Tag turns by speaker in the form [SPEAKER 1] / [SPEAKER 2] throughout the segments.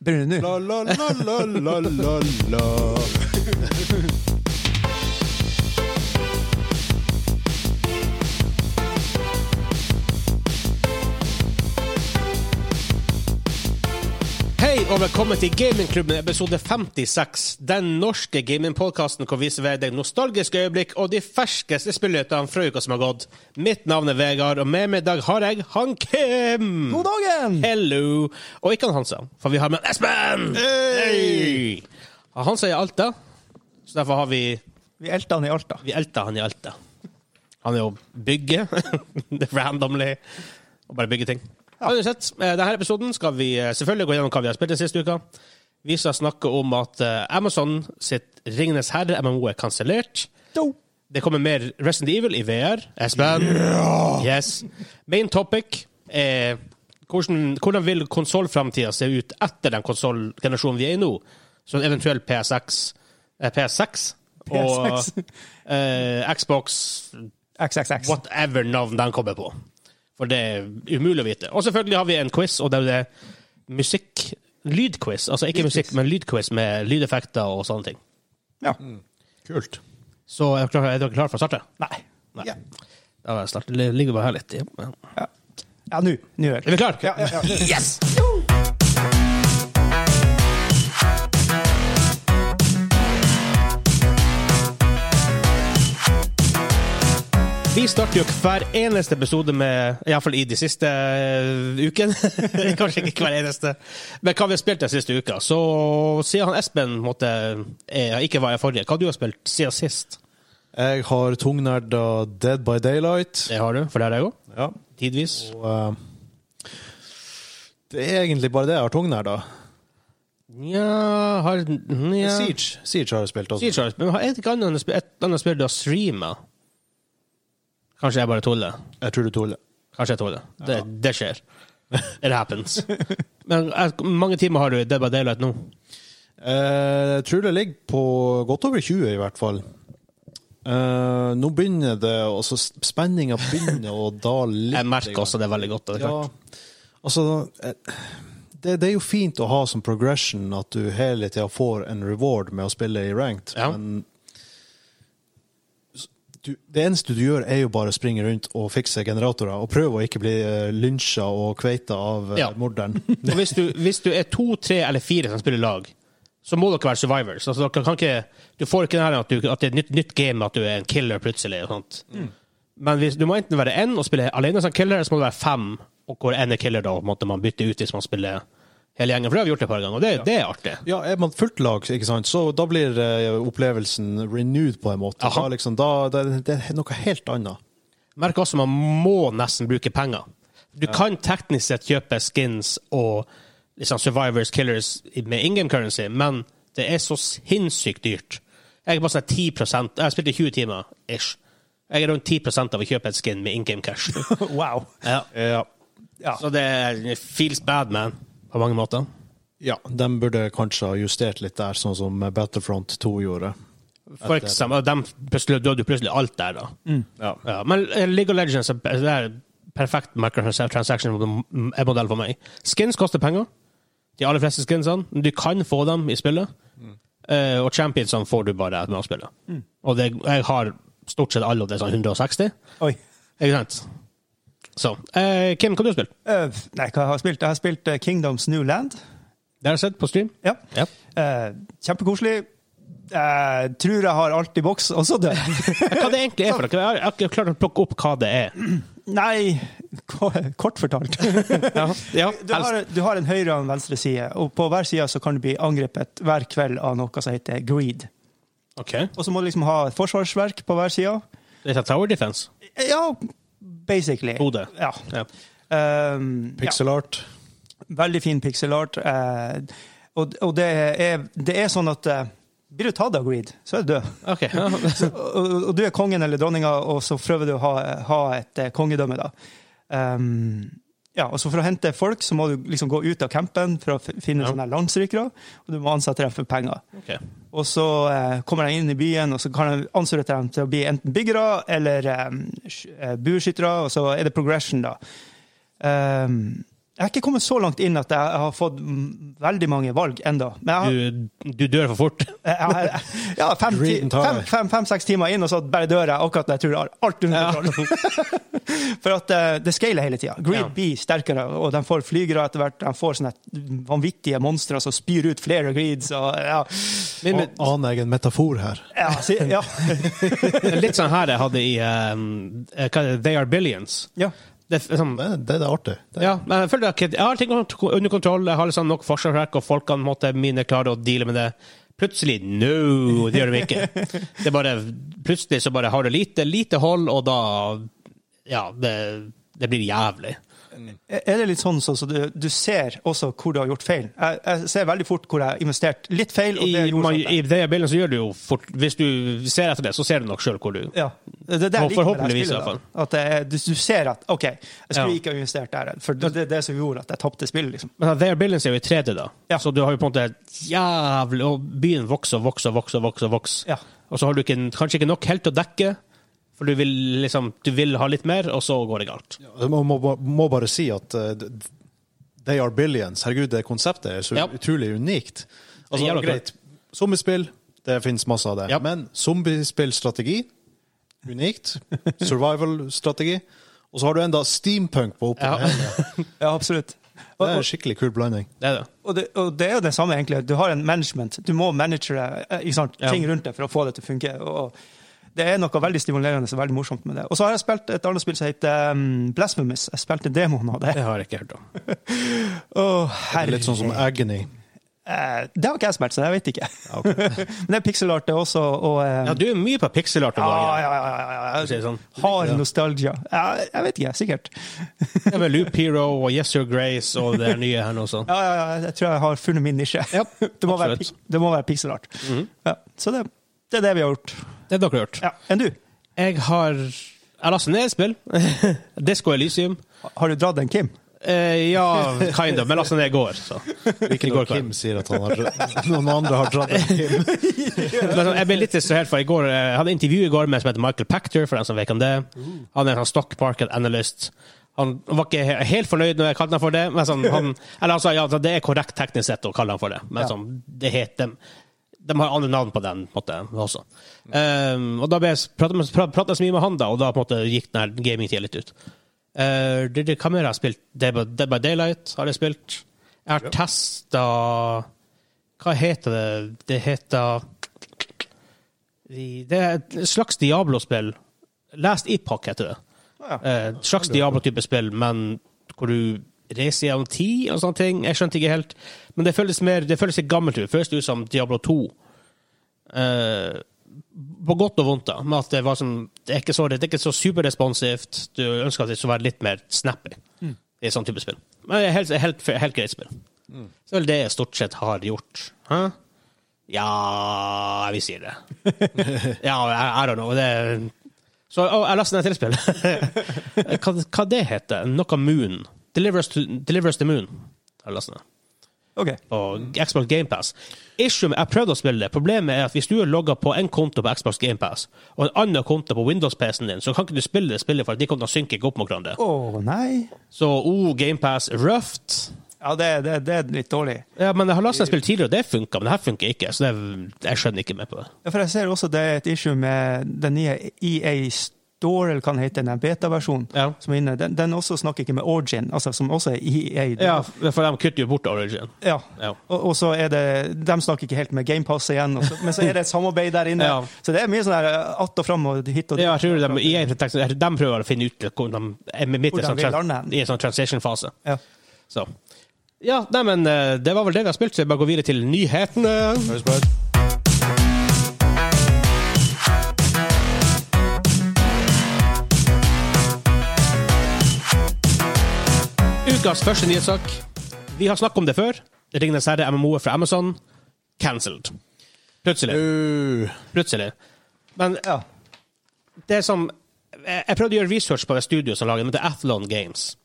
[SPEAKER 1] Brunu.
[SPEAKER 2] La, la, la, la, la, la, la.
[SPEAKER 3] Hei og velkommen til Gamingklubben episode 56. Den norske gamingpodkasten hvor vi serverer deg nostalgiske øyeblikk og de ferskeste spillnyhetene fra uka som har gått. Mitt navn er Vegard, og med meg i dag har jeg han Kim.
[SPEAKER 1] God dagen!
[SPEAKER 3] Hello. Og ikke han Hansa, for vi har med Espen! Hei! Han Hansa er i Alta, så derfor har vi
[SPEAKER 1] Vi elta han i Alta.
[SPEAKER 3] Vi elta han i Alta. Han er jo bygge, randomly, og bare bygge ting. Uansett, eh, denne episoden skal vi eh, selvfølgelig gå gjennom hva vi har spilt den siste uka. Vi skal snakke om at eh, Amazon sitt Ringenes herre, MMO, er kansellert.
[SPEAKER 1] Do.
[SPEAKER 3] Det kommer mer Resident Evil i VR. Espen? Yes. Main topic er hvordan, hvordan vil konsollframtida se ut etter den konsollgenerasjonen vi er i nå? Så en eventuell PSX, eh, PS6 og
[SPEAKER 1] PSX.
[SPEAKER 3] eh, Xbox,
[SPEAKER 1] XXX.
[SPEAKER 3] whatever navn den kommer på. For det er umulig å vite. Og selvfølgelig har vi en quiz, og det er jo det musikk Lydquiz. Altså ikke musikk, men lydquiz med lydeffekter og sånne ting.
[SPEAKER 1] Ja.
[SPEAKER 3] Kult. Så er dere klare- er dere klare for å starte?
[SPEAKER 1] Nei.
[SPEAKER 3] Nei.
[SPEAKER 2] Ja.
[SPEAKER 3] Da var jeg snart- li- ligger bare her litt. Ja. Er
[SPEAKER 1] Ja, nå. Nå er det.
[SPEAKER 3] vi klare?
[SPEAKER 2] Ja, ja, ja.
[SPEAKER 3] Yes! Vi starter jo hver eneste episode med Iallfall i de siste eh, ukene. Kanskje ikke hver eneste. Men hva vi har spilt den siste uka. Så siden han Espen måtte, eh, ikke var i forrige, hva du har spilt siden sist?
[SPEAKER 2] Jeg har tungnerda Dead by Daylight.
[SPEAKER 3] Det har du, for det har jeg òg.
[SPEAKER 2] Ja.
[SPEAKER 3] Tidvis.
[SPEAKER 2] Og, eh, det er egentlig bare det jeg har tungnerda.
[SPEAKER 3] Nja har, nja.
[SPEAKER 2] Siege. Siege har jeg spilt også.
[SPEAKER 3] Street Sharks, men har jeg ikke annet enn å sp- et annet spill du har streama? Kanskje jeg bare tuller.
[SPEAKER 2] Jeg tror du tuller.
[SPEAKER 3] Kanskje jeg tuller. Det, det skjer. It happens. Men eh, hvor mange timer har du i Dead by Daylight nå?
[SPEAKER 2] Eh, jeg tror det ligger på godt over 20, i hvert fall. Eh, nå begynner det altså Spenninga begynner å dale litt.
[SPEAKER 3] Jeg merker også det veldig godt. Det er klart.
[SPEAKER 2] Ja, altså eh, det, det er jo fint å ha som progression at du hele tida får en reward med å spille i ranked,
[SPEAKER 3] Ja.
[SPEAKER 2] men s- du, det eneste du gjør, er jo bare å springe rundt og fikse generatorer, og prøve å ikke bli eh, lynsja og kveita av eh,
[SPEAKER 3] Ja.
[SPEAKER 2] morderen.
[SPEAKER 3] Og hvis du, hvis du er to, tre eller fire som spiller lag, så må dere være survivors. Altså, dere kan ikke, du får ikke det her at, du, at det er et nytt, nytt game at du er en killer plutselig. Og sånt.
[SPEAKER 2] Mm.
[SPEAKER 3] Men hvis, du må enten være én og spille alene som killer, eller så må du være fem, og hvor én er killer, da måtte man bytte ut hvis man spiller hele gjengen. For det har vi gjort et par ganger, og det, det er artig.
[SPEAKER 2] Ja, er man fullt lag, ikke sant? så da blir eh, opplevelsen renewed på en måte.
[SPEAKER 3] Aha.
[SPEAKER 2] Da, liksom, da, det, det er noe helt annet.
[SPEAKER 3] Merk også man må nesten bruke penger. Du kan teknisk sett kjøpe skins og liksom survivors, killers med in game currency, men det er så sinnssykt dyrt. Jeg er bare sånn 10 Jeg har spilt i 20 timer, ish. Jeg er rundt 10 av å kjøpe et skin med in game cash.
[SPEAKER 1] Wow.
[SPEAKER 3] ja.
[SPEAKER 2] Ja.
[SPEAKER 1] Ja.
[SPEAKER 3] Så det er- feels bad, man, på mange måter.
[SPEAKER 2] ja, de burde kanskje ha justert litt der, sånn som Battlefront 2 gjorde.
[SPEAKER 3] For eksempel, og dem plutselig, da er du plutselig alt der, da.
[SPEAKER 2] Ja.
[SPEAKER 3] Ja, men eh, League of Legends er det er perfekt microtransaction-modell for meg. Skins koster penger. De aller fleste skinsene. Du kan få dem i spillet.
[SPEAKER 1] Mm.
[SPEAKER 3] Eh, og championsene får du bare med å spille. Og det, jeg har stort sett alle, og det er sånn 160.
[SPEAKER 1] Oi.
[SPEAKER 3] Ikke sant? Så eh, Kim, hva har du spilt?
[SPEAKER 1] Øh, nei, hva har jeg spilt? Jeg har spilt eh, Kingdoms New Land.
[SPEAKER 3] Det har jeg sett på stream.
[SPEAKER 1] Ja.
[SPEAKER 3] Ja.
[SPEAKER 1] Eh, kjempekoselig. Eh, tror jeg har alt i boks, og så dør jeg.
[SPEAKER 3] Hva det egentlig er for noe? Jeg har- Jeg har ikke klart å plukke opp hva det er.
[SPEAKER 1] Nei, ko- kort fortalt.
[SPEAKER 3] Ja, ja
[SPEAKER 1] Du
[SPEAKER 3] helst.
[SPEAKER 1] har, du har en høyre og en venstre side, og på hver side så kan du bli angrepet hver kveld av noe som heter greed.
[SPEAKER 3] OK.
[SPEAKER 1] Og så må du liksom ha et forsvarsverk på hver side.
[SPEAKER 3] Det heter Tower Defense.
[SPEAKER 1] Ja, basically.
[SPEAKER 3] Hode.
[SPEAKER 1] Ja.
[SPEAKER 3] Ja.
[SPEAKER 1] Ehm, ja.
[SPEAKER 2] Pixel art.
[SPEAKER 1] Veldig fin pixel art. eh, og og det, er, det er sånn at eh, blir du tatt av greed, så er du død.
[SPEAKER 3] OK. Ja.
[SPEAKER 1] Så, og, og du er kongen eller dronninga, og så prøver du å ha, ha et eh, kongedømme, da. Ehm, ja, og så For å hente folk så må du liksom gå ut av campen for å f- finne
[SPEAKER 3] Ja.
[SPEAKER 1] sånne her landstrykere, og du må ansette dem for penger.
[SPEAKER 3] Ok.
[SPEAKER 1] Og så eh, kommer de inn i byen, og så kan de ansette dem til å bli enten byggere eller eh, sk- eh, bueskyttere, og så er det progression, da. Ehm, Jeg har ikke kommet så langt inn at jeg har fått mm, veldig mange valg enda. Men jeg har
[SPEAKER 3] Du, du dør for fort.
[SPEAKER 1] Jeg
[SPEAKER 3] eh,
[SPEAKER 1] har- Ja, fem-seks fem,
[SPEAKER 2] Green time.
[SPEAKER 1] fem, fem, seks timer inn, og så bare dør jeg akkurat når jeg tror jeg har alt under kontroll. For at eh, det scaler hele tida. Greed
[SPEAKER 3] Ja.
[SPEAKER 1] blir sterkere, og de får flygere etter hvert. De får sånne vanvittige monstre som spyr ut flere greeds. Og, ja.
[SPEAKER 3] Men, men,
[SPEAKER 2] Og Aner jeg en metafor her?
[SPEAKER 1] Ja, si, ja.
[SPEAKER 3] litt sånn her jeg hadde i ehm, eh, hva er det? They Are Billions.
[SPEAKER 1] ja.
[SPEAKER 3] Det, er sånn,
[SPEAKER 2] Det, det er det artig. Det,
[SPEAKER 3] ja, men jeg føler ikke at- Jeg har ting under kontroll, jeg har liksom nok forsvarsverk, og folkene måtte mine klare å deale med det. Plutselig no, det gjør de ikke. Det er bare, plutselig så bare har du lite, lite hold, og da Ja, det, det blir jævlig.
[SPEAKER 1] Er det litt sånn så, så du, du ser også hvor du har gjort feil? Jeg, jeg ser veldig fort hvor jeg har investert litt feil. og det
[SPEAKER 3] I,
[SPEAKER 1] gjorde
[SPEAKER 3] man,
[SPEAKER 1] sånn at jeg-
[SPEAKER 3] I det bildet så gjør du jo fort Hvis du ser etter det, så ser du nok sjøl hvor du
[SPEAKER 1] Ja. Det, er det jeg liker med det her
[SPEAKER 3] Forhåpentligvis,
[SPEAKER 1] spillet,
[SPEAKER 3] i hvert
[SPEAKER 1] da. At det, er- du, du ser at OK, jeg skulle
[SPEAKER 3] Ja.
[SPEAKER 1] ikke ha investert der. For det det er det som gjorde at jeg tapte spillet, liksom.
[SPEAKER 3] Men They Are Billions er jo i 3D, da.
[SPEAKER 1] Ja.
[SPEAKER 3] Så du har jo på en måte jævlig Og byen vokser og vokser og vokser. og vokser, og vokser.
[SPEAKER 1] Ja.
[SPEAKER 3] Og så har du ikke, kanskje ikke nok helt til å dekke, for du vil, liksom, du vil ha litt mer, og så går det galt.
[SPEAKER 2] Jeg altså, må, må, må bare si at eh, They Are Billions, herregud, det konseptet er så
[SPEAKER 3] Ja.
[SPEAKER 2] utrolig unikt.
[SPEAKER 3] Det
[SPEAKER 2] Altså,
[SPEAKER 3] gjør det.
[SPEAKER 2] greit, zombiespill, det finnes masse av det.
[SPEAKER 3] Ja.
[SPEAKER 2] Men zombiespillstrategi, unikt. Survival-strategi. Og så har du enda steampunk på oppå
[SPEAKER 3] Ja.
[SPEAKER 2] det hele.
[SPEAKER 1] Ja, absolutt. Og,
[SPEAKER 2] Det er en
[SPEAKER 1] og,
[SPEAKER 2] skikkelig kul blanding.
[SPEAKER 3] Det er det.
[SPEAKER 1] og, det, og det er jo det samme, egentlig. Du har en management. Du må manage eh, ikke sant,
[SPEAKER 3] Ja.
[SPEAKER 1] ting rundt det for å få det til å funke. Og det er noe veldig stimulerende og veldig morsomt med det. Og så har jeg spilt et annet spill som heter um, Blasphemous. Jeg spilte demoen av det.
[SPEAKER 3] Det har jeg ikke hørt om.
[SPEAKER 1] Å, herre-
[SPEAKER 2] Litt sånn som Agony.
[SPEAKER 1] Eh, det har ikke jeg spilt, så jeg vet ikke. Men det er pixel art, det også. Og, eh,
[SPEAKER 3] Ja, du er mye på pixel art om
[SPEAKER 1] ja,
[SPEAKER 3] dagen.
[SPEAKER 1] ja, ja, ja, ja, ja.
[SPEAKER 3] for å si det sånn.
[SPEAKER 1] Hard nostalgia. Ja, jeg vet ikke, sikkert.
[SPEAKER 3] Det er med Loop Hero og Yes Your Grace og det der nye her nå sånn.
[SPEAKER 1] Ja, ja, ja, jeg tror jeg har funnet min nisje.
[SPEAKER 3] Ja,
[SPEAKER 1] det, må være,
[SPEAKER 3] absolutt. Mhm.
[SPEAKER 1] pik- det må være pixel art. ja, så det, det er det vi har gjort.
[SPEAKER 3] Det har dere hørt.
[SPEAKER 1] Ja, Enn du?
[SPEAKER 3] Jeg har Jeg lastet ned et spill. Disco Elysium.
[SPEAKER 1] Har du dratt en Kim?
[SPEAKER 3] Eh, ja, kind of, men lastet ned i går. Så.
[SPEAKER 2] Ikke
[SPEAKER 3] I går
[SPEAKER 2] når Kim sier at han har, noen andre har dratt en Kim.
[SPEAKER 3] Men sånn, jeg ble litt distrahert, for i går, eh, jeg hadde intervju i går med en som heter Michael Pachter, for den som vet om det. Han er en sånn stock market analyst. Han var ikke he- helt fornøyd når jeg kalte han for det, men sånn, han, eller han sa ja, altså, det er korrekt teknisk sett å kalle han for det, men
[SPEAKER 1] Ja.
[SPEAKER 3] sånn, det heter de har andre navn på den på en måte, også. Um, og da ble jeg pratet, med- pra- pratet jeg så mye med han, da, og da på en måte gikk den her gamingtida litt ut. Uh, det, det, hva mer har jeg spilt? Dead by, Dead by Daylight har jeg spilt. Jeg har testa Hva heter det? Det heter Det er et slags Diablo-spill. Last Epoch heter det.
[SPEAKER 1] Ja.
[SPEAKER 3] Eh, Et slags Diablo-type spill, men hvor du reiser gjennom tid og sånne ting. Jeg skjønte ikke helt. Men det føles, mer, det føles litt gammelt ut. Det føles ut som Diablo 2. Eh, på godt og vondt, da. Med at det, var sånn, det, er ikke så, det er ikke så superresponsivt. Du ønsker at det skulle være litt mer snappy
[SPEAKER 1] Mm.
[SPEAKER 3] i sånn type spill. Men det er helt, helt, helt greit spill.
[SPEAKER 1] Mm.
[SPEAKER 3] Så det er vel det jeg stort sett har gjort. Hæ? Ja Vi sier det. ja, I, I don't know. Det er, så å, jeg lastet ned et tilspill. hva, hva det heter Noe Moon. Deliver us, to, Deliver us the Moon. Har jeg lastet ned
[SPEAKER 1] OK.
[SPEAKER 3] på Xbox GamePass. Issue med, jeg prøvde å spille det. Problemet er at hvis du er logga på en konto på Xbox GamePass og en annen konto på Windows-PC-en din, så kan ikke du spille det spillet for at de kontoene synker ikke opp mot hverandre.
[SPEAKER 1] Å nei.
[SPEAKER 3] Så oh, GamePass røft.
[SPEAKER 1] Ja, det, det, det er litt dårlig.
[SPEAKER 3] Ja, men jeg har lastet et spill tidligere, og det funka, men det her funker ikke. Så det, jeg skjønner ikke med på det.
[SPEAKER 1] Ja, for jeg ser også det er et issue med den nye EA Store, eller hva den heter, den beta-versjonen
[SPEAKER 3] Ja.
[SPEAKER 1] som er inne. Den, den også snakker ikke med Origin, altså, som også er EA.
[SPEAKER 3] ja, for de kutter jo bort Origin.
[SPEAKER 1] Ja.
[SPEAKER 3] Ja.
[SPEAKER 1] Og, og så er det De snakker ikke helt med GamePass igjen, og så, men så er det et samarbeid der inne.
[SPEAKER 3] Ja.
[SPEAKER 1] Så det er mye sånn her eh, att og fram og hit og dit.
[SPEAKER 3] Ja, jeg tror de, jeg, jeg, de prøver å finne ut eh, hvor de, midt i
[SPEAKER 1] Hvordan
[SPEAKER 3] en sånn,
[SPEAKER 1] vil
[SPEAKER 3] tran-
[SPEAKER 1] lande hen?
[SPEAKER 3] i en sånn transition-fase.
[SPEAKER 1] Ja.
[SPEAKER 3] Så. Ja, nei, men eh, det var vel det vi har spilt, så jeg bare går videre til nyhetene.
[SPEAKER 2] Høres bra ut.
[SPEAKER 3] Ukas første nyhetssak. Vi har snakket om det før. Ringenes herre, MMO-et fra Amazon, cancelled. Plutselig.
[SPEAKER 2] Uh,
[SPEAKER 3] Plutselig. Men
[SPEAKER 1] Ja.
[SPEAKER 3] det som Jeg jeg prøvde å gjøre research på det studioet som lager det, men det er Athlon Games.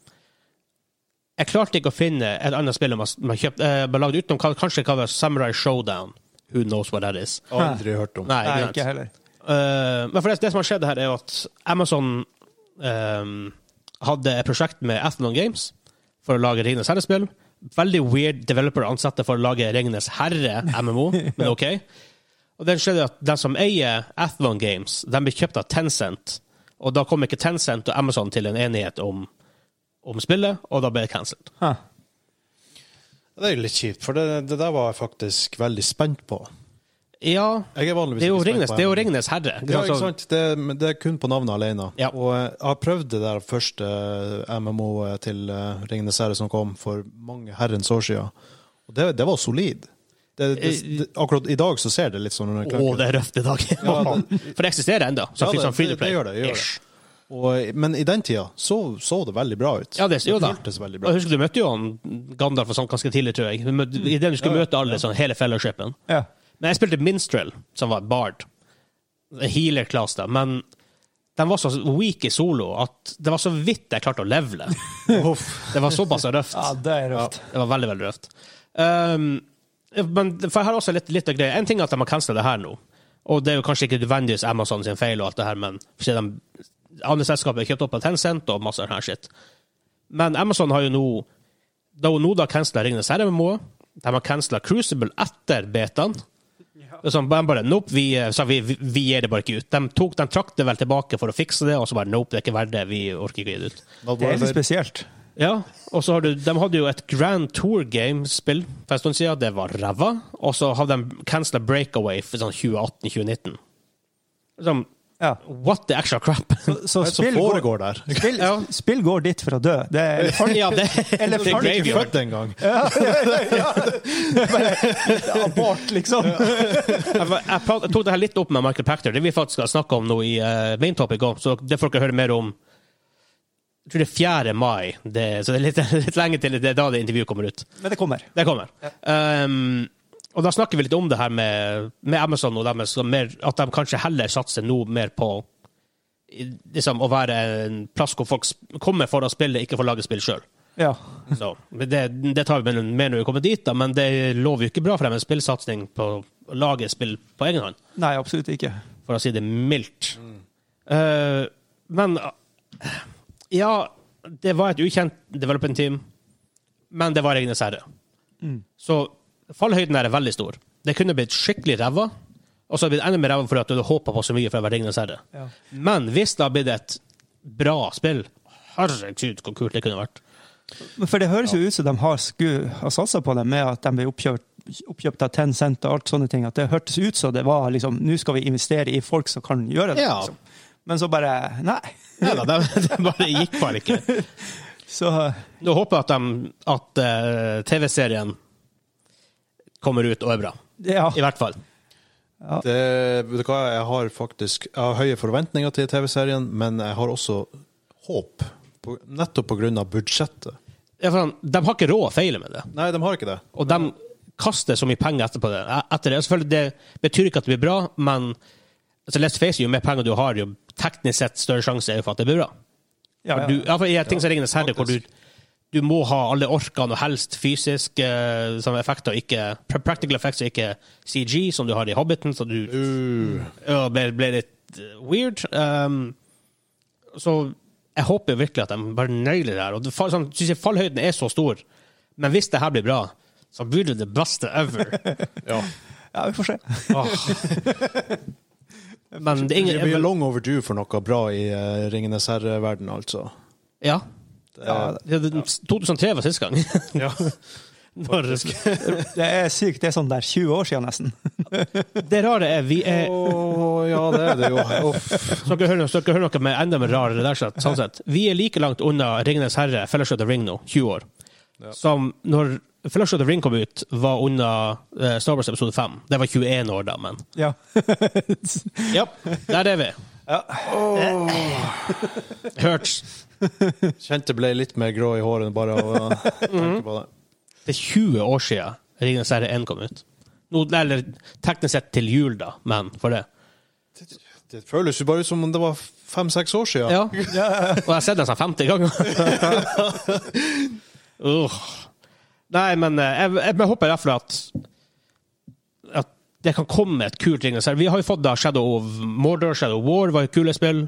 [SPEAKER 3] Jeg klarte ikke å finne et annet spill man, man, kjøpt, eh, man lagde utenom. kan- Kanskje det kan være Samurai Showdown. Who knows what that is?
[SPEAKER 2] aldri hørt om.
[SPEAKER 3] Nei,
[SPEAKER 1] Nei,
[SPEAKER 3] ikke sant.
[SPEAKER 1] ikke heller.
[SPEAKER 3] Eh, men for det, det som har skjedd her, er jo at Amazon eh, hadde et prosjekt med Athlon Games for å lage Ringenes herrespill. Veldig weird developer å ansette for å lage Ringenes herre-MMO, men OK. Og den skjedde at de som eier Athlon Games, de ble kjøpt av Tencent. Og da kom ikke Tencent og Amazon til en enighet om, om spillet, og da ble det cancelled.
[SPEAKER 1] Hæ.
[SPEAKER 2] Det er jo litt kjipt, for det, det der var jeg faktisk veldig spent på.
[SPEAKER 3] Ja,
[SPEAKER 2] Jeg er vanligvis
[SPEAKER 3] det er jo
[SPEAKER 2] ikke spent
[SPEAKER 3] Ringenes,
[SPEAKER 2] på
[SPEAKER 3] det er jo
[SPEAKER 2] MMO.
[SPEAKER 3] Ringenes herre.
[SPEAKER 2] Ja, ikke sant? Det, men det er kun på navnet alene.
[SPEAKER 3] Ja.
[SPEAKER 2] Og eh, jeg har prøvd det der første eh, MMO-et til uh, Ringenes herre som kom for mange herrens år siden. Og det, det var solid. Det, det, det, akkurat i dag så ser det litt sånn
[SPEAKER 3] Så- Å, Eh, det er røft i dag. For det eksisterer ennå. Så
[SPEAKER 2] Ja,
[SPEAKER 3] fikk
[SPEAKER 2] det-
[SPEAKER 3] sånn free to
[SPEAKER 2] det-
[SPEAKER 3] play.
[SPEAKER 2] det gjør det, det gjør det.
[SPEAKER 3] Ish.
[SPEAKER 2] Og, eh, men i den tida så, så det veldig bra ut.
[SPEAKER 3] Ja, det, jo da.
[SPEAKER 2] føltes veldig
[SPEAKER 3] Og
[SPEAKER 2] bra.
[SPEAKER 3] jeg husker du møtte jo han Gandalf og sånn ganske tidlig, tror jeg. Du møtte- I det du skulle
[SPEAKER 2] Ja, ja.
[SPEAKER 3] møte alle, sånn hele fellowshipen.
[SPEAKER 1] Ja.
[SPEAKER 3] Men jeg spilte Minstrel, som var bard. En Healer class, da. Men de var så weak i solo at det var så vidt jeg klarte å levele. det var såpass røft.
[SPEAKER 1] ja, Ah, det er røft.
[SPEAKER 3] Det var veldig, veldig røft. Um, men for her er også litt, litt av greia. En ting er at de har cancela det her nå. Og det er jo kanskje ikke nødvendigvis Amazon sin feil, og alt det her, men siden de, andre selskaper er kjøpt opp av Tencent og masse sånn her shit. Men Amazon har jo nå Da hun nå da cancela Ringenes herre-MMO, de har cancela Crucible etter betaen. Det er sånn, de bare, nope, vi, eh, sa vi, vi, vi gir det bare ikke ut. De, tok, de trakk det vel tilbake for å fikse det, og så bare nope, det er ikke verdt det, vi orker ikke å gi det ut.
[SPEAKER 2] Not
[SPEAKER 1] Det er litt
[SPEAKER 2] worth it.
[SPEAKER 1] spesielt.
[SPEAKER 3] Ja, og så har du, de hadde jo et Grand Tour Game-spill for en stund siden. Det var ræva. Og så hadde de cancela Breakaway for sånn 2018-2019. Sånn,
[SPEAKER 1] Ja.
[SPEAKER 3] what the actual crap?
[SPEAKER 1] Så
[SPEAKER 2] Hva er det som
[SPEAKER 1] spill går,
[SPEAKER 2] foregår der?
[SPEAKER 1] spill, spill går dit for å dø. Det er
[SPEAKER 3] ja, det,
[SPEAKER 1] Eller
[SPEAKER 3] det er
[SPEAKER 1] har du ikke
[SPEAKER 2] Jeg er
[SPEAKER 3] graveyard.
[SPEAKER 2] født en gang.
[SPEAKER 1] abort, liksom.
[SPEAKER 3] Jeg, var- jeg, prat- jeg tok det her litt opp med Michael Pachter. Det vi faktisk skal snakke om nå i eh, Main Topic også, så det får dere høre mer om Jeg tror det er 4. mai, det, så det er litt, litt lenge til det er da det intervjuet kommer ut.
[SPEAKER 1] Men det kommer.
[SPEAKER 3] Det kommer. Um, og da snakker vi litt om det her med, med Amazon, og deres, og mer, at de kanskje heller satser nå mer på i- liksom, å være en plass hvor folk sp- kommer for å spille, ikke for å lage spill sjøl.
[SPEAKER 1] Ja.
[SPEAKER 3] Det, det tar vi med- med når vi kommer dit, da, men det lover jo ikke bra for dem en spillsatsing på å lage spill på egen hånd,
[SPEAKER 1] Nei, absolutt ikke.
[SPEAKER 3] for å si det mildt. Uh, men uh, Ja, det var et ukjent development team, men det var Ringenes herre. Så fallhøyden her er veldig stor. Det kunne blitt skikkelig ræva, og så hadde det blitt enda mer ræva fordi at du hadde håpa på så mye fra Ringenes herre.
[SPEAKER 1] Ja.
[SPEAKER 3] Men hvis det hadde blitt et bra spill, herregud, hvor kult det kunne vært.
[SPEAKER 1] Men For det høres jo ut som de har, sku- har satsa på det med at de blir oppkjørt, oppkjøpt av 10 cent og alt sånne ting. At det hørtes ut som det var liksom Nå skal vi investere i folk som kan gjøre det.
[SPEAKER 2] Ja.
[SPEAKER 1] Liksom. Men så bare Nei.
[SPEAKER 3] Nei da, det, det bare gikk bare ikke.
[SPEAKER 1] Så
[SPEAKER 3] Nå håper jeg at, de- at eh, TV-serien kommer ut og er bra.
[SPEAKER 1] ja.
[SPEAKER 3] I hvert fall.
[SPEAKER 2] Det, vet du hva, jeg har faktisk jeg har høye forventninger til TV-serien, men jeg har også håp. På, nettopp pga. budsjettet.
[SPEAKER 3] Ja, for han- De har ikke råd å feile med det.
[SPEAKER 2] Nei, de har ikke det.
[SPEAKER 3] Og de kaster så mye penger etterpå det. E, etter det. Og Selvfølgelig, det betyr ikke at det blir bra, men altså, let's face it, jo mer penger du har, jo teknisk sett større sjanse er jo for at det blir bra.
[SPEAKER 1] ja,
[SPEAKER 3] For
[SPEAKER 1] ja.
[SPEAKER 3] Du, ja, for I ting som Ringenes herre, hvor du, du må ha alle orkene, og helst fysiske eh, sånne effekter, og ikke, pra- practical effects og ikke CG, som du har i Hobbiten, så du ja, ble, ble litt eh, weird. Um, så jeg håper virkelig at de bare nøyler det her. Og det, fall- sånn, synes jeg fallhøyden er så stor, men hvis det her blir bra, så blir det det beste ever.
[SPEAKER 2] Ja.
[SPEAKER 1] ja, vi får se.
[SPEAKER 3] Åh. Men det er
[SPEAKER 2] Det blir
[SPEAKER 3] ingen
[SPEAKER 2] long overdue for noe bra i eh, Ringenes herre-verden, altså.
[SPEAKER 3] Ja.
[SPEAKER 2] Det,
[SPEAKER 1] Ja,
[SPEAKER 3] Det- det- 2003 var sist gang.
[SPEAKER 2] ja.
[SPEAKER 3] Når,
[SPEAKER 1] Det er sykt. Det er sånn der 20 år siden, nesten.
[SPEAKER 3] det rare er vi er
[SPEAKER 2] Å, ja, det er det jo. Uff.
[SPEAKER 3] Så dere hører, så dere hører noe med enda mer rarere der, så- sånn sett. Vi er like langt unna Ringenes herre, Fellowship of the Ring nå, 20 år, som når Fellowship of the Ring kom ut, var unna eh, Star Wars episode 5. Det var 21 år da, men
[SPEAKER 1] Ja.
[SPEAKER 3] Ja, der er vi. Eh. Hørts.
[SPEAKER 2] Kjente ble litt mer grå i håret bare av å tenke på det.
[SPEAKER 3] Det er 20 år siden Ringenes herre 1 kom ut. Nå, eller teknisk sett til jul, da, men for det.
[SPEAKER 2] Det føles jo bare ut som om det var fem-seks år siden.
[SPEAKER 3] Ja. Og jeg har sett den sånn 50 ganger. uh. Nei, men eh, jeg, jeg, jeg håper derfor at, at det kan komme et kult ring. Vi har jo fått da Shadow of Mordor, Shadow of War var jo kule spill.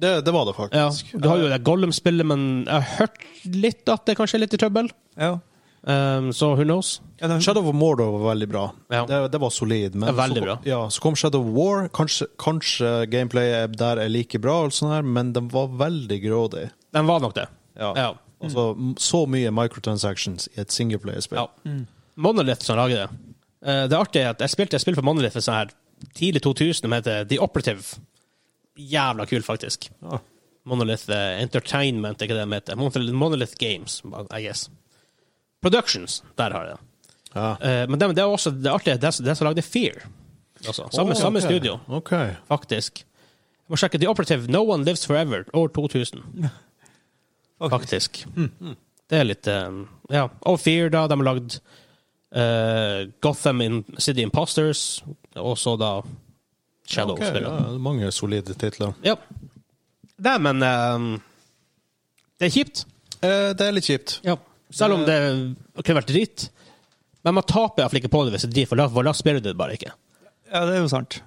[SPEAKER 2] Det, det var det
[SPEAKER 3] Ja.
[SPEAKER 2] faktisk.
[SPEAKER 3] Du har jo det Gollum-spillet, men jeg har hørt litt at det kanskje er litt i trøbbel.
[SPEAKER 1] Ja.
[SPEAKER 3] Um, så who knows?
[SPEAKER 1] Ja, den-
[SPEAKER 2] Shadow of Mordor var veldig bra.
[SPEAKER 3] Ja.
[SPEAKER 2] Det, det var solid. Men
[SPEAKER 3] Ja, veldig
[SPEAKER 2] så, kom-
[SPEAKER 3] bra.
[SPEAKER 2] Ja, så kom Shadow of War. Kanskje, kanskje gameplayet der er like bra, og sånn her, men den var veldig grådig.
[SPEAKER 3] Den var nok det.
[SPEAKER 2] Ja.
[SPEAKER 3] Ja.
[SPEAKER 2] Altså, m- Så mye microtransactions i et singleplayerspill.
[SPEAKER 3] Ja. Monolith som lager det. Eh, det artige er at jeg spilte et spill for Monolith for sånn her tidlig 2000 som heter The Operative. Jævla kul, faktisk.
[SPEAKER 2] Ja.
[SPEAKER 3] Monolith eh, Entertainment, er ikke det de heter. Monolith, Monolith Games, I guess. Productions, der har jeg det.
[SPEAKER 2] Ja.
[SPEAKER 3] Eh, men det, det er også det artige, det er det som lagde Fear. Altså, samme,
[SPEAKER 2] Å,
[SPEAKER 3] samme
[SPEAKER 2] ok.
[SPEAKER 3] studio,
[SPEAKER 2] Ok.
[SPEAKER 3] faktisk. Jeg må sjekke The Operative, No One Lives Forever, år 2000.
[SPEAKER 1] Ok.
[SPEAKER 3] Faktisk. Det er litt eh, Ja. Og Fear, da. De har lagd eh, Gotham in City Imposters, og så da Shadow.
[SPEAKER 2] Ok, ja,
[SPEAKER 3] spiller.
[SPEAKER 2] det er mange solide titler.
[SPEAKER 3] Ja. Det, men eh, Det er kjipt.
[SPEAKER 2] Eh, det er litt kjipt.
[SPEAKER 3] Selv om det kunne vært drit. Men man taper iallfall ikke på det hvis det er drit, for da- for da spiller du det bare ikke.
[SPEAKER 1] ja, det er jo sant.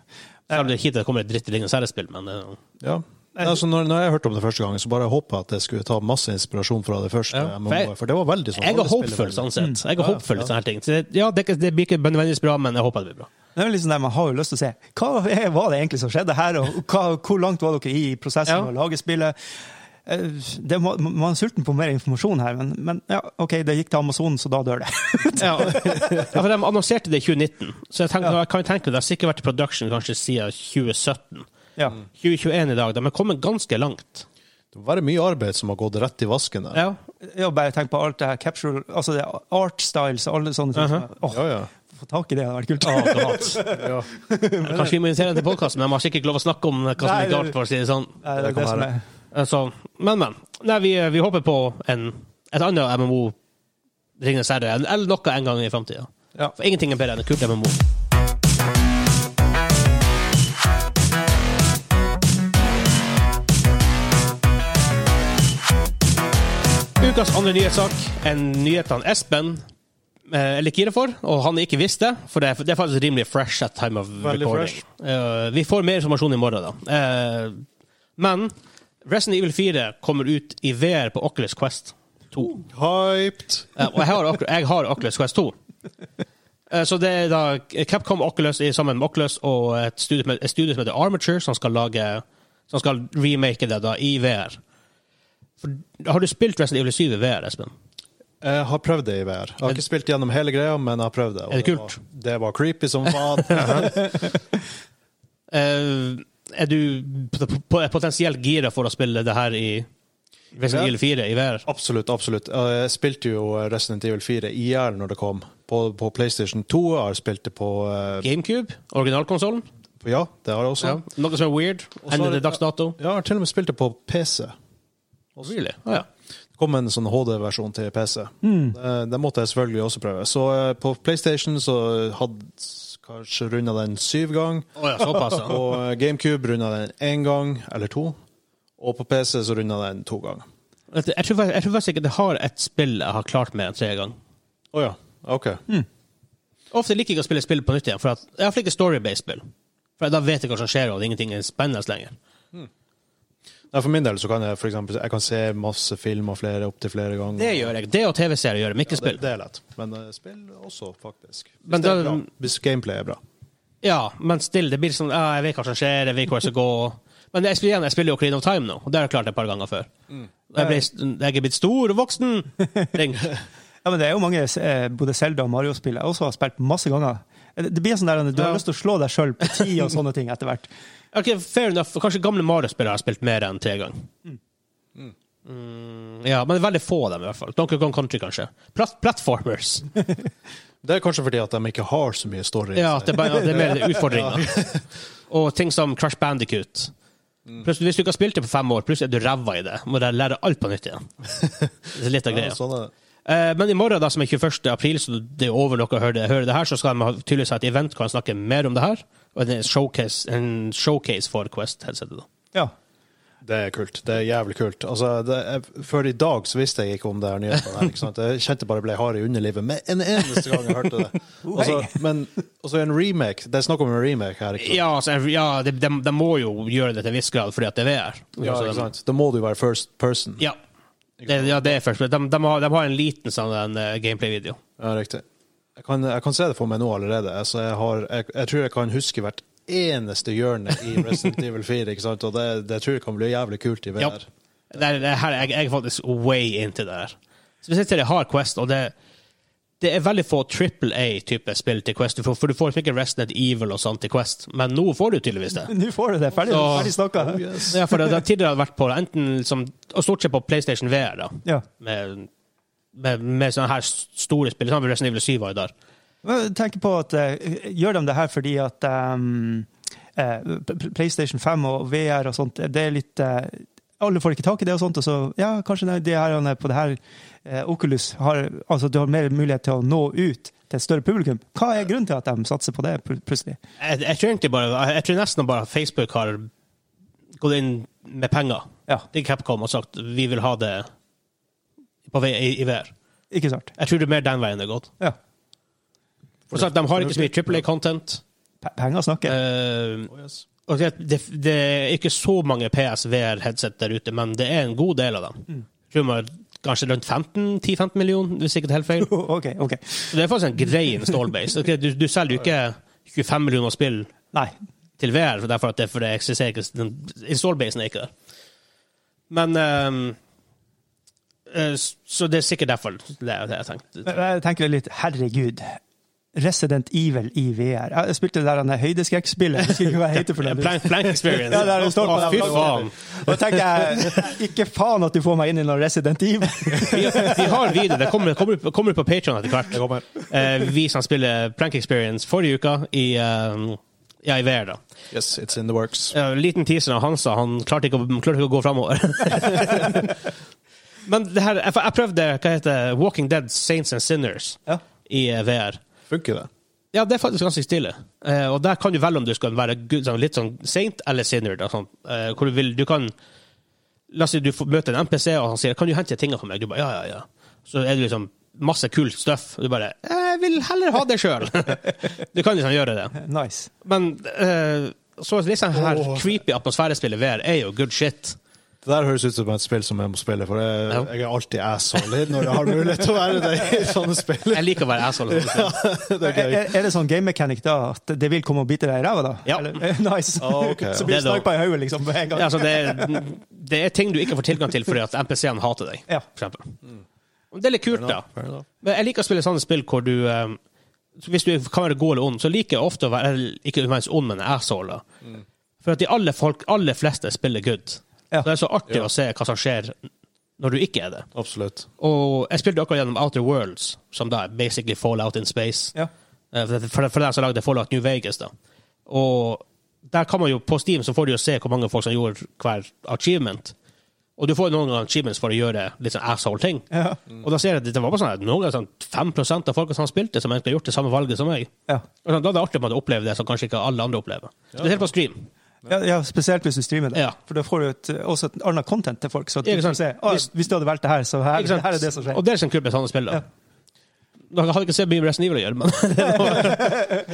[SPEAKER 3] Selv om det er kjipt at det kommer et dritt lignende særspill, men eh,
[SPEAKER 2] Ja. Altså, når, når jeg hørte om det første gangen, så bare håpa jeg at jeg skulle ta masse inspirasjon fra det første.
[SPEAKER 3] Ja, for
[SPEAKER 2] MMO,
[SPEAKER 3] jeg-
[SPEAKER 2] for det var veldig sånn.
[SPEAKER 3] jeg er
[SPEAKER 2] alle spiller
[SPEAKER 3] håpfull,
[SPEAKER 2] veldig-
[SPEAKER 3] sånn sett. Jeg er
[SPEAKER 2] Ja,
[SPEAKER 3] håpfull i
[SPEAKER 2] ja.
[SPEAKER 3] sånne her ting. Så det- ja, det, det blir ikke nødvendigvis bra, men jeg håper det blir bra.
[SPEAKER 1] Det er jo liksom der man har jo lyst til å se hva er, var det egentlig som skjedde her, og hva, hvor langt var dere i prosessen
[SPEAKER 3] Ja.
[SPEAKER 1] med å lage spillet? Eh, Det, må- man er sulten på mer informasjon her, men, men ja, OK, det gikk til Amazon, så da dør det.
[SPEAKER 3] Ja. ja, for de annonserte det i 2019, så jeg, tenker, jeg kan jo tenke det har sikkert vært i production kanskje siden 2017.
[SPEAKER 1] Ja.
[SPEAKER 3] Mm. 2021 i dag. De har kommet ganske langt.
[SPEAKER 2] Det må være mye arbeid som har gått rett i vasken der.
[SPEAKER 3] sånn. Ja.
[SPEAKER 1] ja, bare tenk på alt det her capture, altså det er art styles og alle sånne ting.
[SPEAKER 3] Mhm.
[SPEAKER 1] Åh,
[SPEAKER 2] Ja, ja.
[SPEAKER 1] Få tak i det, det hadde vært kult.
[SPEAKER 3] Ah, det var hans. Kanskje vi må invitere dem til podkasten, men de har sikkert ikke lov å snakke om hva som
[SPEAKER 1] Nei,
[SPEAKER 3] er galt. for å si det sånn.
[SPEAKER 1] Nei, det
[SPEAKER 2] det
[SPEAKER 1] er
[SPEAKER 2] kan
[SPEAKER 1] det som
[SPEAKER 2] være.
[SPEAKER 1] er
[SPEAKER 3] Altså, men, men. Nei, vi, vi håper på en, et annet MMO, Ringenes herre, eller noe en gang i framtida.
[SPEAKER 1] Ja.
[SPEAKER 3] For ingenting er bedre enn et kult MMO. Ukas andre nyhetssak er nyhetene Espen eh, er litt gira for, og han ikke visste. For det er, det er faktisk rimelig fresh at time of
[SPEAKER 2] Veldig
[SPEAKER 3] recording.
[SPEAKER 2] fresh.
[SPEAKER 3] Eh, vi får mer informasjon i morgen, da. Eh, men Resident Evil 4 kommer ut i VR på Oculus Quest 2.
[SPEAKER 2] Hyped!
[SPEAKER 3] Eh, og jeg har, Ocu- jeg har Oculus Quest 2. Eh, Så det er da Capcom Oculus i- sammen med Oculus og et studio, med- et studio som heter Armature, som skal, lage, som skal remake det da i VR. For, har du spilt Resident Evil 7 i VR, Espen?
[SPEAKER 2] Jeg har prøvd det i VR. Jeg har ikke spilt gjennom hele greia, men jeg har prøvd det. og
[SPEAKER 3] Er det kult?
[SPEAKER 2] Var, det var creepy som faen.
[SPEAKER 3] Eh, er du p- p- potensielt gira for å spille det her i Resident
[SPEAKER 2] Ja.
[SPEAKER 3] Evil 4 i VR?
[SPEAKER 2] absolutt, absolutt. Jeg spilte jo Resident Evil 4 i hjel når det kom. På, på PlayStation 2 jeg har jeg spilt det på, eh,
[SPEAKER 3] GameCube? Originalkonsollen?
[SPEAKER 2] på Ja, det har jeg også.
[SPEAKER 3] Ja. Noe som er weird?
[SPEAKER 2] Og så
[SPEAKER 3] Enn
[SPEAKER 2] er det-
[SPEAKER 3] det dags dato?
[SPEAKER 2] Jeg har til og med spilt det på PC.
[SPEAKER 3] Really? Ah, ja.
[SPEAKER 2] Det kom en sånn HD-versjon til PC.
[SPEAKER 3] Hmm.
[SPEAKER 2] Eh, Den måtte jeg selvfølgelig også prøve. Så eh, på PlayStation så hadde s- kanskje runda den syv gang.
[SPEAKER 3] Å ja, såpass. ja.
[SPEAKER 2] På eh, GameCube runda den én gang eller to. Og på PC så runda den to ganger.
[SPEAKER 3] Vet du, Jeg tror, fakt- jeg tror faktisk ikke det har et spill jeg har klart mer enn tre ganger.
[SPEAKER 2] Å ja. OK.
[SPEAKER 3] Mm. Ofte liker jeg ikke å spille spill på nytt igjen, for at, jeg har ikke story-based spill. For da vet jeg hva som skjer, og ingenting er spennende lenger.
[SPEAKER 2] Nei, for min del så kan jeg for eksempel, jeg kan se masse filmer flere opptil flere ganger.
[SPEAKER 3] Det gjør jeg. Det og TV-serier gjør jeg, ikke
[SPEAKER 2] det,
[SPEAKER 3] spill.
[SPEAKER 2] det er lett. Men eh, spill også, faktisk. Hvis,
[SPEAKER 3] Men
[SPEAKER 2] det
[SPEAKER 3] da-
[SPEAKER 2] er bra. Hvis gameplay er bra.
[SPEAKER 3] Ja, men still, det blir sånn ja, Jeg vet hva som skjer, jeg vet hvor jeg skal gå. Men jeg spiller, igjen, jeg spiller jo Clean of Time nå, og det har jeg klart et par ganger før. Jeg, ble, jeg er blitt stor og voksen. Ring.
[SPEAKER 1] Ja, men det er jo mange eh, både Zelda og Mario-spill jeg også har spilt masse ganger. Det det blir sånn der, Du har
[SPEAKER 3] Ja.
[SPEAKER 1] lyst til å slå deg sjøl på tid og sånne ting etter hvert.
[SPEAKER 3] Ok, Fair enough. Kanskje gamle Mario-spillere har spilt mer enn tre ganger. Mm, ja, men veldig få av dem, i hvert fall. Donkey Kong Country, kanskje. Plat platformers.
[SPEAKER 2] Det er kanskje fordi at de ikke har så mye story. i
[SPEAKER 3] Ja,
[SPEAKER 2] seg.
[SPEAKER 3] at det, bare, det er mer utfordringer. Og ting som Crash Bandicoot. Pluss, hvis du ikke har spilt det på fem år, plutselig er du ræva i det. Må du lære alt på nytt igjen. Det er litt av
[SPEAKER 2] Ja,
[SPEAKER 3] greia.
[SPEAKER 2] sånn er det.
[SPEAKER 3] Eh, Men i morgen, da, som er 21. april, så det er over dere hører det, hører det her, så skal de ha- tydeligvis ha et event hvor de snakker mer om det her. Og det er en showcase, en showcase for Quest-headsetet. da.
[SPEAKER 1] Ja.
[SPEAKER 2] Det er kult. Det er jævlig kult. Altså, det er, før i dag så visste jeg ikke om det her nyheten. Her, ikke sant? Jeg kjente bare ble hard i underlivet med en eneste gang jeg hørte det. Altså, men altså, en remake Det er snakk om en remake her. ikke sant?
[SPEAKER 3] Ja, altså, ja de, de, de må jo gjøre det til en viss grad fordi at det er VR.
[SPEAKER 2] Ja,
[SPEAKER 3] Altså,
[SPEAKER 2] ikke
[SPEAKER 3] de-
[SPEAKER 2] sant? Da må du være first person.
[SPEAKER 3] Ja. Det, ja, det er først. men De, de, har, de har en liten sånn en, eh, gameplay-video.
[SPEAKER 2] Ja, riktig. Jeg kan, jeg kan se det for meg nå allerede. Altså, jeg, har, jeg, jeg tror jeg kan huske hvert eneste hjørne i Resident Evil 4. Ikke sant? Og det, det tror jeg kan bli jævlig kult i VR.
[SPEAKER 3] Ja. Det er, det er, her- jeg, jeg er faktisk way into det her. Spesielt til det Hard Quest, og det, det er veldig få triple A-type spill til Quest. Du får, for du får ikke Resident Evil og sånt til Quest, men nå får du tydeligvis det.
[SPEAKER 1] Nå får du det. Ferdig,
[SPEAKER 3] Så-
[SPEAKER 1] ferdig snakka.
[SPEAKER 3] Ja, for det, det har tidligere vært på enten som, og stort sett på PlayStation VR, da,
[SPEAKER 1] Ja.
[SPEAKER 3] med, med, med sånne her store spill. Sånn som Resident Evil 7 var jo der.
[SPEAKER 1] Men jeg tenker på at eh, Gjør de det her fordi at ehm, eh, P- P- PlayStation 5 og VR og sånt, det er litt eh, Alle får ikke tak i det og sånt, og så Ja, kanskje det- det her han er på det her eh, Oculus har Altså, du har mer mulighet til å nå ut til et større publikum. Hva er grunnen til at de satser på det pl- plutselig?
[SPEAKER 3] Jeg, jeg, tror egentlig bare, jeg tror nesten bare Facebook har gått inn med penger
[SPEAKER 1] Ja,
[SPEAKER 3] til Capcom og sagt vi vil ha det på vei, i, i VR.
[SPEAKER 1] ikke sant?
[SPEAKER 3] Jeg tror det er mer den veien det har gått.
[SPEAKER 1] Ja.
[SPEAKER 3] For sagt, de har ikke så mye Triple A-content.
[SPEAKER 1] P- Penger
[SPEAKER 3] Eh.
[SPEAKER 1] snakker.
[SPEAKER 3] Oh, og det, det, det er ikke så mange PSVR-headset der ute, men det er en god del av dem. Jeg tror man, kanskje rundt 15, 10-15 millioner, hvis ikke det er helt feil.
[SPEAKER 1] OK. ok.
[SPEAKER 3] Så det er faktisk en grei installbase. Ok, Du, du selger jo ikke 25 millioner spill
[SPEAKER 1] Nei.
[SPEAKER 3] til VR, for derfor at det, for det eksisterer ikke den- Installbasen er ikke der. Men ehm, eh, Så det er sikkert derfor det er det jeg tenkte.
[SPEAKER 1] Men Jeg tenker litt Herregud. Resident Evil i VR. Jeg spilte det der han er høydeskrekkspillet. Jeg husker ikke hva jeg heter for det.
[SPEAKER 3] Plank, plank experience.
[SPEAKER 1] Ja, der det står på
[SPEAKER 3] Å,
[SPEAKER 1] den
[SPEAKER 3] Fy
[SPEAKER 1] bloggen.
[SPEAKER 3] faen.
[SPEAKER 1] Da tenkte jeg ikke faen at du får meg inn i noe Resident Evil.
[SPEAKER 3] Vi, vi har video. Det kommer, kommer, ut- kommer ut på Patreon etter hvert. Eh, vi som spiller Plank Experience forrige uke i, ehm, ja, i VR, da.
[SPEAKER 2] Yes, it's in the works.
[SPEAKER 3] Ja, Eh, liten teaser av Hansa. Han klarte ikke, å- han klarte ikke å gå framover. Men det her, jeg, jeg prøvde hva heter det, Walking Dead Saints and Sinners
[SPEAKER 1] Ja.
[SPEAKER 3] i eh, VR.
[SPEAKER 2] Funker det?
[SPEAKER 3] Ja, det er faktisk ganske stille. Eh, og der kan du velge om du skal være gud, sånn, litt sånn saint eller sinner. Da, sånn, eh, hvor du, vil, du kan La oss si du får- møter en NPC, og han sier 'Kan du hente tinga for meg?' Du bare 'Ja, ja, ja'. Så er det liksom masse kult stuff, og du bare 'Jeg vil heller ha det sjøl'. du kan liksom gjøre det.
[SPEAKER 1] Nice.
[SPEAKER 3] Men eh, så litt sånn her
[SPEAKER 2] Åh.
[SPEAKER 3] creepy atmosfærespillet VR er jo good shit.
[SPEAKER 2] Det der høres ut som et spill som jeg må spille, for jeg,
[SPEAKER 3] Ja.
[SPEAKER 2] jeg er alltid asshole når jeg har mulighet til å være det i sånne spill.
[SPEAKER 3] Jeg liker å være asshole.
[SPEAKER 2] Det er
[SPEAKER 1] Er,
[SPEAKER 2] gøy.
[SPEAKER 1] er det sånn game mechanic da at det vil komme og bite deg i ræva, da?
[SPEAKER 3] Ja.
[SPEAKER 1] Eller- eh, nice.
[SPEAKER 2] Ah, ok, ja.
[SPEAKER 1] Så blir
[SPEAKER 3] Det
[SPEAKER 1] du
[SPEAKER 3] er da-
[SPEAKER 1] snipa i hodet liksom med en gang.
[SPEAKER 3] Ja, altså, det, er, det er ting du ikke får tilgang til fordi at NPC-ene hater deg.
[SPEAKER 1] Ja.
[SPEAKER 3] For eksempel.
[SPEAKER 1] Mm.
[SPEAKER 3] Og Det er litt kult, da.
[SPEAKER 2] Fair enough.
[SPEAKER 3] Men jeg liker å spille sånne spill hvor du eh, så Hvis du kan være god eller ond, så liker jeg ofte å være eller ikke nødvendigvis ond, men asshole. For at de aller, folk, aller fleste spiller good.
[SPEAKER 1] Mm. Ja.
[SPEAKER 3] Så det er så artig å se hva som skjer når du ikke er det.
[SPEAKER 2] Absolutt.
[SPEAKER 3] Og jeg spilte akkurat gjennom Outer Worlds, som da er basically Fallout in space.
[SPEAKER 1] Ja.
[SPEAKER 3] Eh, For, for, for dem som lagde Fallout New Vegas, da. Og der kan man jo, på Steam så får du jo se hvor mange folk som gjorde hver achievement. Og du får jo noen ganger achievements for å gjøre litt sånn asshole-ting.
[SPEAKER 1] Ja.
[SPEAKER 3] Og da ser jeg at det var bare sånn at noen ganger sånn 5 av folka som spilte, som egentlig har gjort det samme valget som meg.
[SPEAKER 1] Ja.
[SPEAKER 3] Og sånn, da er det artig å oppleve det som kanskje ikke alle andre opplever. Spesielt på stream.
[SPEAKER 1] Ja, ja, spesielt hvis du streamer det.
[SPEAKER 3] Ja.
[SPEAKER 1] For da får du et, eh, også et annet content til folk. Så at du
[SPEAKER 3] Ikke
[SPEAKER 1] kan
[SPEAKER 3] sant?
[SPEAKER 1] se «Å,
[SPEAKER 3] Hvis-
[SPEAKER 1] hvis du hadde valgt det her, så her,
[SPEAKER 3] Ikke sant?
[SPEAKER 1] her er det som skjer.
[SPEAKER 3] Og det er sånn kult med sånne spill, da.
[SPEAKER 1] Ja.
[SPEAKER 3] Da hadde jeg ikke så mye med Resident Evil å gjøre, men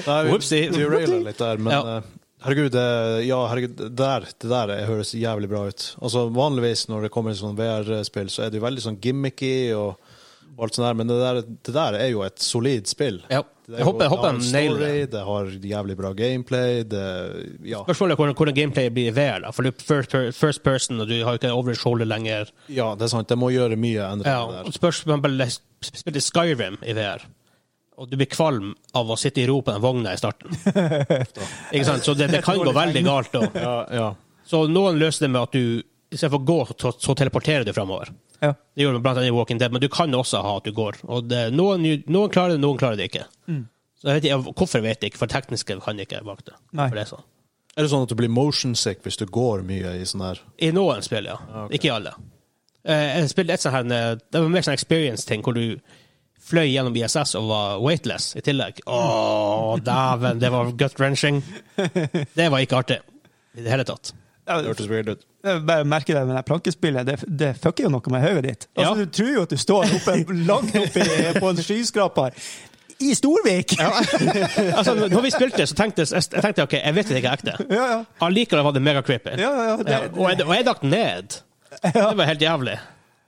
[SPEAKER 2] Nei, vi
[SPEAKER 3] Whoopsie.
[SPEAKER 2] derailer litt der, men
[SPEAKER 3] Ja.
[SPEAKER 2] eh, herregud, det, ja, herregud det der, det der høres jævlig bra ut. Altså, Vanligvis når det kommer sånn VR-spill, så er det jo veldig sånn gimmicky og og alt sånt der, men det der, det der er jo et solid spill.
[SPEAKER 3] Ja.
[SPEAKER 2] Det er
[SPEAKER 3] Jeg håper- jeg håper
[SPEAKER 2] det.
[SPEAKER 3] de
[SPEAKER 2] har en
[SPEAKER 3] nailer
[SPEAKER 2] story, Det har jævlig bra gameplay, det Ja.
[SPEAKER 3] Spørsmålet er hvordan, hvordan gameplayet blir i VR. da, For du er first, per- first person, og du har ikke over shoulder lenger.
[SPEAKER 2] Ja, det er sant. Det må gjøre mye
[SPEAKER 3] Ja,
[SPEAKER 2] endringer
[SPEAKER 3] og spørsmålet er Spilte Skyrim i VR, og du blir kvalm av å sitte i ro på den vogna i starten. ikke sant? Så det, det kan gå veldig galt.
[SPEAKER 2] der.
[SPEAKER 3] Da.
[SPEAKER 2] Ja, ja.
[SPEAKER 3] Så noen løser det med at du istedenfor å gå, så, så teleporterer du framover.
[SPEAKER 1] Ja.
[SPEAKER 3] Det gjør man blant annet i Walking Dead, men du kan også ha at du går. Og det, noen, noen klarer det, noen klarer det ikke. Så jeg vet ikke, Hvorfor vet jeg ikke, for tekniske kan jeg ikke bak det.
[SPEAKER 1] Nei.
[SPEAKER 3] For det er sånn.
[SPEAKER 2] Er det sånn at du blir motion sick hvis du går mye i sånn her
[SPEAKER 3] I noen spill, ja.
[SPEAKER 1] Ah,
[SPEAKER 3] Ikke i alle. Eh, Jeg spilte et sånt her, eh, det var mer sånn experience-ting, hvor du fløy gjennom ISS og var weightless i tillegg. Å, dæven, det var gut-wrenching. Det var ikke artig i det hele tatt.
[SPEAKER 1] Ja,
[SPEAKER 2] Det hørtes weird ut.
[SPEAKER 1] Jeg bare merker det med det plankespillet. Det, det fucker jo noe med hodet ditt. Altså,
[SPEAKER 3] Ja.
[SPEAKER 1] Du tror jo at du står oppe, langt oppe i- på en skyskraper i Storvik! Ja,
[SPEAKER 3] Altså, når vi spilte, så tenkte jeg, jeg tenkte, ok, jeg vet det ikke er ekte.
[SPEAKER 1] ja. ja,
[SPEAKER 3] Allikevel var det mega creepy.
[SPEAKER 1] ja, ja det,
[SPEAKER 3] Ja, og, jeg, og jeg datt ned. Det var helt jævlig.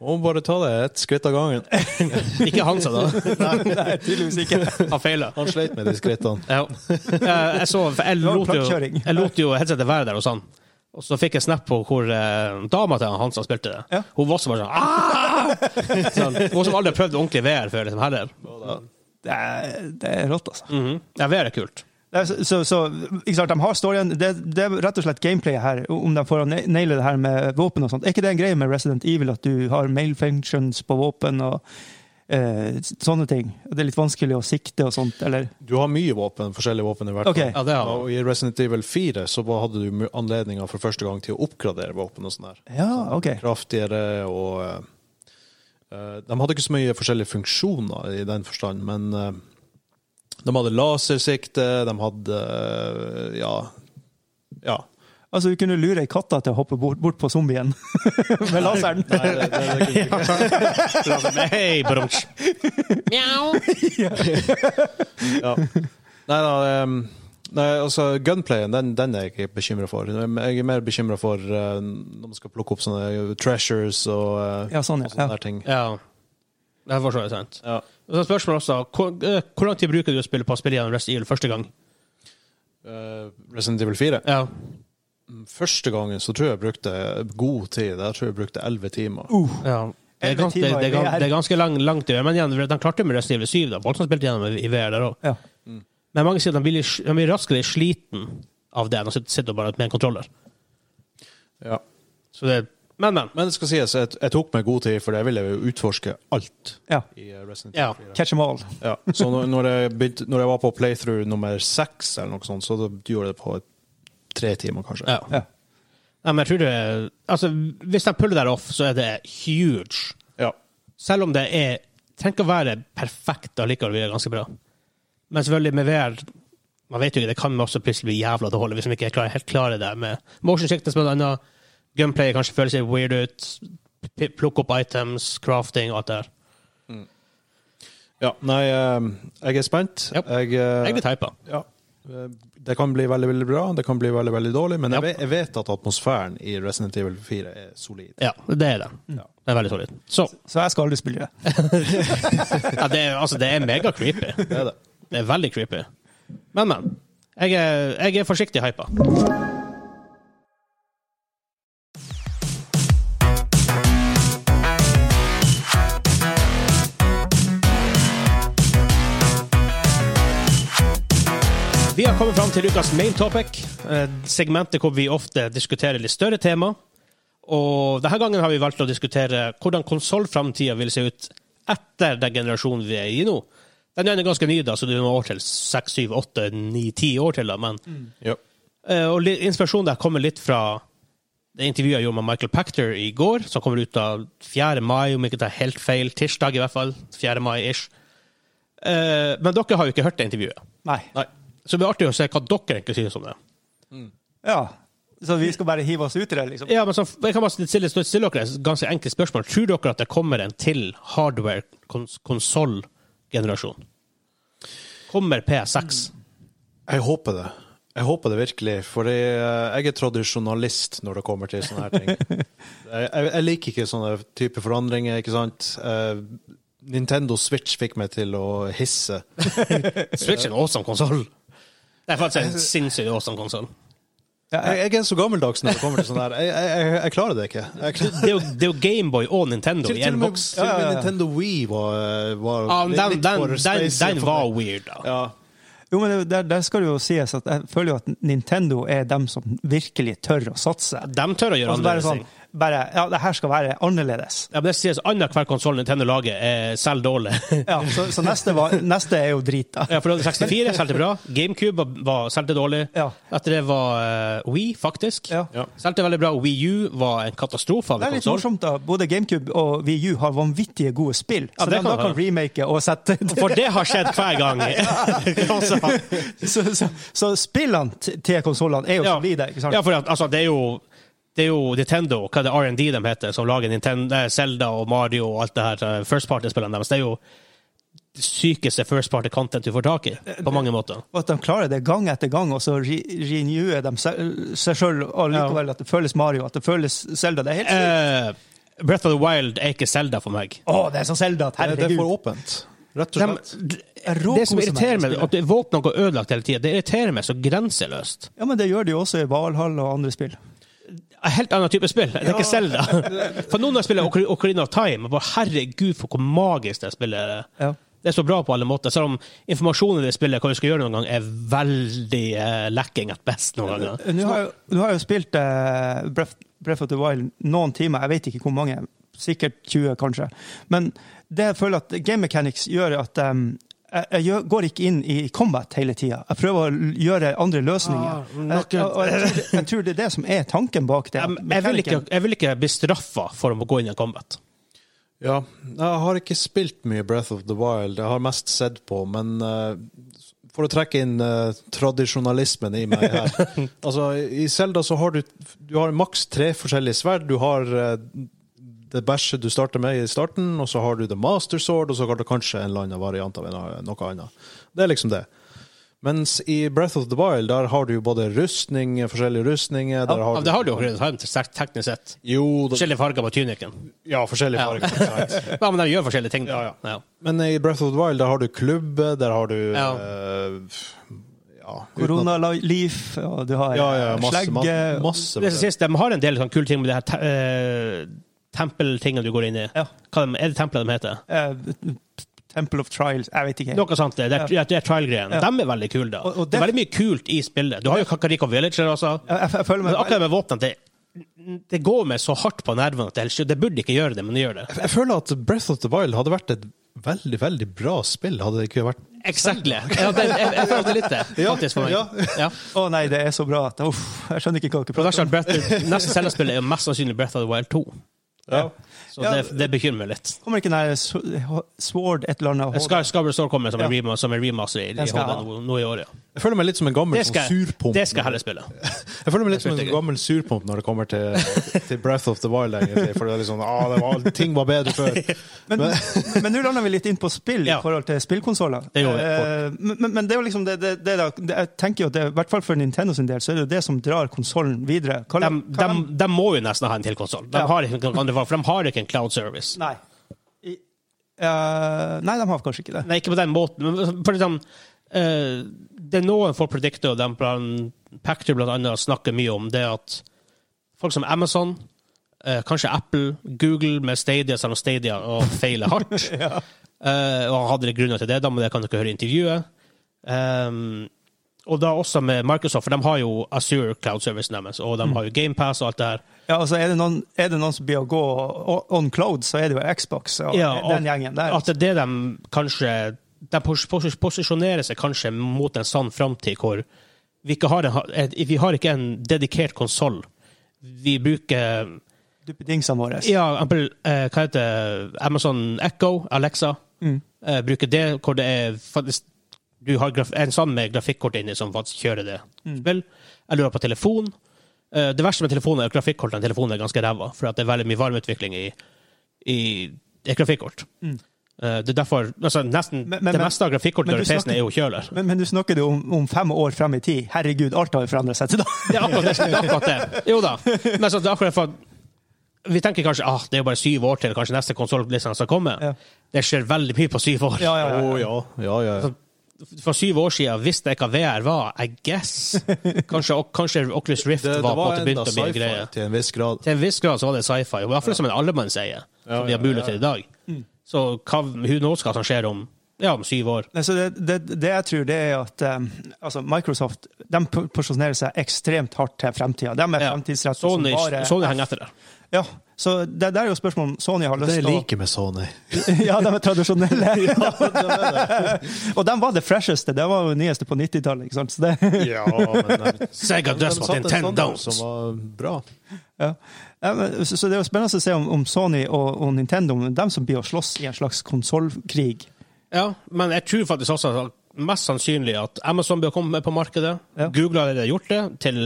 [SPEAKER 2] Må bare ta det ett skritt av gangen.
[SPEAKER 3] Ikke han, sa da.
[SPEAKER 1] Nei, tydeligvis ikke.
[SPEAKER 3] Han feila.
[SPEAKER 2] Han sleit med de skrittene.
[SPEAKER 3] Ja. Eh, Jeg, så, for jeg,
[SPEAKER 1] var
[SPEAKER 3] lot jo,
[SPEAKER 1] plankekjøring.
[SPEAKER 3] jeg lot jo headsetet være der hos han. Og så fikk jeg snap på hvor eh, dama til han, han som spilte det.
[SPEAKER 1] Ja.
[SPEAKER 3] Hun var også bare sånn «Ah!» sånn, Hun som aldri har prøvd ordentlig VR før. Liksom, her er.
[SPEAKER 1] Det er, det er rått, altså.
[SPEAKER 3] Mhm. Ja, VR er kult.
[SPEAKER 1] Det er, så, så, så, ikke sant, De har storyen. Det, det er rett og slett gameplayet her, om de får å ne- naile det her med våpen og sånt. Er ikke det en greie med Resident Evil, at du har male functions på våpen og eh, sånne ting? Det er litt vanskelig å sikte og sånt, eller?
[SPEAKER 2] Du har mye våpen, forskjellige våpen i hvert
[SPEAKER 1] Ok.
[SPEAKER 3] Ja, det har han.
[SPEAKER 2] Og I Resident Evil 4 så bare hadde du anledninga for første gang til å oppgradere våpen. og sånn der.
[SPEAKER 1] Ja, OK.
[SPEAKER 2] Kraftigere og eh, De hadde ikke så mye forskjellige funksjoner i den forstand, men eh, de hadde lasersikte, de hadde eh, Ja. ja.
[SPEAKER 1] Altså, du kunne lure ei katta til å hoppe bort, bort på zombien med laseren.
[SPEAKER 2] Nei, det, det, det kunne du ikke.
[SPEAKER 3] Hei, brunch. Mjau.
[SPEAKER 2] Ja. Nei da em, Nei, altså Gunplayen den, den er jeg ikke bekymra for. Jeg er mer bekymra for eh, når man skal plukke opp sånne eh, treasures og, eh,
[SPEAKER 1] Ja, sånn,
[SPEAKER 2] og
[SPEAKER 1] ja. ja.
[SPEAKER 2] sånne der ting.
[SPEAKER 3] Ja. Det er for så vidt sant.
[SPEAKER 2] Ja.
[SPEAKER 3] Og så spørsmålet også, hvor, eh, hvor lang tid bruker du å spille på å spille gjennom Rest Evil første gang?
[SPEAKER 2] Eh, Resident Evil 4.
[SPEAKER 3] Ja.
[SPEAKER 2] Første gangen så tror jeg jeg brukte god tid. Der tror jeg jeg brukte elleve timer.
[SPEAKER 3] Uh. Ja. Det er,
[SPEAKER 1] Elleve
[SPEAKER 3] ganske, det,
[SPEAKER 1] timer i
[SPEAKER 3] det, er, gan-
[SPEAKER 1] VR.
[SPEAKER 3] det er ganske lang, langt å gjøre, men igjen, de klarte jo med Resident Evil 7. da. Folk som spilte gjennom i VR der også.
[SPEAKER 1] Ja.
[SPEAKER 3] Men mange sier at de blir, litt- de blir raskere sliten av det enn å sitte- sitte bare med en kontroller.
[SPEAKER 2] Ja.
[SPEAKER 3] Så det, men, men.
[SPEAKER 2] Men det skal sies, jeg, jeg tok meg god tid, for jeg ville jo utforske alt
[SPEAKER 1] ja.
[SPEAKER 2] i eh, Resident
[SPEAKER 3] Ja.
[SPEAKER 2] Evil 4.
[SPEAKER 1] Catch them all.
[SPEAKER 2] Ja. Så når, når, jeg begynte, når jeg var på playthrough nummer seks, eller noe sånt, så da gjorde jeg det på tre timer, kanskje.
[SPEAKER 3] Ja.
[SPEAKER 1] Ja.
[SPEAKER 3] Nei, men jeg tror det Altså, hvis de puller der off, så er det huge.
[SPEAKER 2] Ja.
[SPEAKER 3] Selv om det er Trenger ikke å være perfekt, allikevel blir det ganske bra. Men selvfølgelig, med VR Man vet jo ikke, det kan også plutselig bli jævla dårlig hvis man ikke er klar, helt klare der med motion sickness blant annet. Gunplay kanskje føles litt weird ut. P- Plukke opp items, crafting og alt det der.
[SPEAKER 2] Ja, nei, eh, jeg er spent.
[SPEAKER 3] Yep.
[SPEAKER 2] Jeg, eh,
[SPEAKER 3] Jeg blir hypa.
[SPEAKER 2] ja. Eh, Det kan bli veldig veldig bra, det kan bli veldig veldig dårlig, men
[SPEAKER 3] Yep.
[SPEAKER 2] jeg, vet, jeg vet at atmosfæren i Resident Evil 4 er solid.
[SPEAKER 3] Ja, det er det. Det er veldig solid. Så
[SPEAKER 1] Så jeg skal aldri spille det.
[SPEAKER 3] ja, det, er, altså, det er mega creepy.
[SPEAKER 2] Det er det.
[SPEAKER 3] Det er veldig creepy. Men, men. Jeg er, jeg er forsiktig hypa. Vi har kommet fram til ukas main topic, eh, segmentet hvor vi ofte diskuterer litt større tema. Og denne gangen har vi valgt å diskutere hvordan konsollframtida vil se ut etter den generasjonen vi er i nå. Den er jo ganske ny, da, så det er noen år til. Seks, syv, åtte, ni, ti år til, da. Men,
[SPEAKER 2] Ja.
[SPEAKER 3] eh, og li- inspirasjonen der kommer litt fra det intervjuet jeg gjorde med Michael Pachter i går, som kommer ut av 4. mai, om jeg ikke tar helt feil. Tirsdag, i hvert fall. 4. mai-ish. Eh, men dere har jo ikke hørt det intervjuet.
[SPEAKER 1] Nei.
[SPEAKER 3] Nei. Så det blir artig å se hva dere egentlig synes om det.
[SPEAKER 1] Ja. Så vi skal bare hive oss ut i det, liksom?
[SPEAKER 3] Ja, men så, jeg kan bare stille, stille, stille dere et ganske enkelt spørsmål. Tror dere at det kommer en til hardware-konsoll-generasjon? Kommer PS6?
[SPEAKER 2] Jeg håper det. Jeg håper det virkelig, for jeg, jeg er tradisjonalist når det kommer til sånne her ting. Jeg, jeg, jeg liker ikke sånne type forandringer, ikke sant. Eh, Nintendo Switch fikk meg til å hisse.
[SPEAKER 3] Switch er en awesome konsoll. Det er faktisk en sinnssykt awesome konsoll.
[SPEAKER 1] Ja,
[SPEAKER 2] Jeg,
[SPEAKER 1] jeg,
[SPEAKER 2] jeg er så gammeldags når det kommer til sånn her. Jeg, jeg, jeg, jeg klarer det ikke. Jeg klarer
[SPEAKER 3] Det er jo, det er jo Gameboy og Nintendo
[SPEAKER 2] Til,
[SPEAKER 3] i
[SPEAKER 2] til, og
[SPEAKER 3] en
[SPEAKER 2] med,
[SPEAKER 3] boks.
[SPEAKER 2] til og med Nintendo Wii var, eh, var
[SPEAKER 3] Ja, men
[SPEAKER 2] litt-
[SPEAKER 3] den,
[SPEAKER 2] litt
[SPEAKER 3] den,
[SPEAKER 2] for
[SPEAKER 3] den,
[SPEAKER 2] spacey
[SPEAKER 3] den
[SPEAKER 2] for
[SPEAKER 3] var
[SPEAKER 2] meg.
[SPEAKER 3] weird, da.
[SPEAKER 2] ja.
[SPEAKER 1] jo, men det- der, der skal det jo sies at jeg føler jo at Nintendo er dem som virkelig tør å satse.
[SPEAKER 3] De tør å gjøre
[SPEAKER 1] Altså bare
[SPEAKER 3] annerledes
[SPEAKER 1] sånn
[SPEAKER 3] ting.
[SPEAKER 1] bare, Ja, det her skal være annerledes.
[SPEAKER 3] Ja, men det sies annenhver konsoll Nintendo lager, er selv dårlig.
[SPEAKER 1] Ja, så, så neste, var, neste er jo drit, da.
[SPEAKER 3] Ja, for det var 64 solgte bra. GameCube var- var solgte dårlig.
[SPEAKER 1] Ja.
[SPEAKER 3] Etter det var uh, Wii, faktisk.
[SPEAKER 1] Ja.
[SPEAKER 2] Ja.
[SPEAKER 3] Solgte veldig bra. Wii U var en katastrofe av
[SPEAKER 1] Det
[SPEAKER 3] en
[SPEAKER 1] er litt
[SPEAKER 3] konsol.
[SPEAKER 1] morsomt, da. Både GameCube og VU har vanvittige gode spill.
[SPEAKER 3] Ja,
[SPEAKER 1] Så de
[SPEAKER 3] det kan
[SPEAKER 1] da
[SPEAKER 3] det
[SPEAKER 1] kan
[SPEAKER 3] være.
[SPEAKER 1] remake og sette
[SPEAKER 3] For det har skjedd hver gang. altså,
[SPEAKER 1] så, så, så spillene t- til konsollene er jo
[SPEAKER 3] ja.
[SPEAKER 1] solide, ikke sant?
[SPEAKER 3] ja, for at, altså, det er jo det er jo Nintendo, hva er det R&D de heter, som lager Nintendo, eh, Zelda og Mario og alt det her eh, first party-spillene deres. Det er jo det sykeste first party-content du får tak i,
[SPEAKER 1] Eh,
[SPEAKER 3] på mange måter.
[SPEAKER 1] Og at de klarer det gang etter gang, og så re- renewer de se- seg sjøl, og likevel at det føles Mario, at det føles Zelda. Det er helt sykt.
[SPEAKER 3] Eh, Breath of the Wild er ikke Zelda for meg.
[SPEAKER 1] Å, det er så Zelda at
[SPEAKER 2] Det, det er
[SPEAKER 1] herregud.
[SPEAKER 2] for åpent, rett og
[SPEAKER 3] De,
[SPEAKER 2] slett.
[SPEAKER 1] rå
[SPEAKER 3] det
[SPEAKER 1] koser
[SPEAKER 3] som
[SPEAKER 1] meg
[SPEAKER 3] irriterer
[SPEAKER 1] med
[SPEAKER 3] meg,
[SPEAKER 1] det
[SPEAKER 3] at våpnene går ødelagt hele tida, det irriterer meg så grenseløst.
[SPEAKER 1] Ja, men det gjør de jo også i Valhall og andre spill.
[SPEAKER 3] En helt annen type spill. Det er ikke Zelda. For noen av spillene Ocar- Ocarina of Time, og bare herregud for hvor magisk det spillet er.
[SPEAKER 1] Ja.
[SPEAKER 3] Det er så bra på alle måter, selv om informasjonen i det spillet, hva vi skal gjøre noen gang, er veldig eh, lacking at best noen ganger.
[SPEAKER 1] Nå har, jeg, nå har jeg jo spilt eh, Breath, Breath of the Wild noen timer, jeg vet ikke hvor mange, sikkert 20 kanskje. Men det jeg føler at game mechanics gjør at em, jeg, jeg gjør, går ikke inn i combat hele tida. Jeg prøver å l- gjøre andre løsninger.
[SPEAKER 3] knock
[SPEAKER 1] jeg,
[SPEAKER 3] it.
[SPEAKER 1] og jeg, tror det- jeg tror det er det som er tanken bak det.
[SPEAKER 3] Jeg, jeg, vil ikke, jeg vil ikke bli straffa for å gå inn i en combat.
[SPEAKER 2] Ja. Jeg har ikke spilt mye Breath of the Wild. Jeg har mest sett på, men eh, for å trekke inn eh, tradisjonalismen i meg her Altså, i Zelda så har du, du har maks tre forskjellige sverd. Du har eh, det bæsjet du starter med i starten, og så har du the master sword, og så har du kanskje en eller annen variant av en- noe annet. Det er liksom det. Mens i Breath of the Wild der har du jo både rustning, forskjellige rustninger der
[SPEAKER 3] Ja,
[SPEAKER 2] har
[SPEAKER 3] det har du jo Ocarina of Time, sterkt teknisk sett.
[SPEAKER 2] Jo, da,
[SPEAKER 3] Forskjellige farger på tunikken.
[SPEAKER 2] ja, forskjellige farger. ikke sant?
[SPEAKER 3] Ja, men de gjør forskjellige ting. da. Ja.
[SPEAKER 2] Men i Breath of the Wild, der har du klubbe, der har du
[SPEAKER 3] Ja.
[SPEAKER 2] eh, ja, uten at-
[SPEAKER 1] Koronaliv, og du har
[SPEAKER 2] Ja, ja,
[SPEAKER 1] eh,
[SPEAKER 2] masse,
[SPEAKER 1] slegge
[SPEAKER 2] masse,
[SPEAKER 1] og-
[SPEAKER 2] masse
[SPEAKER 3] Det
[SPEAKER 2] det.
[SPEAKER 3] som sist, De har en del sånn kule ting med det her te eh, tempeltingene du går inn i.
[SPEAKER 1] Ja.
[SPEAKER 3] Hva de, er det tempelet de heter?
[SPEAKER 1] eh, Temple of Trials, jeg vet ikke.
[SPEAKER 3] Noe sånt. Det er, det er- det er trial-greiene.
[SPEAKER 1] Ja.
[SPEAKER 3] De er veldig kule, da.
[SPEAKER 1] Og- og
[SPEAKER 3] det, er
[SPEAKER 1] det-
[SPEAKER 3] veldig mye kult i spillet. Du har jo Kakariko Villager også.
[SPEAKER 1] Jeg, jeg, jeg føler
[SPEAKER 3] Men
[SPEAKER 1] meg
[SPEAKER 3] akkurat med våpnene det, det går meg så hardt på nervene at det, er helt sjukt. det burde ikke gjøre det, men det gjør det.
[SPEAKER 2] Jeg føler at Breath of the Wild hadde vært et veldig, veldig bra spill, hadde det ikke vært
[SPEAKER 3] Exactly. Ja, det, jeg, jeg føler at det er litt det,
[SPEAKER 2] Ja,
[SPEAKER 3] faktisk, for meg.
[SPEAKER 2] ja.
[SPEAKER 3] Ja.
[SPEAKER 1] Å nei, det er så bra at uff, jeg skjønner ikke hva dere
[SPEAKER 3] For det
[SPEAKER 1] prater
[SPEAKER 3] verste er at Breath- Neste Zelda-spill er jo mest sannsynlig Breath of the Wild 2,
[SPEAKER 2] ja.
[SPEAKER 3] så
[SPEAKER 1] Ja.
[SPEAKER 3] det, det bekymrer meg litt.
[SPEAKER 1] om. Kommer ikke den der sw- Sword et eller annet?
[SPEAKER 3] Scar- Skarborough Store kommer som en, rema, som en remaster i, i
[SPEAKER 1] Den skal jeg
[SPEAKER 3] HD nå, nå i år, ja.
[SPEAKER 2] Jeg føler meg litt som en gammel
[SPEAKER 3] Det
[SPEAKER 2] sånn
[SPEAKER 3] skal,
[SPEAKER 2] surpomp.
[SPEAKER 3] det skal jeg heller spille.
[SPEAKER 2] Jeg føler meg litt som en
[SPEAKER 3] jeg.
[SPEAKER 2] gammel surpomp når det kommer til, til Breath of the Wild, egentlig. For det er litt sånn, ah, det var, ting var bedre før.
[SPEAKER 1] Men men nå lander vi litt inn på spill i
[SPEAKER 3] Ja.
[SPEAKER 1] forhold til spillkonsoller.
[SPEAKER 3] Det gjør vi,
[SPEAKER 1] Eh, men, men- men det er jo liksom det, det, det, da, det Jeg tenker jo at det, i hvert fall for Nintendo sin del, så er det jo det som drar konsollen videre. Hva-
[SPEAKER 3] De,
[SPEAKER 1] hva-
[SPEAKER 3] må jo nesten ha en til konsoll. De,
[SPEAKER 1] Ja.
[SPEAKER 3] har ikke noen andre valg, for de har ikke en cloud service.
[SPEAKER 1] Nei. I, eh, nei, de har kanskje ikke det.
[SPEAKER 3] Nei, ikke på den måten. Men for eksempel, eh, det er noen folk predikter, og de blant- Pactor blant annet snakker mye om, det at folk som Amazon, eh, kanskje Apple, Google med Stadia, selv om Stadia og feiler hardt, eh, og hadde det grunner til det, da, men det kan dere høre i intervjuet. Ehm, og da også med Microsoft, for de har jo Azure Cloud Service deres,
[SPEAKER 1] Mm.
[SPEAKER 3] og de har jo GamePass og alt det her.
[SPEAKER 1] Ja, altså, er, det noen, er det noen som blir å gå o- on cloud, så er det jo Xbox og
[SPEAKER 3] Ja, og
[SPEAKER 1] den gjengen der.
[SPEAKER 3] At det er det de kanskje De pos- pos- posisjonerer seg kanskje mot en sann framtid hvor vi ikke har en, ha- et- vi har ikke en dedikert konsoll. Vi bruker
[SPEAKER 1] Duppedingsene våre.
[SPEAKER 3] Ja, eksempel, eh, hva heter det? Amazon Echo, Alexa.
[SPEAKER 1] Mm.
[SPEAKER 3] Eh, bruker det hvor det er faktisk Du har graf en sånn med grafikkort inni som faktisk kjører det.
[SPEAKER 1] Mm.
[SPEAKER 3] Spill. Jeg lurer på telefon. Eh, det verste med telefonen er at grafikkortene i telefonen er ganske ræva, for at det er veldig mye varmeutvikling i, i et grafikkort.
[SPEAKER 1] Mm.
[SPEAKER 3] Eh, det er derfor altså, nesten
[SPEAKER 1] Men- men-
[SPEAKER 3] Det meste av
[SPEAKER 1] men
[SPEAKER 3] grafikkortet
[SPEAKER 1] du
[SPEAKER 3] i PC-en
[SPEAKER 1] snakker-
[SPEAKER 3] er jo kjøler.
[SPEAKER 1] Men, men du snakker jo om, om fem år frem i tid. Herregud, alt har jo forandret seg til da.
[SPEAKER 3] Det er akkurat det. det, er akkurat det. Jo da. Men så, det er akkurat for, at vi tenker kanskje ah, det er jo bare syv år til kanskje neste konsoll skal komme.
[SPEAKER 1] Ja.
[SPEAKER 3] Det skjer veldig mye på syv år.
[SPEAKER 1] Ja, ja,
[SPEAKER 2] Å
[SPEAKER 1] ja.
[SPEAKER 2] Oh, ja, ja, ja. ja.
[SPEAKER 3] For syv år siden visste jeg hva VR var, I guess. Kanskje, og, kanskje Oculus Rift
[SPEAKER 2] Det, det
[SPEAKER 3] var på
[SPEAKER 2] var
[SPEAKER 3] en måte
[SPEAKER 2] enda
[SPEAKER 3] begynt å bli en
[SPEAKER 2] sci-fi
[SPEAKER 3] greie.
[SPEAKER 2] til en viss grad.
[SPEAKER 3] Til en viss grad så var det sci-fi, i hvert fall som en allemannseie, som vi har mulighet til i dag.
[SPEAKER 2] Mm.
[SPEAKER 3] Så hva, who knows hva som skjer om, ja, om syv år.
[SPEAKER 1] Nei, så det, det, det jeg tror, det er at eh, altså Microsoft de po- posisjonerer seg ekstremt hardt til fremtida. De er
[SPEAKER 3] Ja.
[SPEAKER 1] fremtidsrettet som
[SPEAKER 3] Sony,
[SPEAKER 1] bare
[SPEAKER 3] Sony henger etter der.
[SPEAKER 1] Ja, så det, det er jo spørsmål om Sony har lyst
[SPEAKER 2] Det
[SPEAKER 1] til å
[SPEAKER 2] liker med Sony.
[SPEAKER 1] Ja, de er tradisjonelle. Og de var det fresheste. Det var jo nyeste på 90-tallet. ikke sant? Så det,
[SPEAKER 2] Ja, men eh,
[SPEAKER 3] Sega does what Nintendo
[SPEAKER 2] som
[SPEAKER 3] don't.
[SPEAKER 2] var bra.
[SPEAKER 1] ja. Ja, men, så, så det er jo spennende å se om, om Sony og, og Nintendo om dem som blir å slåss i en slags konsollkrig.
[SPEAKER 3] Ja, men jeg tror faktisk også at mest sannsynlig at Amazon bør komme med på markedet.
[SPEAKER 1] Ja.
[SPEAKER 3] Google har allerede gjort det, til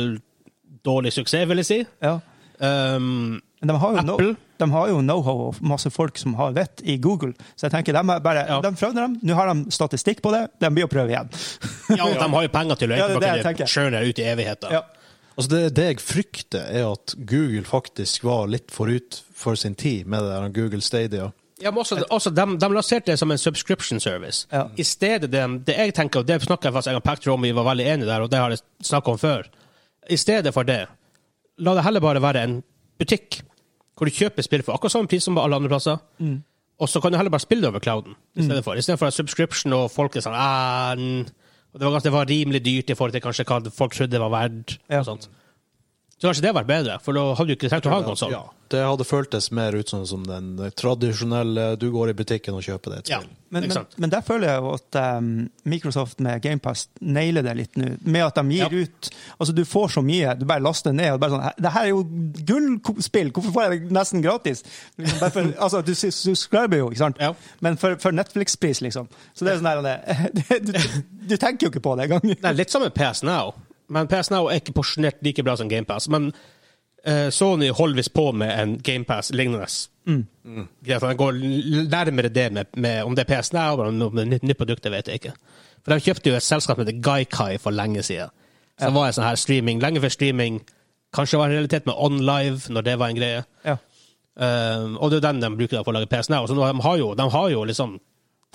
[SPEAKER 3] dårlig suksess, vil jeg si.
[SPEAKER 1] Ja.
[SPEAKER 3] Um,
[SPEAKER 1] Men de har jo, no,
[SPEAKER 3] Apple
[SPEAKER 1] de har jo know-how og masse folk som har vett i Google, så jeg tenker de er bare
[SPEAKER 3] Ja.
[SPEAKER 1] De prøvde dem, nå har de statistikk på det, de blir å prøve igjen.
[SPEAKER 3] Ja, og de har jo penger til å
[SPEAKER 1] Ja, det er det jeg
[SPEAKER 3] egentlig
[SPEAKER 1] tenker.
[SPEAKER 3] churne ut i evigheten.
[SPEAKER 1] Ja.
[SPEAKER 2] Altså det, det jeg frykter, er at Google faktisk var litt forut for sin tid med det der Google Stadia.
[SPEAKER 3] Ja, men også, også de, de lanserte det som en subscription service.
[SPEAKER 1] Ja.
[SPEAKER 3] I stedet det, det jeg tenker, og det snakket jeg faktisk jeg og Patrick om, vi var veldig enige der, og det har jeg snakket om før. I stedet for det, la det heller bare være en butikk, hvor du kjøper spill for akkurat samme pris som på alle andre plasser, og så kan du heller bare spille det over clouden, i stedet for. I stedet for en subscription, og folk er sånn, "Ah, n-" og det var, ganske- det var rimelig dyrt i forhold til kanskje hva folk trodde det var verdt,
[SPEAKER 1] Ja.
[SPEAKER 3] og sånt. Så kanskje det hadde vært bedre, for da hadde du ikke trengt å ha en konsol.
[SPEAKER 2] Ja, det hadde føltes mer ut sånn som den tradisjonelle du går i butikken og kjøper deg et
[SPEAKER 3] Ja,
[SPEAKER 2] spill.
[SPEAKER 1] Men,
[SPEAKER 3] ikke
[SPEAKER 1] men,
[SPEAKER 3] sant?
[SPEAKER 1] men der føler jeg jo at um, Microsoft med GamePass nailer det litt nå. Med at de gir
[SPEAKER 3] Ja.
[SPEAKER 1] ut Altså, du får så mye. Du bare laster ned. og bare sånn, «Hæ, Det her er jo gullspill! Hvorfor får jeg det nesten gratis? Liksom, bare for, altså, du sus- subscriber jo, ikke sant?
[SPEAKER 3] Ja.
[SPEAKER 1] Men for, for Netflix-pris, liksom. Så det er sånn her det- du, du tenker jo ikke på det engang.
[SPEAKER 3] Nei, litt som med PS Now. Men PS Now er ikke porsjonert like bra som GamePass. Men eh, Sony holder visst på med en GamePass-lignende. Mm. Greit, Den går l- nærmere det med, med om det er PS Now eller om det er nytt, nytt produkt, det vet jeg ikke. For de kjøpte jo et selskap som heter Gaikai for lenge siden. Som var en sånn her streaming, lenge før streaming kanskje var en realitet med OnLive, når det var en greie.
[SPEAKER 1] Ja.
[SPEAKER 3] Eh, og det er jo den de bruker da for å lage PS Now. Så nå, de, har jo, de har jo liksom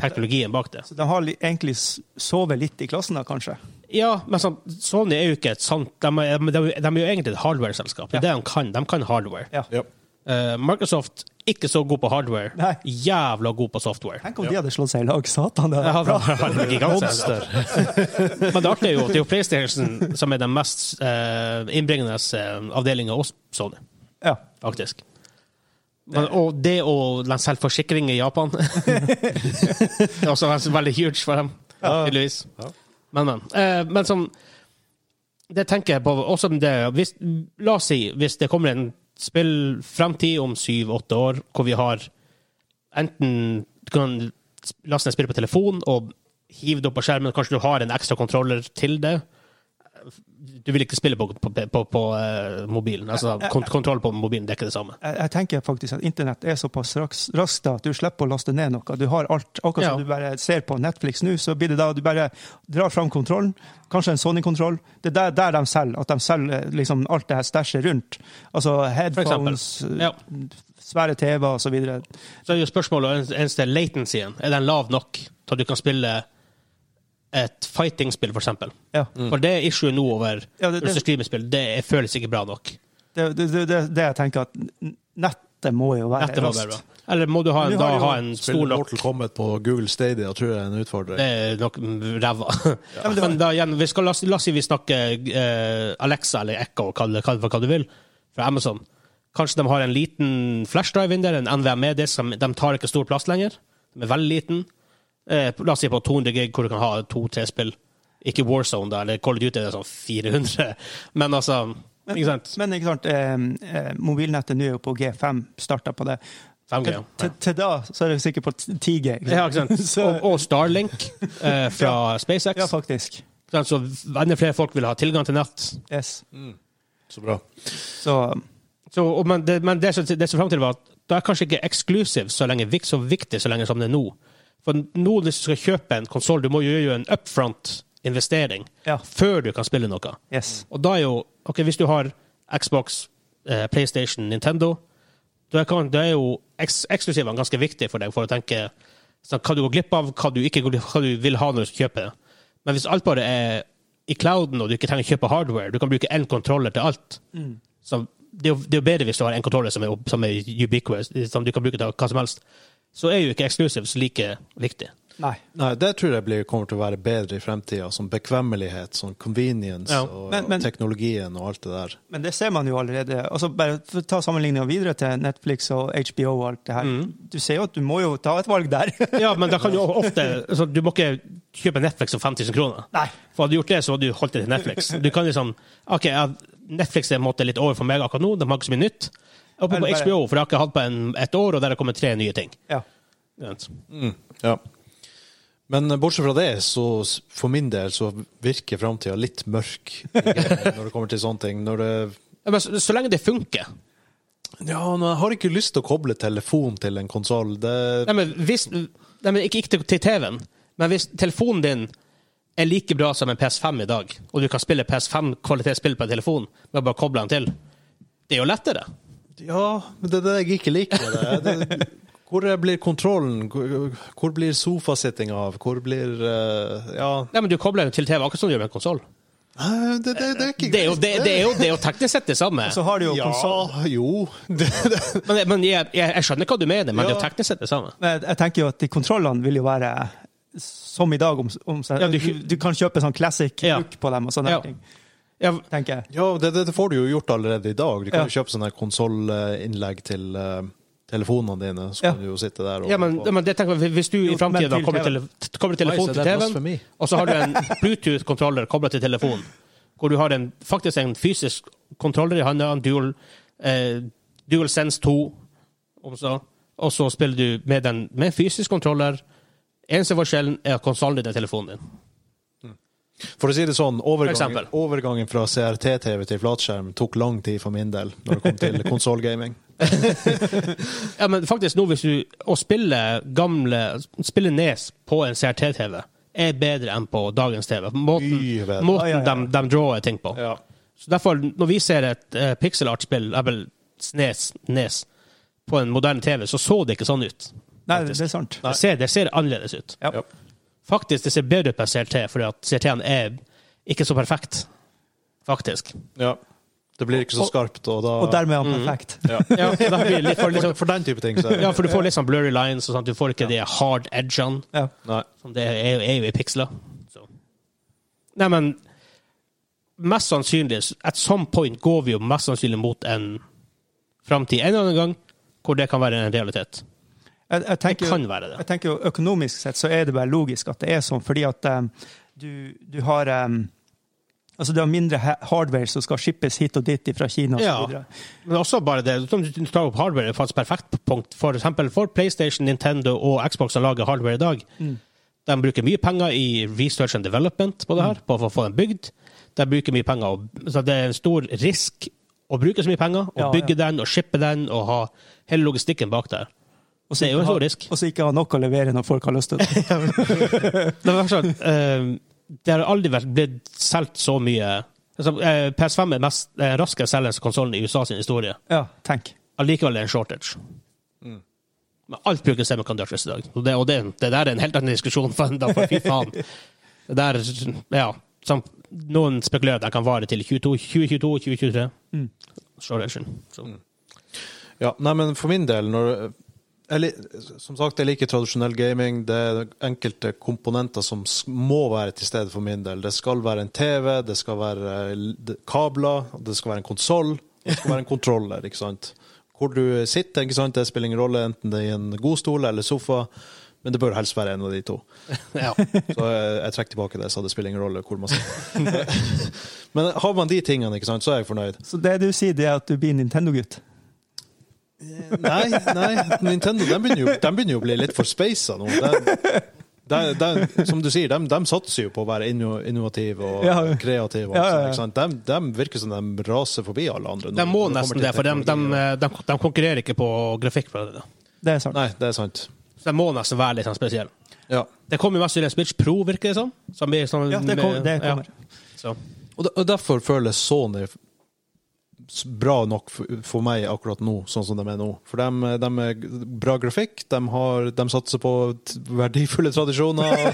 [SPEAKER 3] teknologien bak det.
[SPEAKER 1] Så de har li, egentlig s- sovet litt i klassen, da, kanskje.
[SPEAKER 3] Ja, men sånn, Sony er jo ikke et sant De, er- de, de, de er jo egentlig et hardware-selskap. Det er det de kan. De kan hardware.
[SPEAKER 1] Ja.
[SPEAKER 2] Ja.
[SPEAKER 3] Eh, Microsoft ikke så god på hardware.
[SPEAKER 1] Nei.
[SPEAKER 3] Jævla god på software.
[SPEAKER 1] Tenk om de hadde slått seg i lag, satan! Det
[SPEAKER 3] Ja,
[SPEAKER 1] er
[SPEAKER 3] bra.
[SPEAKER 1] bra.
[SPEAKER 3] Monster. Men det artige er jo at det er jo PlayStation som er den mest eh, innbringende eh, avdelingen hos Sony,
[SPEAKER 1] Ja.
[SPEAKER 3] faktisk. Men, og det og den selvforsikringen i Japan Det er også veldig huge for dem, tydeligvis. Men, men. Eh, men sånn Det tenker jeg på også om det hvis, La oss si, hvis det kommer en spill fremtid om syv-åtte år, hvor vi har enten Du kan laste ned spill på telefon og hive det opp på skjermen, kanskje du har en ekstra kontroller til det. Du vil ikke spille på, på, på, på eh, mobilen. Altså, kont kontroll på mobilen det er ikke det samme.
[SPEAKER 1] jeg, jeg tenker faktisk at internett er såpass raks- raskt da, at du slipper å laste ned noe. Du har alt. Akkurat
[SPEAKER 3] Ja.
[SPEAKER 1] som du bare ser på Netflix nå, så blir det da du bare drar fram kontrollen. Kanskje en Sony-kontroll. Det er der, der de selger. At de selger eh, liksom alt det her stæsjet rundt. Altså headphones,
[SPEAKER 3] Ja.
[SPEAKER 1] svære TV-er osv. Ja,
[SPEAKER 3] Så er jo spørsmålet eneste latensyen. Er den lav nok til at du kan spille et fighting-spill, for eksempel? For det er issue nå over
[SPEAKER 1] Mm. Ja, det- det-
[SPEAKER 3] versus streamespill. Det er- føles ikke bra nok.
[SPEAKER 1] det er det, det, det, det jeg tenker at n- nettet må jo være
[SPEAKER 3] Dette må være bra. Eller må du ha en,
[SPEAKER 1] Men vi har
[SPEAKER 3] da
[SPEAKER 1] jo
[SPEAKER 3] ha en stor
[SPEAKER 2] Spiller
[SPEAKER 3] nok
[SPEAKER 2] Mortal Kombat på Google Stadia tror jeg er en utfordring.
[SPEAKER 3] Det er nok mm, ræva.
[SPEAKER 1] men det var-
[SPEAKER 3] Men da igjen, vi skal, la, oss- la oss si vi snakker eh, Alexa eller Echo, kall det kall det hva du vil, fra Amazon. Kanskje de har en liten flashdrive inn der, en NVMe-disk. E som- De tar ikke stor plass lenger. De er veldig liten. Eh, la oss si på 200 gig, hvor du kan ha to-tre spill. Ikke Warzone, da, eller Call of Duty, det er sånn 400. Men altså Ikke sant?
[SPEAKER 1] Men ikke sant, eh, eh, mobilnettet nå er jo på G5, starta på det.
[SPEAKER 3] 5G.
[SPEAKER 1] Til, til, til da så er det sikkert på 10G. ikke sant?
[SPEAKER 3] Ja, ikke sant?
[SPEAKER 1] Så-
[SPEAKER 3] Og, og Starlink eh, fra SpaceX.
[SPEAKER 1] ja, faktisk.
[SPEAKER 3] Ikke sant? så enda flere folk vil ha tilgang til nett.
[SPEAKER 1] Yes.
[SPEAKER 2] Så bra.
[SPEAKER 1] Så
[SPEAKER 3] Så, og, men det, men det, som- det som frem til var at da er kanskje ikke eksklusiv så, lenge, vik- så viktig så lenge som det er nå. For nå hvis du skal kjøpe en konsoll, du må jo gjøre en upfront investering
[SPEAKER 1] Ja.
[SPEAKER 3] før du kan spille noe.
[SPEAKER 1] yes.
[SPEAKER 3] Og da er jo Ok, hvis du har Xbox, eh, PlayStation, Nintendo, da kan, da er jo eks, eksklusivene ganske viktige for deg for å tenke sånn, hva du går glipp av, hva du ikke går glipp av, hva du vil ha når du skal kjøpe det. Men hvis alt bare er i clouden, og du ikke trenger å kjøpe hardware, du kan bruke én kontroller til alt, så det er, jo, det er jo bedre hvis du har en kontroller som er, som er ubiquitous, som du kan bruke til hva som helst. Så er jo ikke exclusives like viktig.
[SPEAKER 1] Nei.
[SPEAKER 2] Nei, det tror jeg blir, kommer til å være bedre i fremtida. Som bekvemmelighet, sånn convenience
[SPEAKER 3] Ja.
[SPEAKER 2] og
[SPEAKER 1] Men- men-
[SPEAKER 2] teknologien og alt det der.
[SPEAKER 1] Men det ser man jo allerede. Altså bare for å ta sammenligninga videre til Netflix og HBO og alt det her.
[SPEAKER 3] Mm.
[SPEAKER 1] Du ser jo at du må jo ta et valg der.
[SPEAKER 3] Ja, men da kan du ofte altså, Du må ikke kjøpe Netflix for 5000 kroner.
[SPEAKER 1] Nei.
[SPEAKER 3] For hadde du gjort det, så hadde du holdt det til Netflix. Du kan liksom OK, ja, Netflix er på en måte litt over for meg akkurat nå, de har ikke så mye nytt. Og på, på
[SPEAKER 1] Eller bare-
[SPEAKER 3] HBO, for jeg har ikke hatt på en, et år, og der har kommet tre nye ting.
[SPEAKER 1] Ja.
[SPEAKER 2] Mm, ja. Men eh, bortsett fra det, så s- for min del så virker framtida litt mørk eh, når det kommer til sånne ting. Når det
[SPEAKER 3] Ja, Men så, så lenge det funker,
[SPEAKER 2] Ja, men jeg har ikke lyst til å koble telefon til en konsoll. Det...
[SPEAKER 3] Nei, men hvis, nei, men ikke, ikke til- til TV-en, men hvis telefonen din er like bra som en PS5 i dag, og du kan spille PS5-kvalitetsspill på en telefon med å bare koble den til, det er jo lettere.
[SPEAKER 2] Ja, men det er det jeg ikke liker med det. det... Hvor blir kontrollen? Hvor- Hvor blir sofasittinga av? Hvor blir eh, Ja,
[SPEAKER 3] Nei, men Du kobler den til TV akkurat som du gjør med en konsoll.
[SPEAKER 2] Nei, det, det, det er ikke Altså-
[SPEAKER 3] Det, er jo- det, det, er jo- det er jo teknisk sett det samme.
[SPEAKER 1] Så har du jo
[SPEAKER 2] Ja,
[SPEAKER 1] konsoll.
[SPEAKER 2] jo. Det, det.
[SPEAKER 3] Men, men jeg, jeg, jeg skjønner hva du mener, men det er jo
[SPEAKER 2] Ja.
[SPEAKER 3] teknisk sett det samme.
[SPEAKER 1] Men Jeg jeg tenker jo at de kontrollene vil jo være som i dag. Om, om,
[SPEAKER 3] Ja,
[SPEAKER 1] du,
[SPEAKER 3] du-
[SPEAKER 1] du kan kjøpe sånn classic
[SPEAKER 3] Ja.
[SPEAKER 1] look på dem og sånne
[SPEAKER 3] Ja.
[SPEAKER 1] ting,
[SPEAKER 3] Ja,
[SPEAKER 1] tenker jeg.
[SPEAKER 2] Ja, det, det får du jo gjort allerede i dag. Du kan
[SPEAKER 1] Ja.
[SPEAKER 2] jo kjøpe sånne konsollinnlegg til eh, telefonene dine, så
[SPEAKER 1] Ja.
[SPEAKER 2] kan du jo sitte der og
[SPEAKER 3] ja, men, ja, men det tenker jeg, Hvis du i
[SPEAKER 1] Jo, men
[SPEAKER 3] framtida
[SPEAKER 1] til
[SPEAKER 3] kommer,
[SPEAKER 1] TV.
[SPEAKER 3] tele, kommer telefonen til TV-en, og så har du en Bluetooth-kontroller kobla til telefonen, hvor du har en, faktisk en fysisk kontroller i hånda, en dual, eh, dual Sense 2, om så, og så spiller du med den med en fysisk kontroller. Eneste forskjellen er at konsollen din er telefonen din.
[SPEAKER 2] For å si det sånn,
[SPEAKER 3] eksempel.
[SPEAKER 2] overgangen, overgangen fra CRT-TV til flatskjerm tok lang tid for min del når det kom til konsollgaming.
[SPEAKER 3] Ja, men faktisk nå, hvis du Å spille gamle Spille Nes på en CRT-TV er bedre enn på dagens TV. Måten,
[SPEAKER 2] Mye bedre.
[SPEAKER 3] måten
[SPEAKER 1] Ja, ja, ja.
[SPEAKER 3] De, de drawer ting på.
[SPEAKER 2] Ja.
[SPEAKER 3] Så derfor, når vi ser et uh, pixelart-spill, Apple Snes, Nes, på en moderne TV, så så det ikke sånn ut.
[SPEAKER 1] Nei, det er sant.
[SPEAKER 3] Det ser, det ser annerledes ut.
[SPEAKER 1] Ja.
[SPEAKER 2] Ja.
[SPEAKER 3] Faktisk, det ser bedre ut på en CRT, fordi at CRT-en er ikke så perfekt. Faktisk.
[SPEAKER 2] ja. Det blir ikke så
[SPEAKER 1] Og-
[SPEAKER 2] skarpt, og da
[SPEAKER 1] Og dermed
[SPEAKER 3] Mhm.
[SPEAKER 1] er han perfekt.
[SPEAKER 2] ja.
[SPEAKER 3] Ja, da blir det litt for,
[SPEAKER 2] for,
[SPEAKER 3] liksom,
[SPEAKER 2] for den type ting, så
[SPEAKER 3] ja, for du får litt sånn blurry lines, og sånt. du får ikke de hard edgene,
[SPEAKER 1] Ja.
[SPEAKER 2] Nei.
[SPEAKER 3] som det er, jo- er jo i piksler. Så. Nei, men mest sannsynlig, at some point går vi jo mest sannsynlig mot en framtid en eller annen gang, hvor det kan være en realitet.
[SPEAKER 1] Jeg, jeg,
[SPEAKER 3] Det
[SPEAKER 1] tenker,
[SPEAKER 3] kan være det.
[SPEAKER 1] jeg tenker jo økonomisk sett så er det bare logisk at det er sånn, fordi at eh, du, du har eh, Altså, du har mindre ha- hardware som skal shippes hit og dit fra Kina og så
[SPEAKER 3] Ja.
[SPEAKER 1] videre.
[SPEAKER 3] Men også bare det, som du tar opp hardware, er faktisk perfekt punkt. For eksempel for PlayStation, Nintendo og Xbox som lager hardware i dag.
[SPEAKER 1] Mm.
[SPEAKER 3] De bruker mye penger i research and development på det her, på å få den bygd. De bruker mye penger, og- så det er en stor risk å bruke så mye penger, og
[SPEAKER 1] Ja,
[SPEAKER 3] bygge den, og shippe den, og ha hele logistikken bak der.
[SPEAKER 1] Og
[SPEAKER 3] Det er jo en
[SPEAKER 1] ikke ha-
[SPEAKER 3] stor risk.
[SPEAKER 1] Og så ikke ha nok å levere når folk har lyst til det.
[SPEAKER 3] Det, var sånn, eh, det har aldri vært blitt solgt så mye altså, eh, PS5 er mest eh, raskest selgende konsollen i USA sin historie.
[SPEAKER 1] Ja, tenk.
[SPEAKER 3] allikevel er det en shortage.
[SPEAKER 2] Mm.
[SPEAKER 3] Men alt bruker semiconductors i dag. Og det, og det, det der er en helt annen diskusjon. For, da, for fy faen. Det der, ja, som, noen spekulerer at den kan vare til 22, 2022 2023.
[SPEAKER 1] Mm.
[SPEAKER 3] Shortagen. Så.
[SPEAKER 2] Ja, nei, men for min del når, jeg, li- Som sagt, jeg liker tradisjonell gaming. Det er enkelte komponenter som s- må være til stede for min del. Det skal være en TV, det skal være l- d- kabler, det skal være en konsoll, det skal være en kontroller. ikke sant? Hvor du sitter, ikke sant? det spiller ingen rolle, enten det er i en godstol eller sofa. Men det bør helst være en av de to.
[SPEAKER 3] Ja.
[SPEAKER 2] Så jeg, jeg trekker tilbake det, så det spiller ingen rolle hvor man sitter. Men har man de tingene, ikke sant, så er jeg fornøyd.
[SPEAKER 1] Så det du sier, det er at du blir Nintendo-gutt?
[SPEAKER 2] Nei, nei, Nintendo de begynner, jo, de begynner jo å bli litt for speisa nå. De, de, de, som du sier, de, de satser jo på å være inno, innovative og
[SPEAKER 1] Ja.
[SPEAKER 2] kreative. Og
[SPEAKER 1] Ja, ja, ja.
[SPEAKER 2] sånn, ikke sant? De, de virker som de raser forbi alle andre. nå.
[SPEAKER 3] De
[SPEAKER 2] Når
[SPEAKER 3] må
[SPEAKER 2] kommer
[SPEAKER 3] nesten
[SPEAKER 2] til
[SPEAKER 3] det, for de, de,
[SPEAKER 2] teknologi og-
[SPEAKER 3] de, de konkurrerer ikke på grafikk. på det.
[SPEAKER 1] Det er sant.
[SPEAKER 2] Nei, det er sant.
[SPEAKER 3] Så de må nesten være litt sånn spesielle.
[SPEAKER 2] Ja.
[SPEAKER 3] Det kommer jo mest til en Switch Pro, virker det som. som, blir sånn
[SPEAKER 1] Ja, det, kom, det
[SPEAKER 3] ja.
[SPEAKER 1] kommer.
[SPEAKER 3] Så.
[SPEAKER 2] Og, de, og derfor føles Sony s- bra nok for, for meg akkurat nå, sånn som de er nå. For de, de er g- bra grafikk, de, har, de satser på t- verdifulle tradisjoner.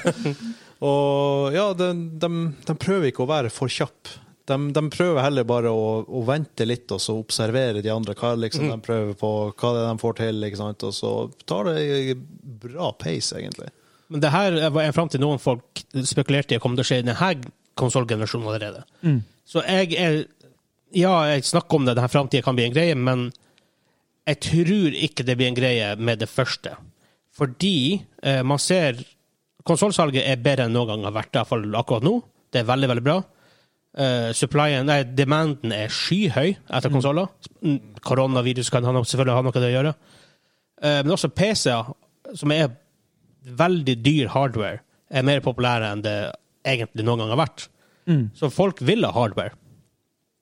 [SPEAKER 2] Og, og ja, de, de, de prøver ikke å være for kjapp. De, de prøver heller bare å, å vente litt og så observere de andre. Hva liksom de prøver på, hva det er de får til, ikke sant? og så tar det i bra pace, egentlig.
[SPEAKER 3] Men det her var en fram til noen folk spekulerte i kom til å skje i denne konsollgenerasjonen allerede.
[SPEAKER 1] Mm.
[SPEAKER 3] Så jeg er Ja, jeg snakker om det, denne framtida kan bli en greie, men jeg tror ikke det blir en greie med det første. Fordi eh, man ser Konsollsalget er bedre enn noen gang har vært, i hvert fall akkurat nå. Det er veldig, veldig bra. Eh, supplyen, nei, demanden er skyhøy etter konsoller. Mm, Koronavirus kan ha noe, selvfølgelig ha noe med det å gjøre. Eh, men også PC-er, som er veldig dyr hardware, er mer populære enn det egentlig noen gang har vært.
[SPEAKER 1] Mm.
[SPEAKER 3] Så folk vil ha hardware.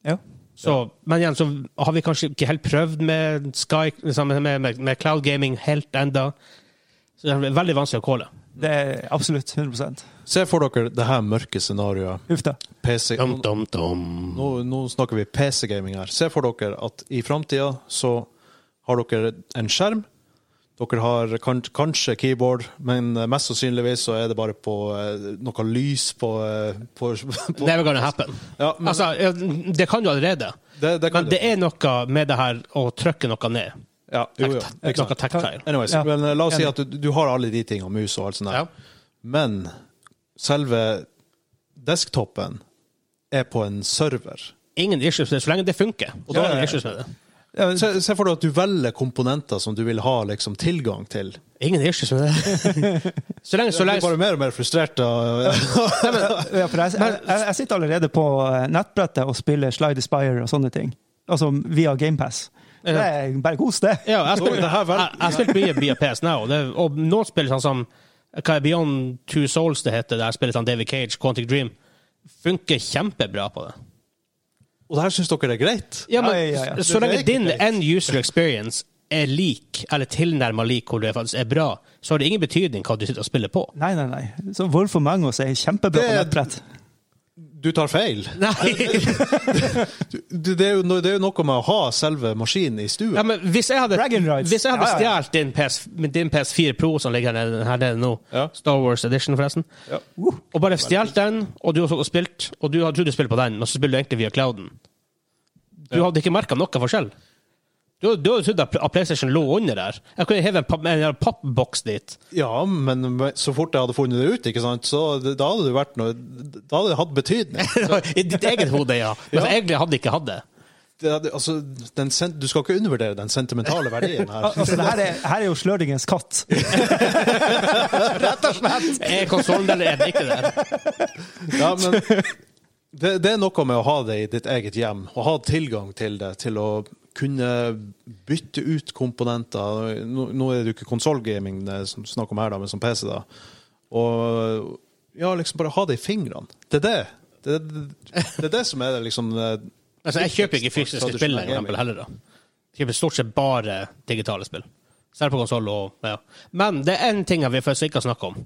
[SPEAKER 1] Ja.
[SPEAKER 3] Så, Men igjen så har vi kanskje ikke helt prøvd med, Sky, liksom, med, med, med cloud gaming helt enda. Så det er veldig vanskelig å calle.
[SPEAKER 1] Det er absolutt 100
[SPEAKER 2] Se for dere det her mørke scenarioet.
[SPEAKER 1] Huff da.
[SPEAKER 2] PC,
[SPEAKER 3] Dum, dum, dum.
[SPEAKER 2] nå, nå snakker vi PC-gaming her. Se for dere at i framtida så har dere en skjerm. Dere har kan, kanskje keyboard, men mest sannsynligvis så er det bare på eh, noe lys på, eh, på, på
[SPEAKER 3] Never gonna happen.
[SPEAKER 2] Ja, men-
[SPEAKER 3] altså, ja, det kan du allerede.
[SPEAKER 2] Det- det kan
[SPEAKER 3] men
[SPEAKER 2] du.
[SPEAKER 3] det er noe med det her å trykke noe ned.
[SPEAKER 2] ja, jo, jo.
[SPEAKER 3] Takt- Noe tactile.
[SPEAKER 2] Anyways,
[SPEAKER 1] Ja,
[SPEAKER 2] men eh, la oss si
[SPEAKER 1] enig.
[SPEAKER 2] at du, du har alle de tingene, mus og alt sånt der.
[SPEAKER 3] Ja.
[SPEAKER 2] Men selve desktopen er på en server.
[SPEAKER 3] Ingen issues med det, så lenge det funker. Og da
[SPEAKER 2] Ja,
[SPEAKER 3] er
[SPEAKER 2] ja, ja.
[SPEAKER 3] det issues med det.
[SPEAKER 2] Se, se for deg at du velger komponenter som du vil ha liksom, tilgang til.
[SPEAKER 3] Ingen issues med det. så lenge, så
[SPEAKER 2] Jeg
[SPEAKER 3] lenge
[SPEAKER 2] blir bare mer og mer frustrert. av-
[SPEAKER 1] Ja, for jeg, jeg, jeg- jeg sitter allerede på eh, nettbrettet og spiller Slide Aspire og sånne ting. Altså via GamePass. Det er bare kos, det.
[SPEAKER 3] Ja, jeg
[SPEAKER 2] Oi, det her
[SPEAKER 3] spiller-
[SPEAKER 2] vel-
[SPEAKER 3] jeg- jeg har spilt mye via PS Now, og, det, og noen spiller sånn som hva er Beyond Two Souls det heter, der jeg spiller sånn David Cage, Quantic Dream, funker kjempebra på det.
[SPEAKER 2] Og det her syns dere er greit?
[SPEAKER 3] Ja, men
[SPEAKER 1] Ja, ja, ja.
[SPEAKER 3] Så
[SPEAKER 2] Det er
[SPEAKER 3] lenge
[SPEAKER 2] ikke
[SPEAKER 3] din
[SPEAKER 2] greit.
[SPEAKER 3] end user experience er lik, eller tilnærma lik hvor du er, faktisk er bra, så har det ingen betydning hva du sitter og spiller på.
[SPEAKER 1] Nei, nei, nei. Så hvorfor Mangos er kjempebra på
[SPEAKER 2] Det-
[SPEAKER 1] nettbrett?
[SPEAKER 2] Du tar feil.
[SPEAKER 3] Nei!
[SPEAKER 2] Du, det, er jo, no- det er jo noe med å ha selve maskinen i stua.
[SPEAKER 3] Ja, men hvis jeg hadde,
[SPEAKER 1] Dragon Rides.
[SPEAKER 3] hvis jeg hadde
[SPEAKER 1] Ja, ja,
[SPEAKER 3] stjålet din, PS, med din PS4 Pro som ligger her nede, her nede nå,
[SPEAKER 2] Ja.
[SPEAKER 3] Star Wars Edition forresten,
[SPEAKER 2] Ja.
[SPEAKER 3] og bare stjålet den, og du har stått og spilt, og du hadde trodd du spilte på den, men så spiller du egentlig via clouden. Du hadde ikke merka noe forskjell. Du, du hadde trodd at PlayStation lå under der. Jeg kunne heve en, papp, en jævla pappboks dit.
[SPEAKER 2] Ja, men så fort jeg hadde funnet det ut, ikke sant, så det- da hadde det vært noe Da hadde det hatt betydning.
[SPEAKER 3] I ditt eget hode, ja. Men så egentlig hadde jeg ikke hatt det.
[SPEAKER 2] Det, hadde- altså, den, sen- du skal ikke undervurdere den sentimentale verdien her.
[SPEAKER 1] Al- Altså, det her er, her er jo Slørdingens katt.
[SPEAKER 3] Er konsollen der, eller er den ikke der?
[SPEAKER 2] Ja, men det, det er noe med å ha det i ditt eget hjem, og ha tilgang til det, til å kunne bytte ut komponenter. Nå, nå er det jo ikke konsollgaming det er som snakk om her, da, men som PC, da. Og ja, liksom bare ha det i fingrene. Det er det. Det, det, det er det som er det, liksom det-
[SPEAKER 3] Altså, jeg kjøper ikke fysiske spill lenger, for eksempel, heller. da. Jeg kjøper stort sett bare digitale spill. Selv på konsoll og ja. Men det er én ting jeg vil først ikke snakke om.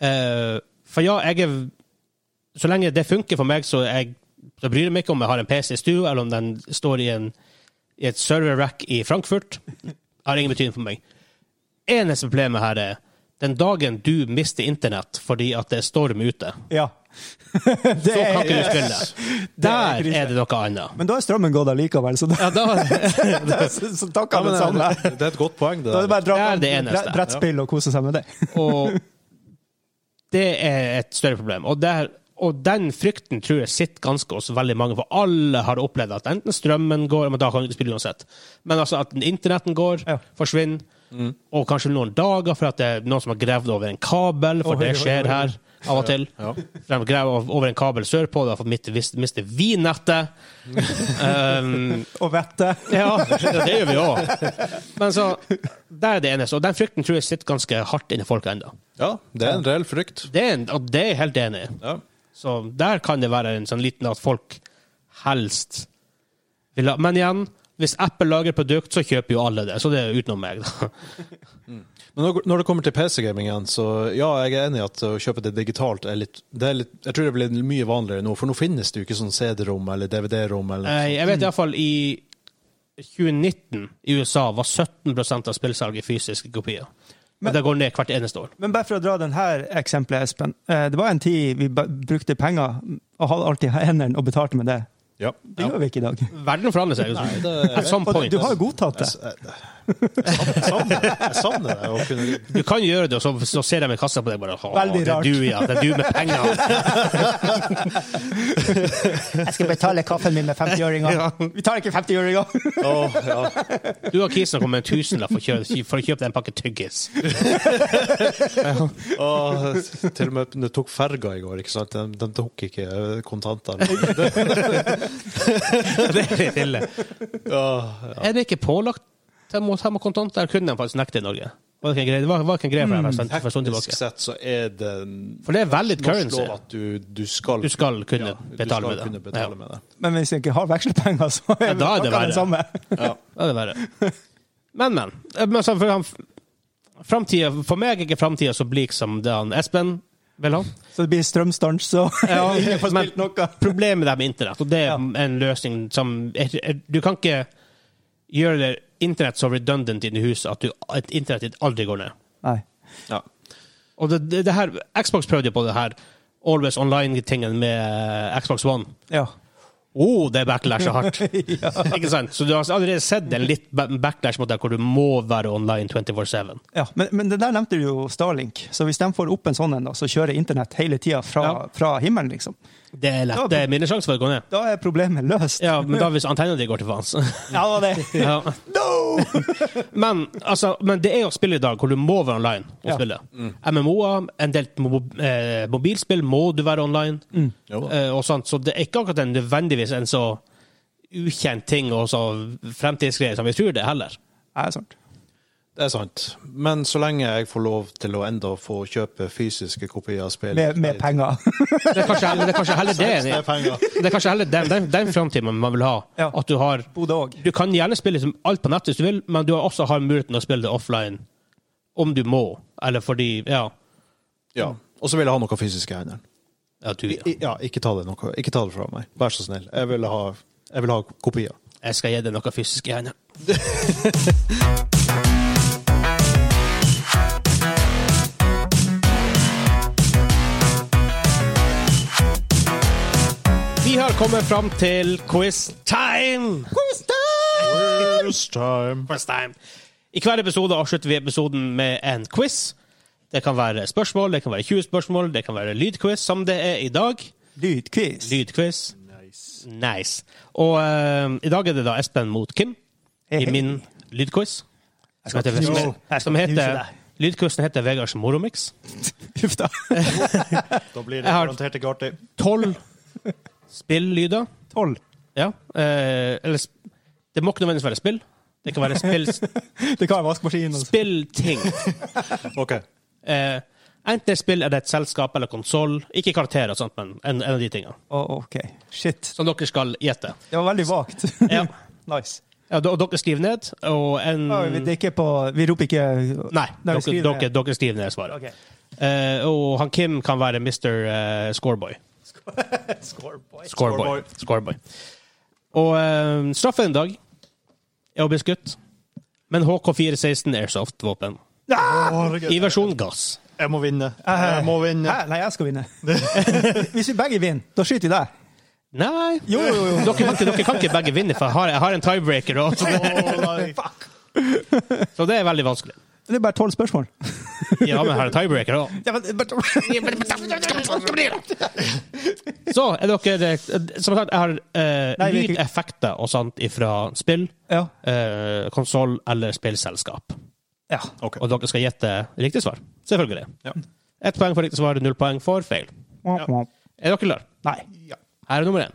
[SPEAKER 3] Eh, for ja, jeg er Så lenge det funker for meg, så, jeg, så bryr jeg meg ikke om jeg har en PC i stua, eller om den står i, en, i et server-rack i Frankfurt. Det har ingen betydning for meg. Eneste problemet her er den dagen du mister internett fordi at det er storm ute,
[SPEAKER 1] Ja. Det
[SPEAKER 3] så kan
[SPEAKER 1] er,
[SPEAKER 3] ikke du spille. Der
[SPEAKER 1] krise.
[SPEAKER 3] er det noe annet.
[SPEAKER 1] men da er strømmen gått allikevel, så, da,
[SPEAKER 3] Ja, da,
[SPEAKER 1] så, så takk
[SPEAKER 2] Ja,
[SPEAKER 1] alle
[SPEAKER 2] men
[SPEAKER 1] sammen.
[SPEAKER 2] det, det er et godt poeng, det
[SPEAKER 1] Da er det
[SPEAKER 2] der.
[SPEAKER 1] bare å dra
[SPEAKER 3] Det er
[SPEAKER 1] fram
[SPEAKER 3] det eneste.
[SPEAKER 1] bre- brettspill og kose seg med det.
[SPEAKER 3] Og det er et større problem. Og, der, og den frykten tror jeg sitter ganske hos veldig mange, for alle har opplevd at enten strømmen går Men da kan du ikke spille uansett. Men altså at internetten går,
[SPEAKER 1] Ja.
[SPEAKER 3] forsvinner, og kanskje noen dager for at det er noen som har gravd over en kabel, for
[SPEAKER 1] Oi,
[SPEAKER 3] det
[SPEAKER 1] oi,
[SPEAKER 3] skjer
[SPEAKER 1] oi.
[SPEAKER 3] her av og til.
[SPEAKER 2] Ja.
[SPEAKER 3] De graver over en kabel sørpå, da mister vi nettet. um,
[SPEAKER 1] Og vette.
[SPEAKER 3] ja, det gjør vi òg. Men så Der er det eneste. Og den frykten tror jeg sitter ganske hardt inni folk ennå.
[SPEAKER 2] Ja, det er en reell frykt.
[SPEAKER 3] Det er, en, og det er jeg helt enig i.
[SPEAKER 2] Ja.
[SPEAKER 3] Så der kan det være en sånn liten at folk helst vil ha Men igjen, hvis Apple lager produkt, så kjøper jo alle det. Så det er utenom meg, da.
[SPEAKER 2] Men når- når det kommer til PC-gaming igjen, så ja, jeg er enig i at å kjøpe det digitalt er litt, det er litt Jeg tror det blir mye vanligere nå, for nå finnes det jo ikke sånn CD-rom eller DVD-rom eller
[SPEAKER 3] Eh, Jeg vet iallfall i 2019 i USA var 17 av spillsalget fysiske kopier. Men
[SPEAKER 1] Men-
[SPEAKER 3] det går ned hvert eneste år.
[SPEAKER 1] Men bare for å dra denne eksempelet, Espen. Eh, Det var en tid vi ba- brukte penger og hadde alltid hendene og betalte med det.
[SPEAKER 2] Ja.
[SPEAKER 1] Det gjør vi ikke i dag.
[SPEAKER 3] Verden forandrer seg.
[SPEAKER 2] Nei,
[SPEAKER 3] Liksom. At
[SPEAKER 2] det,
[SPEAKER 3] some
[SPEAKER 1] Og
[SPEAKER 3] point.
[SPEAKER 1] du har jo godtatt det.
[SPEAKER 2] jeg, jeg savner, jeg savner det. Å kunne,
[SPEAKER 3] Du kan gjøre det, og så, så ser de i kassa på deg bare «Å,
[SPEAKER 1] Veldig rart.
[SPEAKER 3] Det er du, ja. Det er du med penger.
[SPEAKER 1] Jeg skal betale kaffen min med 50-øringer. Vi tar ikke 50-øringer!
[SPEAKER 2] Å, ja.
[SPEAKER 3] Du og Kisen har kommet med en tusenlapp for, å kjø- for å kjøpe deg en pakke tyggis.
[SPEAKER 2] Å, til og med det tok ferga i går, ikke sant? De, de tok ikke eh, kontanter. Det-
[SPEAKER 3] Det er litt ille.
[SPEAKER 2] å, ja.
[SPEAKER 3] Er det ikke pålagt termo- termokontant? Der kunne de faktisk nekte i Norge. Var det ikke en greie, det var, var ikke en greie for deg
[SPEAKER 1] Mm,
[SPEAKER 3] for en stund- for en stund
[SPEAKER 2] Teknisk
[SPEAKER 3] tilbake?
[SPEAKER 2] sett så er det
[SPEAKER 3] For det er valid
[SPEAKER 2] norsk
[SPEAKER 3] currency.
[SPEAKER 2] lov at du, du skal
[SPEAKER 3] Du skal kunne
[SPEAKER 2] ja,
[SPEAKER 3] betale
[SPEAKER 2] du
[SPEAKER 3] med
[SPEAKER 2] skal
[SPEAKER 3] det.
[SPEAKER 2] kunne betale med det.
[SPEAKER 1] Men hvis jeg ikke har vekslepenger, så
[SPEAKER 3] Ja, da er det
[SPEAKER 1] akkurat
[SPEAKER 3] verre.
[SPEAKER 1] det samme.
[SPEAKER 2] Ja.
[SPEAKER 3] Ja, det er verre. Men, men. Eh, men så, for, han, framtida, for meg er ikke framtida så blik som det han Espen vil ha.
[SPEAKER 1] Så det blir strømstans, så
[SPEAKER 3] Ja,
[SPEAKER 1] jeg får
[SPEAKER 3] men-
[SPEAKER 1] spilt noe.
[SPEAKER 3] Problemet der med internett, og det er
[SPEAKER 1] Ja.
[SPEAKER 3] en løsning som er- er- Du kan ikke gjøre det internett så redundant inni huset at, du, at internettet ditt aldri går ned.
[SPEAKER 1] Nei.
[SPEAKER 2] Ja.
[SPEAKER 3] Og det, det, det her, Xbox prøvde jo på det her Always Online-tingen med eh, Xbox One.
[SPEAKER 1] Ja.
[SPEAKER 3] Å, det er backlash så hardt! Ikke sant? Så du har allerede sett en litt ba- backlash mot deg hvor du må være online 24-7.
[SPEAKER 1] ja. Men, men det der nevnte du jo Starlink. Så hvis de får opp en sånn en, da, så kjører internett hele tida fra,
[SPEAKER 3] Ja.
[SPEAKER 1] fra himmelen, liksom.
[SPEAKER 3] Det er lett. Det er mindre sjanse for å gå ned.
[SPEAKER 1] Da er problemet løst.
[SPEAKER 3] Ja, men da hvis antennen din går til faens.
[SPEAKER 1] Ja, det.
[SPEAKER 3] Ja.
[SPEAKER 1] No!
[SPEAKER 3] Men, altså, men det er jo spill i dag hvor du må være online og
[SPEAKER 1] Ja. Mm.
[SPEAKER 3] spille. MMO-er, en del mo eh, mobilspill må du være online,
[SPEAKER 1] Mm.
[SPEAKER 2] Jo da.
[SPEAKER 3] eh, og sånt. så det er ikke akkurat en, nødvendigvis en så ukjent ting og så fremtidsgreie som vi tror det, heller.
[SPEAKER 1] Ja, det er sant.
[SPEAKER 2] Det er sant. Men så lenge jeg får lov til å enda få kjøpe fysiske kopier av spill
[SPEAKER 1] Med, med penger.
[SPEAKER 3] Det er kanskje, heller- det er kanskje heller det.
[SPEAKER 2] Det er penger.
[SPEAKER 3] Det er kanskje heller den, den, den framtiden man vil ha.
[SPEAKER 1] Ja.
[SPEAKER 3] At du har
[SPEAKER 1] Bodø òg.
[SPEAKER 3] Du kan gjerne spille liksom alt på nett hvis du vil, men du har også har muligheten å spille det offline om du må, eller fordi Ja.
[SPEAKER 2] Ja. Og så vil jeg ha noe fysisk i hendene.
[SPEAKER 3] ja du, ja.
[SPEAKER 2] I- Ja, ikke ta det noe. Ikke ta det fra meg. Vær så snill. Jeg vil ha, jeg vil ha kopier.
[SPEAKER 3] Jeg skal gi deg noe fysisk i hendene. Vi har kommet fram til quiz time!
[SPEAKER 2] First time.
[SPEAKER 3] First time. I hver episode avslutter vi episoden med en quiz. Det kan være spørsmål, det kan være 20 spørsmål, det kan være lydquiz, som det er i dag.
[SPEAKER 1] Lydquiz.
[SPEAKER 3] Lydquiz. Nice. Og eh, i dag er det da Espen mot Kim i
[SPEAKER 1] Hei.
[SPEAKER 3] min lydquiz. Som
[SPEAKER 1] skal
[SPEAKER 3] heter,
[SPEAKER 1] knuse-
[SPEAKER 3] som,
[SPEAKER 1] jeg skal
[SPEAKER 3] som
[SPEAKER 1] knuse
[SPEAKER 3] heter
[SPEAKER 1] deg.
[SPEAKER 3] Lydquizen heter Vegards moromix.
[SPEAKER 1] Huff da.
[SPEAKER 2] Da blir
[SPEAKER 3] Jeg har-
[SPEAKER 2] ikke artig.
[SPEAKER 3] Tolv spillyder.
[SPEAKER 1] Tolv.
[SPEAKER 3] Ja. eh, eller sp- Det må ikke nødvendigvis være spill. Det kan være spill,
[SPEAKER 1] Det kan være vaskemaskin. og-
[SPEAKER 3] spillting.
[SPEAKER 2] OK.
[SPEAKER 3] Eh, enten spill er det et selskap eller konsoll. Ikke karakterer og sånt, men en, en av de tingene.
[SPEAKER 1] Å, OK. Shit.
[SPEAKER 3] Som dere skal gjette.
[SPEAKER 1] Det var veldig vagt.
[SPEAKER 3] Ja.
[SPEAKER 1] Nice.
[SPEAKER 3] Ja, og dere skriver ned, og en
[SPEAKER 1] Ja, vi- Det er ikke på Vi roper ikke
[SPEAKER 3] Nei,
[SPEAKER 1] Mm. Nei,
[SPEAKER 3] dere,
[SPEAKER 1] vi skriver
[SPEAKER 3] dere,
[SPEAKER 1] ned.
[SPEAKER 3] dere skriver ned svaret.
[SPEAKER 1] OK.
[SPEAKER 3] Eh, og han Kim kan være Mr. eh, scoreboy.
[SPEAKER 1] Scoreboy.
[SPEAKER 3] Scoreboy. Scoreboy. Og eh, straffen i dag er å bli skutt med en HK416 Airsoft-våpen.
[SPEAKER 1] Ah!
[SPEAKER 3] I versjon gass.
[SPEAKER 2] Jeg må vinne. Jeg må vinne.
[SPEAKER 1] Hæ? Nei, jeg skal vinne. Hvis vi begge vinner, da skyter vi deg.
[SPEAKER 3] Nei
[SPEAKER 1] Jo, jo, jo.
[SPEAKER 3] Dere, kan ikke, dere kan ikke begge vinne, for jeg har, jeg har en tiebreaker. også, så det-
[SPEAKER 1] Fuck.
[SPEAKER 3] så det er veldig vanskelig.
[SPEAKER 1] Det er bare tolv spørsmål.
[SPEAKER 3] Ja, men jeg har en tiebreaker også.
[SPEAKER 1] Ja, men, men-
[SPEAKER 3] Så er dere eh, Som sagt, jeg har eh,
[SPEAKER 1] Nei, vi er ikke-
[SPEAKER 3] lydeffekter og sånt ifra spill,
[SPEAKER 1] ja.
[SPEAKER 3] uh, konsoll eller spillselskap.
[SPEAKER 1] ja.
[SPEAKER 2] OK.
[SPEAKER 3] Og dere skal gjette riktig svar. Selvfølgelig.
[SPEAKER 2] Ja.
[SPEAKER 3] Ett poeng for riktig svar, null poeng for feil. Er dere klare?
[SPEAKER 1] Nei.
[SPEAKER 3] Her er nummer én.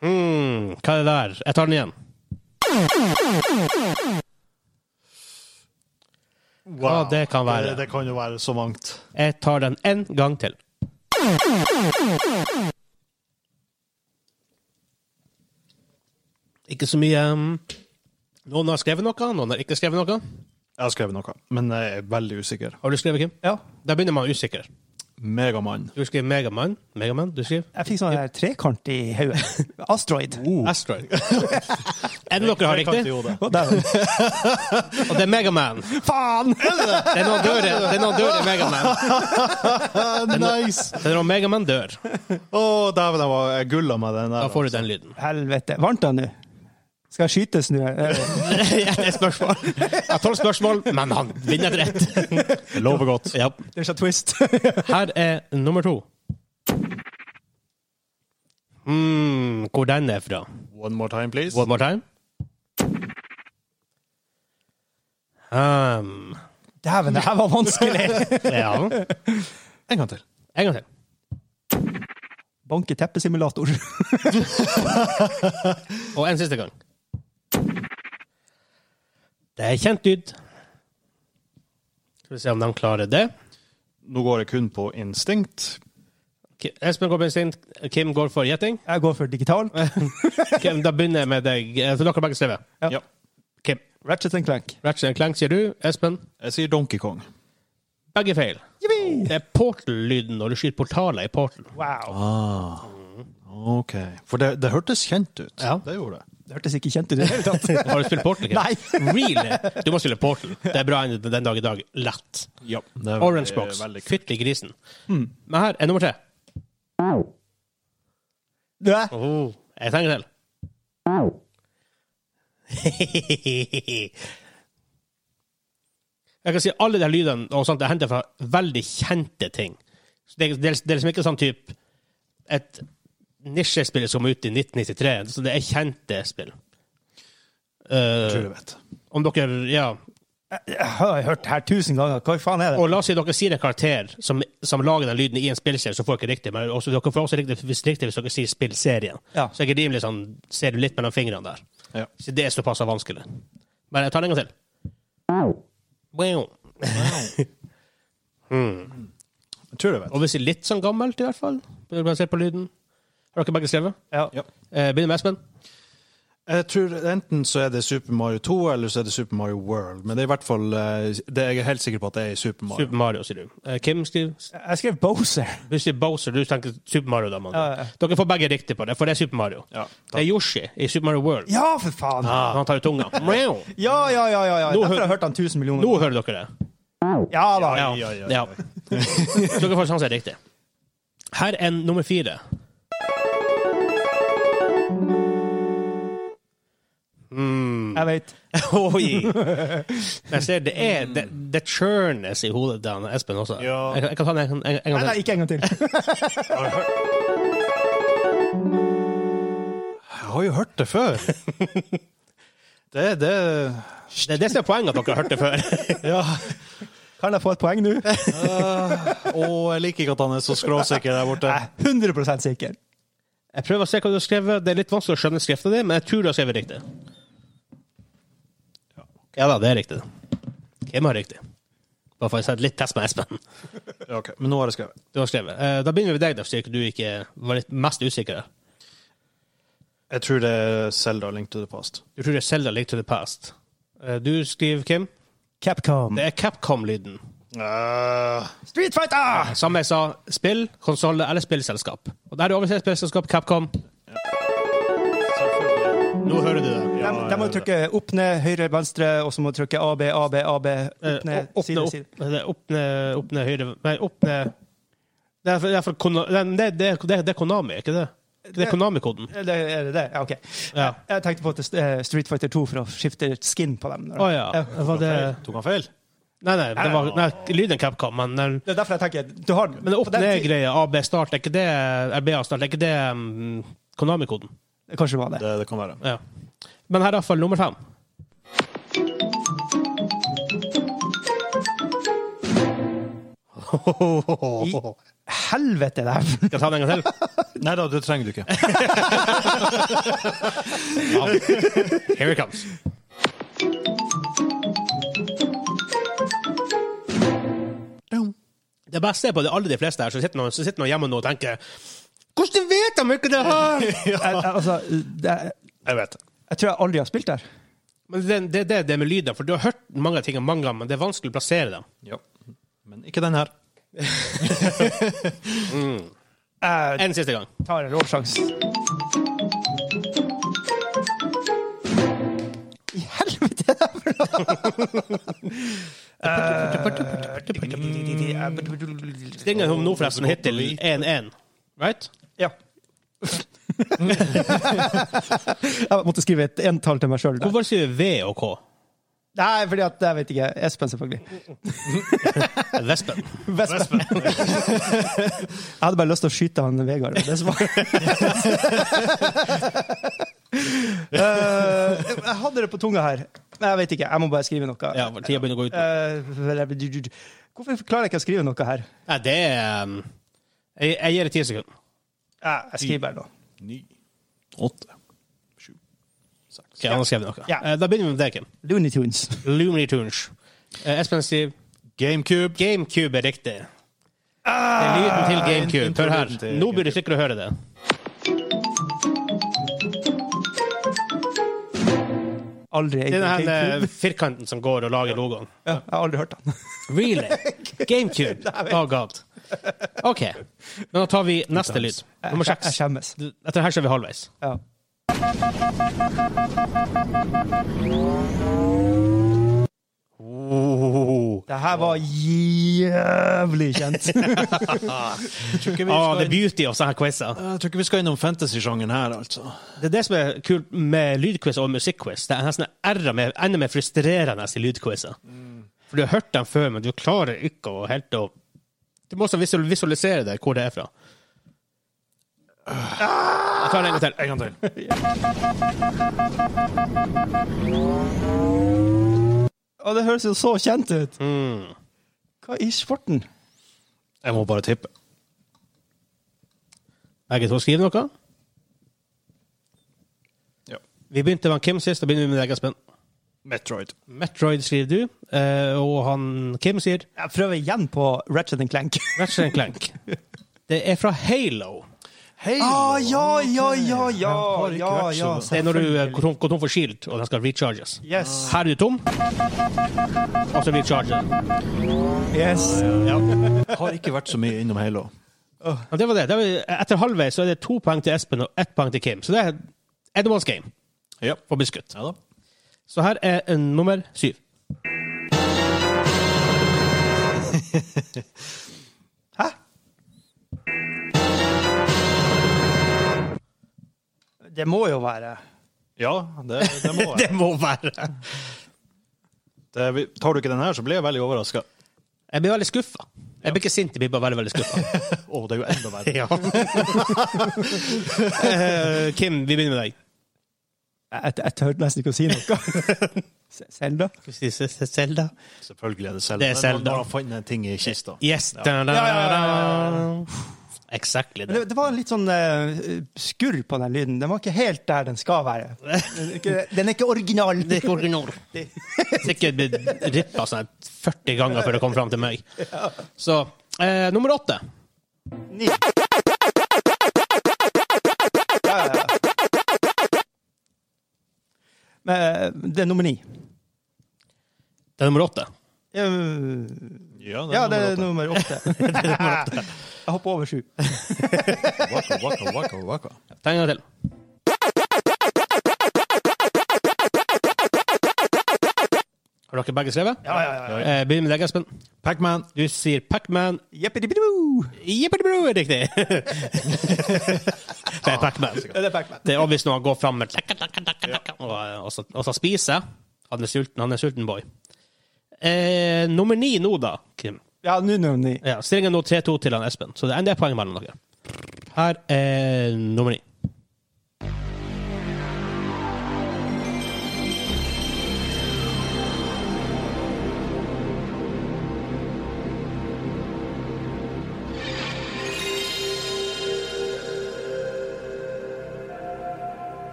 [SPEAKER 3] Hmm, hva er det der? Jeg tar den igjen.
[SPEAKER 4] Wow.
[SPEAKER 3] Ja, det kan være.
[SPEAKER 4] Det, det kan jo være så mangt.
[SPEAKER 3] Jeg tar den en gang til. Ikke så mye um, Noen har skrevet noe, noen har ikke skrevet noe.
[SPEAKER 2] Jeg har skrevet noe, men jeg er veldig usikker.
[SPEAKER 3] Har du skrevet, Kim?
[SPEAKER 1] Ja.
[SPEAKER 3] Da begynner man usikker.
[SPEAKER 2] Megamann.
[SPEAKER 3] Du skriver Megamann. Megaman, du skriver
[SPEAKER 1] Jeg fikk sånn her trekant i hodet. Asteroid.
[SPEAKER 3] Asteroid. Er det dere har riktig?
[SPEAKER 1] Å, dæven.
[SPEAKER 3] Og det er Megaman.
[SPEAKER 1] Faen!
[SPEAKER 3] Det er noen dør det er noen dør i Megaman.
[SPEAKER 2] Nice!
[SPEAKER 3] Det er når Megaman dør.
[SPEAKER 2] Å, dæven, jeg var jeg gulla med den der.
[SPEAKER 3] Da får du den lyden.
[SPEAKER 1] Helvete. Vant han nå? Skal jeg skytes nå? Eh,
[SPEAKER 3] Et spørsmål. Jeg har tolv spørsmål, men han vinner et rett.
[SPEAKER 2] Det lover godt.
[SPEAKER 3] Ja.
[SPEAKER 1] Det er ikke twist.
[SPEAKER 3] Her er nummer to. Mm, hvor den er fra?
[SPEAKER 2] One more time, please.
[SPEAKER 3] One more time. Um,
[SPEAKER 1] Dæven, det her var vanskelig!
[SPEAKER 3] ja.
[SPEAKER 2] En gang til.
[SPEAKER 3] En gang til.
[SPEAKER 1] Banke teppesimulator.
[SPEAKER 3] Og en siste gang. Det er kjent lyd. Skal vi se om de klarer det.
[SPEAKER 4] Nå går jeg kun på instinkt.
[SPEAKER 3] Ki- Espen går på instinkt. Kim går for gjetting.
[SPEAKER 1] Jeg går for digitalt.
[SPEAKER 3] Kim, da begynner jeg med deg, eh, for dere har begge skrevet.
[SPEAKER 1] Ja.
[SPEAKER 4] Ja.
[SPEAKER 3] Kim.
[SPEAKER 1] Ratchet and Clank.
[SPEAKER 3] Ratchet and Clank, sier du. Espen.
[SPEAKER 4] Jeg sier Donkey Kong.
[SPEAKER 3] Begge feil. Det er portal-lyden når du skyter portaler i portal.
[SPEAKER 1] Wow.
[SPEAKER 2] Ah. OK. For det, det hørtes kjent ut.
[SPEAKER 3] Ja.
[SPEAKER 2] Det gjorde det.
[SPEAKER 1] Det hørtes ikke kjent ut i det hele tatt.
[SPEAKER 3] Har du spilt portal? Kim?
[SPEAKER 1] Nei.
[SPEAKER 3] Really? Du må spille portal. Det er bra enn den dag i dag. Lett.
[SPEAKER 4] Ja.
[SPEAKER 2] det er-
[SPEAKER 3] Orange
[SPEAKER 4] Det er
[SPEAKER 3] box.
[SPEAKER 4] veldig kult. Mm.
[SPEAKER 3] Fytti grisen. Men her er nummer tre.
[SPEAKER 1] Nei.
[SPEAKER 3] Oh, jeg trenger til. Jeg kan si alle de lydene og sånt, det henter fra veldig kjente ting. Så det, det, det er liksom ikke sånn type et nisjespill som kom ut i 1993. Så det er kjente spill.
[SPEAKER 2] Jeg tror
[SPEAKER 3] Eh,
[SPEAKER 2] jeg vet.
[SPEAKER 3] om dere Ja.
[SPEAKER 1] Jeg har hørt det her tusen ganger. Hva faen er det?
[SPEAKER 3] Og la oss si dere sier en karakter som, som lager den lyden i en spillserie, så får dere riktig. Men også, dere får også riktig hvis, riktig hvis dere sier spillserien.
[SPEAKER 1] Ja.
[SPEAKER 3] Så jeg er rimelig sånn Ser du litt mellom fingrene der.
[SPEAKER 4] Ja.
[SPEAKER 3] Så det er såpass vanskelig. Men jeg tar den en gang til. Wow.
[SPEAKER 2] Jeg tror jeg vet.
[SPEAKER 3] Og hvis det er litt sånn gammelt, i hvert fall, basert på lyden Har dere begge skrevet?
[SPEAKER 1] Ja.
[SPEAKER 2] Ja.
[SPEAKER 3] Eh, begynner med Espen.
[SPEAKER 2] Jeg tror Enten så er det Super Mario 2, eller så er det Super Mario World. Men det er i hvert fall eh, Det er jeg helt sikker på at det er i Super Mario.
[SPEAKER 3] Super Mario, sier du. Eh, Kim skriver
[SPEAKER 1] Jeg skrev Boser.
[SPEAKER 3] Du sier Bowser, du tenker Super Mario. da, mann.
[SPEAKER 1] Ja, ja.
[SPEAKER 3] Dere får begge riktig på det, for det er Super Mario.
[SPEAKER 4] Ja,
[SPEAKER 3] det er Yoshi i Super Mario World. Ah.
[SPEAKER 1] Ja, for faen!
[SPEAKER 3] Han tar ut tunga. Wow.
[SPEAKER 1] Ja, ja, ja. ja, ja.
[SPEAKER 3] Nå
[SPEAKER 1] Derfor har
[SPEAKER 3] hø-
[SPEAKER 1] jeg hørt han tusen millioner
[SPEAKER 3] Nå hører dere det.
[SPEAKER 1] Ja da.
[SPEAKER 3] Ja.
[SPEAKER 4] ja, ja,
[SPEAKER 3] ja. Så dere får sjansen riktig. Her er nummer fire.
[SPEAKER 1] Jeg vet.
[SPEAKER 3] Oi! Men jeg ser, det er Det, det churnes i hodet til han Espen også.
[SPEAKER 4] Ja.
[SPEAKER 3] Jeg, kan- jeg kan ta den en, en, en
[SPEAKER 1] Nei,
[SPEAKER 3] gang
[SPEAKER 1] nei,
[SPEAKER 3] til.
[SPEAKER 1] ikke en gang til.
[SPEAKER 2] Jeg har jo hørt det før. det er det
[SPEAKER 3] Det er det som er poenget, at dere har hørt det før.
[SPEAKER 2] Ja.
[SPEAKER 1] Kan jeg få et poeng nå?
[SPEAKER 2] og jeg liker ikke at han er så skråsikker der borte.
[SPEAKER 1] Jeg er 100 sikker.
[SPEAKER 3] Jeg prøver å se hva du har skrevet. Det er litt vanskelig å skjønne skriften din, men jeg tror du har skrevet riktig. Ja da, det er riktig. Hvem har riktig? Bare for å sette litt test med Espen.
[SPEAKER 2] Ja, ok, Men nå har jeg skrevet.
[SPEAKER 3] Du har skrevet. Eh, Da begynner vi med deg, da, siden du ikke var litt mest usikker.
[SPEAKER 2] Jeg tror det er Zelda Link to the Past.
[SPEAKER 3] Du tror det er Zelda Link to the Past. Eh, Du skriver, Kim.
[SPEAKER 1] Capcom.
[SPEAKER 3] Det er Capcom-lyden.
[SPEAKER 1] Street Fighter!
[SPEAKER 3] Som jeg sa, spill, konsoll eller spillselskap. Og der er oversett spillselskap Capcom. Nå hører du det.
[SPEAKER 1] De, de må trykke opp, ned, høyre, venstre, og så må du trykke AB, AB, AB.
[SPEAKER 3] Eh,
[SPEAKER 1] Opp, ned,
[SPEAKER 3] opp-
[SPEAKER 1] side,
[SPEAKER 3] opp- eh,
[SPEAKER 1] side.
[SPEAKER 3] det er Opp ned, opp ned, høyre Nei, opp ned Det er, for- det er, for Kono- det, er- det, er- det er Konami, er ikke det? Det er
[SPEAKER 1] Det-
[SPEAKER 3] Konami-koden.
[SPEAKER 1] Er det er det? det? Ja, OK.
[SPEAKER 3] Ja.
[SPEAKER 1] Jeg tenkte på at det, eh, Street Fighter 2 for å skifte skin på dem.
[SPEAKER 3] Å ja. Var det
[SPEAKER 2] Eh, Tok han feil?
[SPEAKER 3] Nei, nei, det var, nei lyden Capcom, men, eh, men
[SPEAKER 1] Det er derfor jeg tenker du har,
[SPEAKER 3] men det
[SPEAKER 1] på
[SPEAKER 3] opp
[SPEAKER 1] den tiden-
[SPEAKER 3] ned-greia, AB start, er ikke det RBA start, er ikke det mm, Konami-koden?
[SPEAKER 1] Kanskje det var det.
[SPEAKER 2] Det, det kan være.
[SPEAKER 3] Ja. Men her er iallfall nummer fem.
[SPEAKER 1] Helvete, det her!
[SPEAKER 3] Skal jeg ta den en gang til?
[SPEAKER 2] Nei da, det trenger du ikke.
[SPEAKER 3] Here it comes. Det beste er på det aller de fleste her, så sitter noen, så sitter noen hjemme nå og tenker Hvordan vet de ikke det her?!
[SPEAKER 1] Jeg, jeg, altså, det,
[SPEAKER 2] Jeg vet det.
[SPEAKER 1] jeg tror jeg aldri har spilt der.
[SPEAKER 3] Men det det er det, det med lyder, for du har hørt mange ting mange ganger, men det er vanskelig å plassere dem.
[SPEAKER 2] Ja. Men ikke den her.
[SPEAKER 1] Jeg
[SPEAKER 3] En siste gang.
[SPEAKER 1] tar en råsjanse. I helvete! det er bra. Eh,
[SPEAKER 3] Stingen om nå forresten hittil 1-1. Right?
[SPEAKER 1] Ja. jeg måtte skrive et entall til meg sjøl.
[SPEAKER 3] Hvorfor sier du V og K?
[SPEAKER 1] Nei, fordi at jeg vet ikke. Espen, selvfølgelig.
[SPEAKER 3] Vespen.
[SPEAKER 1] Vespen. jeg hadde bare lyst til å skyte han Vegard. Det som var. Eh, jeg hadde det på tunga her. Men Jeg vet ikke. Jeg må bare skrive noe.
[SPEAKER 3] Ja, for tida begynner å gå ut. nå.
[SPEAKER 1] Eh, hvorfor klarer jeg ikke å skrive noe her?
[SPEAKER 3] Nei, det er um, jeg, jeg gir det ti sekunder.
[SPEAKER 1] Eh, Jeg skriver bare noe.
[SPEAKER 2] Ni. Åtte.
[SPEAKER 3] Ok, han har skrevet noe.
[SPEAKER 1] Ja.
[SPEAKER 3] Eh, Da begynner vi med deg, Kim.
[SPEAKER 1] Looney Tunes.
[SPEAKER 3] Looney Tunes. Eh, Espen sier
[SPEAKER 4] GameCube.
[SPEAKER 3] GameCube er riktig. Det er lyden til GameCube. Hør her.
[SPEAKER 4] Introlyden til
[SPEAKER 3] Nå blir du sikker å høre det.
[SPEAKER 1] Aldri eid
[SPEAKER 3] Det er den her,
[SPEAKER 1] GameCube.
[SPEAKER 3] eh, firkanten som går og lager logoen.
[SPEAKER 1] Ja, jeg har aldri hørt den.
[SPEAKER 3] Really? GameCube? Oh god. OK. Men da tar vi neste lyd. Nummer
[SPEAKER 1] Jeg
[SPEAKER 3] seks.
[SPEAKER 1] skjemmes.
[SPEAKER 3] Etter her ser vi halvveis.
[SPEAKER 1] Ja. Det her var jævlig kjent.
[SPEAKER 2] tror ikke vi
[SPEAKER 3] Ah,
[SPEAKER 2] skal,
[SPEAKER 3] the beauty of sånne her quizer.
[SPEAKER 2] jeg tror ikke vi skal innom fantasy-sjangen her, altså.
[SPEAKER 3] Det er det som er kult med lydquiz og musikkquiz. Det er nesten enda mer, enda mer frustrerende i lydquizer. For du har hørt dem før, men du klarer ikke å helt å Du må også visual- visualisere det, hvor det er fra. Jeg tar den en gang til. En gang til.
[SPEAKER 1] Og det høres jo så kjent ut.
[SPEAKER 3] Mm.
[SPEAKER 1] Hva i svarten?
[SPEAKER 2] Jeg må bare tippe.
[SPEAKER 3] Begge to skriver noe.
[SPEAKER 4] Ja.
[SPEAKER 3] Vi begynte med Kim sist, da begynner vi med deg, Espen.
[SPEAKER 4] Metroid.
[SPEAKER 3] Metroid skriver du, eh, og han Kim sier
[SPEAKER 1] Jeg prøver igjen på Ratchet Clank.
[SPEAKER 3] Ratchet Clank. Det er fra Halo.
[SPEAKER 2] Hei!
[SPEAKER 1] Ah, ja, ja, ja, ja,
[SPEAKER 2] har ikke
[SPEAKER 1] ja,
[SPEAKER 2] vært så
[SPEAKER 1] ja.
[SPEAKER 2] bra.
[SPEAKER 3] Det er når du eh, går tom, går tom for shield, og den skal recharges.
[SPEAKER 1] Yes.
[SPEAKER 3] Her er du tom, og så recharger den.
[SPEAKER 1] yes.
[SPEAKER 3] Ja.
[SPEAKER 4] Har ikke vært så mye innom Halo.
[SPEAKER 3] Men det var det. det var, etter halvveis så er det to poeng til Espen og ett poeng til Kim. Så det er Edmonds game
[SPEAKER 4] Ja.
[SPEAKER 3] for biskutt.
[SPEAKER 4] ja da.
[SPEAKER 3] Så her er eh, nummer syv.
[SPEAKER 1] Det må jo være
[SPEAKER 4] Ja, det, det må jeg.
[SPEAKER 3] Det må være.
[SPEAKER 4] Det, vi- tar du ikke den her, så blir jeg veldig overraska.
[SPEAKER 3] Jeg blir veldig skuffa. Jeg blir ikke sint, jeg blir bare veldig, veldig skuffa.
[SPEAKER 4] Å, det er jo enda verre.
[SPEAKER 3] ja. Eh, Kim, vi begynner med deg.
[SPEAKER 1] Jeg, jeg tør nesten ikke å si noe. Selda?
[SPEAKER 3] Selda.
[SPEAKER 4] Selvfølgelig er det Zelda.
[SPEAKER 3] Det er Zelda.
[SPEAKER 4] Når han fant en ting i kista.
[SPEAKER 3] Yes. Da, da,
[SPEAKER 1] Ja, ja,
[SPEAKER 3] da,
[SPEAKER 1] ja,
[SPEAKER 3] da. Exactly
[SPEAKER 1] Men
[SPEAKER 3] det.
[SPEAKER 1] det, det var en litt sånn eh, skurr på den lyden. Den var ikke helt der den skal være. Den er ikke, den er ikke original.
[SPEAKER 3] Det er ikke original. Sikkert blitt rippa sånn 40 ganger før det kom fram til meg. Så eh, nummer åtte.
[SPEAKER 1] Ni. Ja, ja, ja. Men, eh, det er nummer ni.
[SPEAKER 3] Det er nummer åtte.
[SPEAKER 1] Eh,
[SPEAKER 4] Ja,
[SPEAKER 1] Ja, det er
[SPEAKER 4] nummer åtte.
[SPEAKER 1] nummer åtte. Jeg hopper over sju.
[SPEAKER 4] Waka, waka, waka, waka.
[SPEAKER 3] Ta en gang til. Har dere begge skrevet?
[SPEAKER 1] Ja, ja, ja.
[SPEAKER 3] Eh, Begynn med deg, Espen.
[SPEAKER 4] Pac-Man.
[SPEAKER 3] Du sier Pac-Man.
[SPEAKER 1] Jeppidi-bidoo!
[SPEAKER 3] Jippidi-bro er riktig! det er Pac-Man.
[SPEAKER 1] Ja, Det er Pac-Man.
[SPEAKER 3] Det er obvious når han går fram med takka, takka, takka, takka, og, og, så, og så spiser. Han er sulten, han er sulten boy. Eh, nummer ni nå, da, Kim.
[SPEAKER 1] Ja, nå nummer ni.
[SPEAKER 3] Ja, Stillingen nå 3-2 til han Espen, så det er en del poeng mellom dere. Her er nummer ni.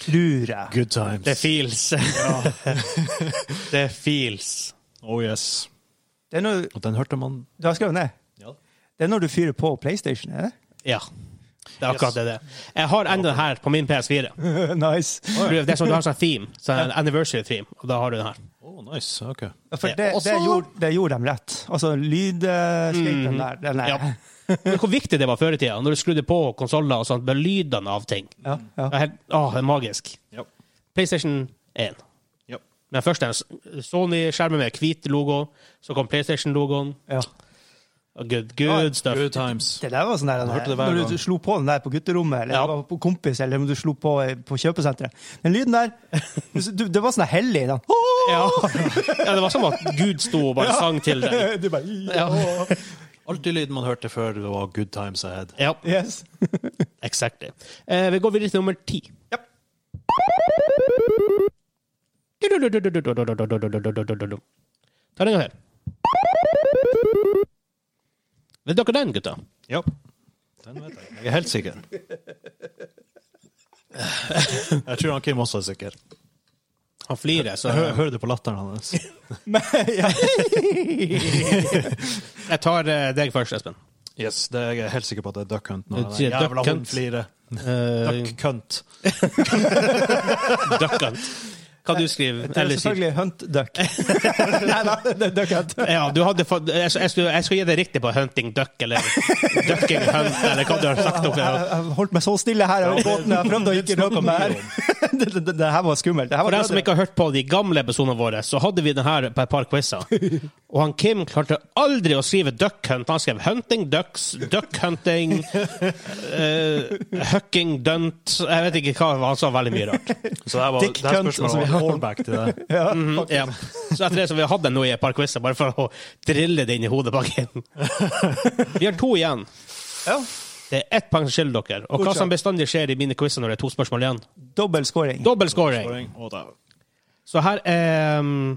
[SPEAKER 1] Tror jeg.
[SPEAKER 4] Good times.
[SPEAKER 3] Det feels. det feels.
[SPEAKER 4] Oh yes.
[SPEAKER 1] Det er når,
[SPEAKER 4] Og den hørte man.
[SPEAKER 1] du har skrevet ned?
[SPEAKER 4] Ja.
[SPEAKER 1] Det er når du fyrer på PlayStation, er det?
[SPEAKER 3] Ja. Det er akkurat det det. er. Jeg har enda den her på min PS4.
[SPEAKER 1] nice.
[SPEAKER 3] Det er sånn, du har en sånn theme, sånn en anniversary theme, og da har du den her.
[SPEAKER 4] Oh, nice. Ok.
[SPEAKER 1] For
[SPEAKER 3] Ja,
[SPEAKER 1] det,
[SPEAKER 3] og
[SPEAKER 1] det,
[SPEAKER 3] så-
[SPEAKER 1] gjorde, det gjorde de rett. Altså, lydslipen der, den er
[SPEAKER 3] Ja. Men hvor viktig det var før i tida, når du skrudde på konsoller og sånt, med lydene av ting.
[SPEAKER 1] Ja, ja.
[SPEAKER 3] Det er helt, åh, det er magisk.
[SPEAKER 4] Ja.
[SPEAKER 3] PlayStation 1.
[SPEAKER 4] Ja.
[SPEAKER 3] Den første er en Sony-skjermen med hvit logo. Så kom PlayStation-logoen.
[SPEAKER 1] ja.
[SPEAKER 3] og Good, good stuff.
[SPEAKER 4] Good times.
[SPEAKER 1] Det der var sånn der,
[SPEAKER 4] hørte det hver
[SPEAKER 1] Når du
[SPEAKER 4] gang.
[SPEAKER 1] slo på den der på gutterommet, eller
[SPEAKER 3] Ja.
[SPEAKER 1] det var på kompis, eller om du slo på eh, på kjøpesenteret. Den lyden der, du, det var sånn der hellig. Den.
[SPEAKER 3] Ja. ja, det var som at Gud sto og bare sang til deg.
[SPEAKER 1] Du bare,
[SPEAKER 3] Ja.
[SPEAKER 4] Alltid lyden man hørte før det var good times ahead.
[SPEAKER 3] ja,
[SPEAKER 1] yes.
[SPEAKER 3] exactly. Eh, vi går videre til nummer ti.
[SPEAKER 1] Ja.
[SPEAKER 3] Ta den en gang til. Vet dere den, gutta?
[SPEAKER 4] Ja. Den vet jeg. Jeg er helt sikker.
[SPEAKER 2] Jeg tror han Kim også er sikker.
[SPEAKER 3] Han flirer, så
[SPEAKER 2] Jeg hø- hører det på latteren hans.
[SPEAKER 3] jeg tar eh, deg først, Espen.
[SPEAKER 2] Yes, det er jeg helt sikker på at det er Duck Hunt nå.
[SPEAKER 3] Du
[SPEAKER 2] Den
[SPEAKER 3] sier
[SPEAKER 2] Jævla
[SPEAKER 3] Duck Hunt.
[SPEAKER 2] hunden flirer.
[SPEAKER 3] Uh,
[SPEAKER 2] Duck Hunt.
[SPEAKER 3] Duckant. Hva du skriver?
[SPEAKER 1] Det er
[SPEAKER 3] Eller sier?
[SPEAKER 1] selvfølgelig Hunt Duck. Nei da, det er Duck Hunt.
[SPEAKER 3] Ja, du hadde fått, jeg, jeg, skulle, jeg skulle gi deg riktig på hunting duck, eller ducking hunt, eller hva du har sagt.
[SPEAKER 1] Jeg,
[SPEAKER 3] Dere.
[SPEAKER 1] jeg holdt meg så stille her over båten. Jeg prøvde å ikke røpe meg her. Det, det, det, det her var skummelt. Det her
[SPEAKER 3] For
[SPEAKER 1] var
[SPEAKER 3] dem som ikke har hørt på de gamle episodene våre, så hadde vi den her på et par quizer. Og han Kim klarte aldri å skrive duck hunt. Han skrev hunting ducks, duck hunting, eh, hucking dunt Jeg vet ikke hva, han sa veldig mye rart.
[SPEAKER 2] Så det her var,
[SPEAKER 1] Dick
[SPEAKER 2] det her
[SPEAKER 1] Hunt,
[SPEAKER 2] spørsmålet
[SPEAKER 1] altså, vi
[SPEAKER 2] var
[SPEAKER 1] har-
[SPEAKER 2] callback til det.
[SPEAKER 1] ja,
[SPEAKER 3] Mhm, ja. Så etter det så vi hadde nå i et par quizer, bare for å drille det inn i hodet bak inn. Vi har to igjen.
[SPEAKER 1] ja.
[SPEAKER 3] Det er ett poeng som skiller dere. Og hva
[SPEAKER 1] Godkjent.
[SPEAKER 3] som bestandig skjer i mine quizer når det er to spørsmål igjen?
[SPEAKER 1] Dobbel scoring.
[SPEAKER 3] Dobbel scoring.
[SPEAKER 2] Scoring. Å, da.
[SPEAKER 3] Så her er um,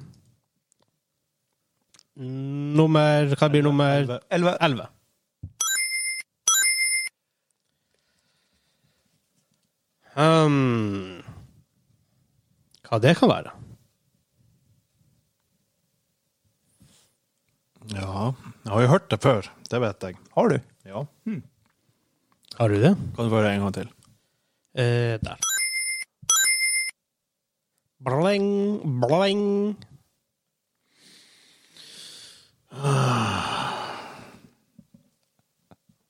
[SPEAKER 3] Nummer Hva blir nummer
[SPEAKER 1] Elleve.
[SPEAKER 3] elleve? Um, hva det kan være?
[SPEAKER 2] Ja, jeg har jo hørt det før. Det vet jeg.
[SPEAKER 1] Har du?
[SPEAKER 2] Ja.
[SPEAKER 3] Har du det?
[SPEAKER 2] Kan du få høre en gang til?
[SPEAKER 3] Eh, der. Bling, bling.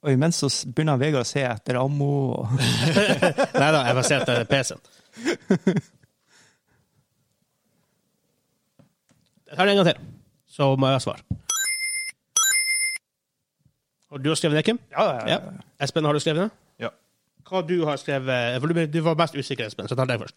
[SPEAKER 1] Og imens så s- begynner Vegard å se etter ammo. og-
[SPEAKER 3] Nei da, jeg bare ser etter PC-en. Jeg tar det en gang til, så må jeg ha svar. Og du har skrevet det, Kim? Ja. Espen, har du skrevet det?
[SPEAKER 2] Ja.
[SPEAKER 3] Hva du har skrevet? For du, du var mest usikker, Espen, så jeg tar deg først.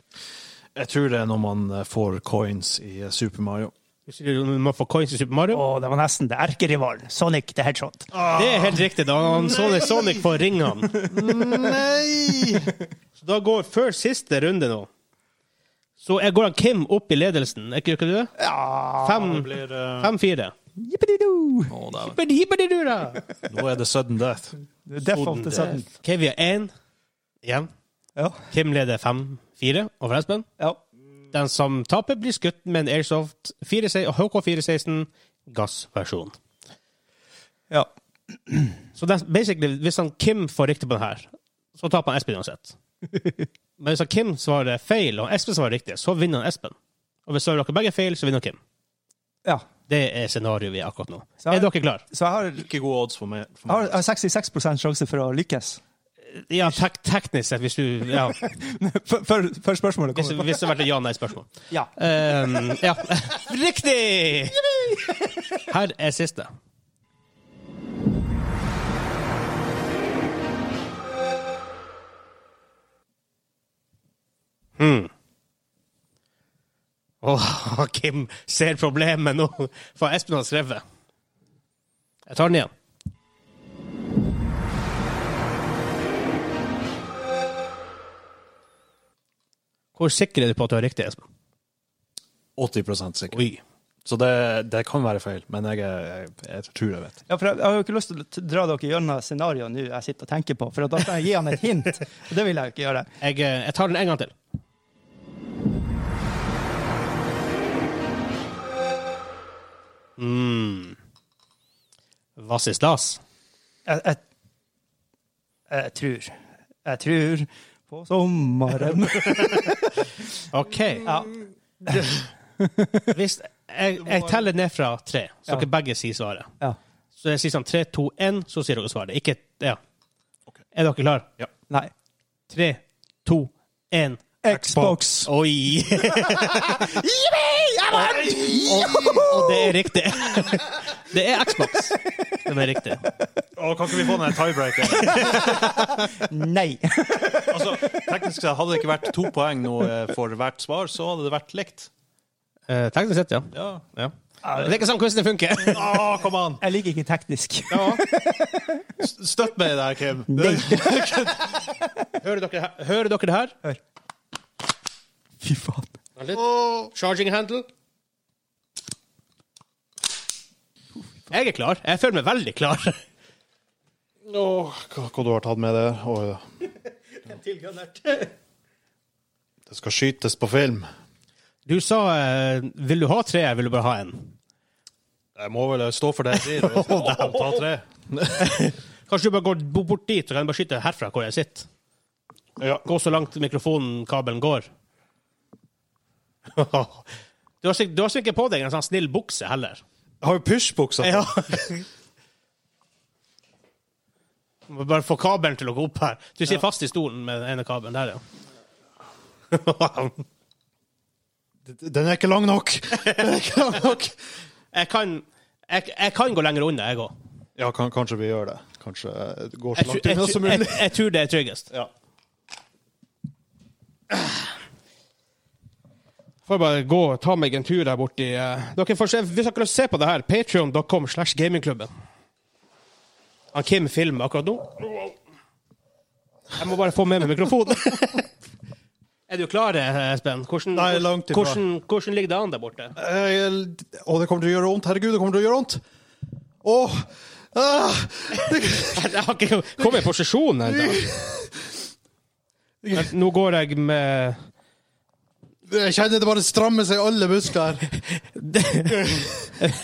[SPEAKER 2] Jeg tror det er når man eh, får coins i eh, Super Mario.
[SPEAKER 3] Du sier du må få coins i Super Mario.
[SPEAKER 1] Å, det var nesten det. Erkerivalen. Sonic the Hedgehog.
[SPEAKER 3] Det er helt riktig. da han Sonic, Sonic får ringe han.
[SPEAKER 2] Nei!
[SPEAKER 3] Så da går før siste runde nå. Så jeg går han Kim opp i ledelsen, er ikke gjør ikke du det?
[SPEAKER 1] Ja.
[SPEAKER 3] Fem-
[SPEAKER 2] Blir, eh,
[SPEAKER 3] 5-4.
[SPEAKER 1] Jippidi-do.
[SPEAKER 2] å, da.
[SPEAKER 3] Hippidi-hippidi-dura.
[SPEAKER 2] Nå er det sudden death.
[SPEAKER 1] Default til sudden.
[SPEAKER 3] Ok, vi har én igjen.
[SPEAKER 1] Ja.
[SPEAKER 3] Kim leder 5-4 over Espen.
[SPEAKER 1] ja.
[SPEAKER 3] Den som taper, blir skutt med en Airsoft 4, og HK416 gassversjon.
[SPEAKER 1] ja.
[SPEAKER 3] Så den, basically, hvis han Kim får riktig på den her, så taper han Espen uansett. Men hvis han Kim svarer feil, og Espen svarer riktig, så vinner han Espen. Og hvis dere begge feil, så vinner Kim.
[SPEAKER 1] ja.
[SPEAKER 3] Det er scenarioet vi er akkurat nå.
[SPEAKER 1] Så-
[SPEAKER 3] Er dere klare?
[SPEAKER 1] Så jeg har, jeg
[SPEAKER 2] Ikke gode odds for meg. For
[SPEAKER 1] har,
[SPEAKER 2] meg.
[SPEAKER 1] jeg har 66 sjanse for å lykkes.
[SPEAKER 3] Ja, tek teknisk sett, hvis du ja,
[SPEAKER 1] Før- Før før spørsmålet
[SPEAKER 3] Hvis,
[SPEAKER 1] kommer.
[SPEAKER 3] hvis det hadde vært et ja-nei-spørsmål.
[SPEAKER 1] Ja.
[SPEAKER 3] Ehm, ja. Riktig! Her er siste. Hmm. Åh, Kim ser problemet nå, for Espen har skrevet. Jeg tar den igjen. Hvor sikker er du på at du har riktig, Espen?
[SPEAKER 2] 80 sikker.
[SPEAKER 3] Oi.
[SPEAKER 2] Så det, det kan være feil, men jeg, er- jeg, jeg tror jeg vet.
[SPEAKER 1] Ja, for jeg, jeg har jo ikke lyst til å t- dra dere gjennom scenarioet nå jeg sitter og tenker på, for da skal jeg gi han et hint. Og det vil jeg jo ikke gjøre.
[SPEAKER 3] Jeg, eh, jeg tar den en gang til. Mm. Vass i stas.
[SPEAKER 1] Jeg, jeg, jeg tror Jeg tror på sommeren.
[SPEAKER 3] OK.
[SPEAKER 1] Ja.
[SPEAKER 3] Hvis jeg, jeg teller ned fra tre, så
[SPEAKER 1] Ja.
[SPEAKER 3] dere begge sier svaret.
[SPEAKER 1] ja.
[SPEAKER 3] Så jeg sier sånn tre, to, én, så sier dere svaret. Ikke Ja. Er dere klare?
[SPEAKER 1] Nei.
[SPEAKER 3] Tre, to, én.
[SPEAKER 1] Xbox.
[SPEAKER 3] Oi! Og det er riktig. Det er Xbox som er riktig.
[SPEAKER 2] Å, kan ikke vi få den tiebreaker?
[SPEAKER 1] Nei.
[SPEAKER 2] altså, teknisk sett hadde det ikke vært to poeng nå eh, for hvert svar, så hadde det vært likt.
[SPEAKER 3] Eh, teknisk sett, ja.
[SPEAKER 2] Ja.
[SPEAKER 3] ja. Det er ikke sånn quizen funker.
[SPEAKER 2] Å, kom an!
[SPEAKER 1] Jeg liker ikke teknisk.
[SPEAKER 2] Støtt meg der, Kim.
[SPEAKER 1] Nei.
[SPEAKER 3] Hører dere, he- hører dere det her?
[SPEAKER 1] Hør. Fy faen.
[SPEAKER 3] Vent litt. Charging handle. Jeg er klar. Jeg føler meg veldig klar.
[SPEAKER 2] Åh, hva, hva du har tatt med det? Åh, ja.
[SPEAKER 3] Tilgradert.
[SPEAKER 2] Det skal skytes på film.
[SPEAKER 3] Du sa eh, 'vil du ha tre, eller vil du bare ha én'?
[SPEAKER 2] Jeg må vel stå for det jeg sier. Hvis jeg må ta tre.
[SPEAKER 3] Kanskje du bare går bo- bort dit, og kan bare skyte herfra hvor jeg sitter?
[SPEAKER 2] Ja.
[SPEAKER 3] Gå så langt mikrofonen, kabelen, går. Du har sikkert, du har sikkert på deg en sånn snill bukse heller.
[SPEAKER 2] Jeg har jo pysjbuksa.
[SPEAKER 3] Ja. Må Bare få kabelen til å gå opp her. Du sitter fast i stolen med den ene kabelen der, ja.
[SPEAKER 2] Den er ikke lang nok. Den er ikke lang nok.
[SPEAKER 3] Jeg kan, jeg, jeg kan gå lenger unna, jeg òg.
[SPEAKER 2] Ja, kan, kanskje vi gjør det. Kanskje eh, det går
[SPEAKER 3] Jeg,
[SPEAKER 2] så
[SPEAKER 3] tror-
[SPEAKER 2] langt
[SPEAKER 3] jeg,
[SPEAKER 2] unna som
[SPEAKER 3] tror- jeg,
[SPEAKER 2] mulig.
[SPEAKER 3] jeg tror det er tryggest.
[SPEAKER 2] Ja.
[SPEAKER 3] Får jeg bare gå og ta meg en tur der borti eh, dere får se, Hvis dere vil se på det her, patreon.com slash gamingklubben. Han Kim filmer akkurat nå. Jeg må bare få med meg mikrofonen. er du klar, eh, Espen? Hvordan,
[SPEAKER 2] Nei, langt ifra.
[SPEAKER 3] hvordan, hvordan ligger det an der borte?
[SPEAKER 2] Eh, Å, det kommer til å gjøre vondt. Herregud, det kommer til å gjøre vondt. Åh. Ah.
[SPEAKER 3] Jeg har ikke kommet i posisjon ennå. Men Nå går jeg med
[SPEAKER 2] Jeg kjenner det bare strammer seg i alle muskler.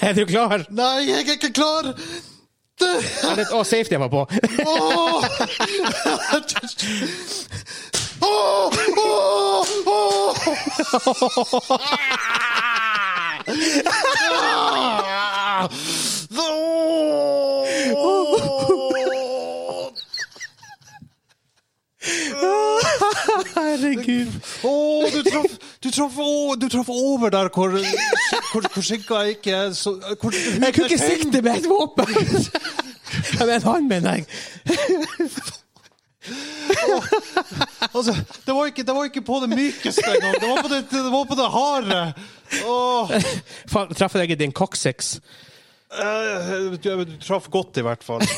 [SPEAKER 3] Er du klar?
[SPEAKER 2] Nei, jeg er ikke klar! Det,
[SPEAKER 3] Er det- Å, safety jeg var på.
[SPEAKER 2] åh! Åh, åh, åh! Ah! Åh!
[SPEAKER 3] Herregud.
[SPEAKER 2] Åh, du traff du traff- åh, du traff over der hvor, hvor, hvor skinka ikke er så hvor,
[SPEAKER 3] Jeg kunne ikke sikte med et våpen! Jeg mener han, mener jeg.
[SPEAKER 2] Altså, det var ikke, det var ikke på det mykeste engang. Det var på det, det, var på det harde. Åh.
[SPEAKER 3] Faen, treffer jeg i din coccyx?
[SPEAKER 2] Eh, Du, du traff godt, i hvert fall.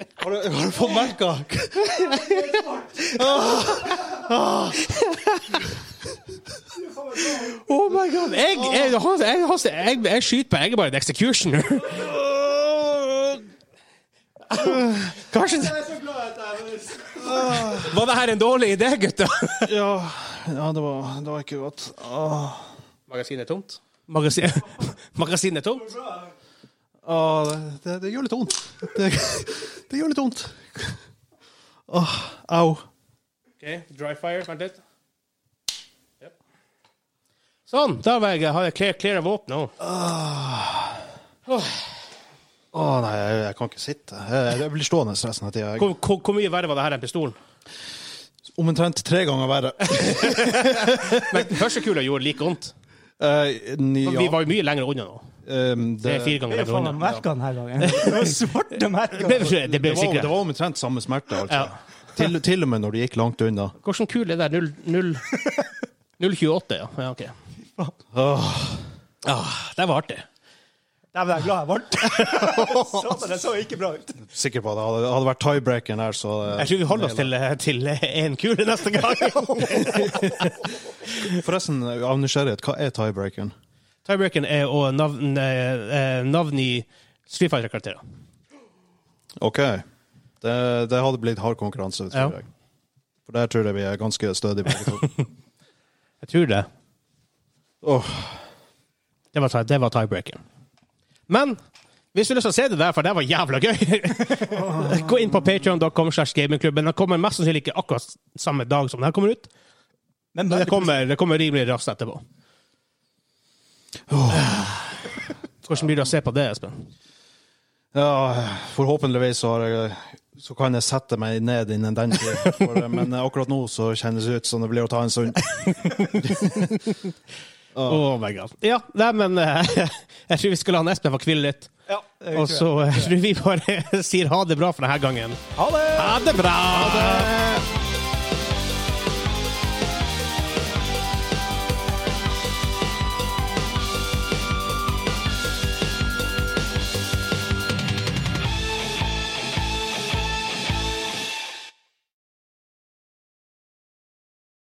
[SPEAKER 2] Har du, har du fått merka?
[SPEAKER 3] Oh my god! Jeg, jeg, han- jeg, han- jeg, jeg skyter på Jeg er bare en executioner. Kanskje det Var det her en dårlig idé, gutta?
[SPEAKER 2] Ja, ja det, var, det var ikke godt. Åh,
[SPEAKER 3] Magasinet er tomt? Magasin, magasinet er tomt?
[SPEAKER 2] åh, det, det, det gjør litt vondt. Det, det gjør litt vondt. Åh, au.
[SPEAKER 3] Ok, dry fire, vent litt. Yep. Sånn, da var jeg, har jeg clear, clear våpen nå.
[SPEAKER 2] Å nei, jeg, jeg kan ikke sitte. Jeg, jeg blir stående resten av tida.
[SPEAKER 3] Hvor, hvor, hvor mye verre var det her enn pistolen?
[SPEAKER 2] Omtrent tre ganger verre.
[SPEAKER 3] Men første kula gjorde like vondt.
[SPEAKER 2] Eh, ni-
[SPEAKER 3] Vi var jo mye lenger unna nå.
[SPEAKER 2] Ehm,
[SPEAKER 3] Det
[SPEAKER 2] det,
[SPEAKER 3] er fire ganger
[SPEAKER 1] Det er
[SPEAKER 3] lenger
[SPEAKER 1] faen meg
[SPEAKER 3] unna.
[SPEAKER 1] merker han her gangen. Det var svarte merker.
[SPEAKER 3] Det ble, det
[SPEAKER 2] det,
[SPEAKER 3] ble
[SPEAKER 2] var, det
[SPEAKER 3] sikkert.
[SPEAKER 2] var omtrent samme smerte. Altså.
[SPEAKER 3] Ja.
[SPEAKER 2] Til, til og med når det gikk langt unna.
[SPEAKER 3] Hvordan kul er det? 0, 0, 028, ja. ja ok.
[SPEAKER 2] Åh.
[SPEAKER 3] Ah, det var artig.
[SPEAKER 1] Nei, men jeg er glad jeg vant. Satan, det så ikke bra ut.
[SPEAKER 2] Sikker på at det hadde, hadde vært tiebreakeren her, så eh,
[SPEAKER 3] Jeg tror vi holder oss til, til én kule neste gang.
[SPEAKER 2] Forresten, av nysgjerrighet, hva er tiebreakeren?
[SPEAKER 3] Tiebreakeren er å navn, eh, eh, navn i Street Fighter-karakterer.
[SPEAKER 2] OK. Det, det hadde blitt hard konkurranse, tror
[SPEAKER 3] Ja.
[SPEAKER 2] jeg. For der tror jeg vi er ganske stødige begge to.
[SPEAKER 3] Jeg tror det.
[SPEAKER 2] Åh,
[SPEAKER 3] Det var, tie- det var tiebreakeren. Men hvis du har lyst til å se det der, for det var jævla gøy, gå inn på patreon.com slash gamingklubben. Den kommer mest sannsynlig ikke akkurat samme dag som den kommer ut,
[SPEAKER 1] Men
[SPEAKER 3] men det kommer, det kommer rimelig raskt etterpå. Hvordan blir det å se på det, Espen?
[SPEAKER 2] ja, forhåpentligvis så, har jeg, så kan jeg sette meg ned innen den tid. For, eh, Men eh, akkurat nå så kjennes det ut som det blir å ta en stund.
[SPEAKER 3] Oh my god. Ja, nei, men eh, jeg tror vi skal la han Espen få hvile litt.
[SPEAKER 1] Ja, det
[SPEAKER 3] Og så eh, tror vi bare sier ha det bra for denne gangen.
[SPEAKER 1] Ha det!
[SPEAKER 3] Ha det bra! Ha det!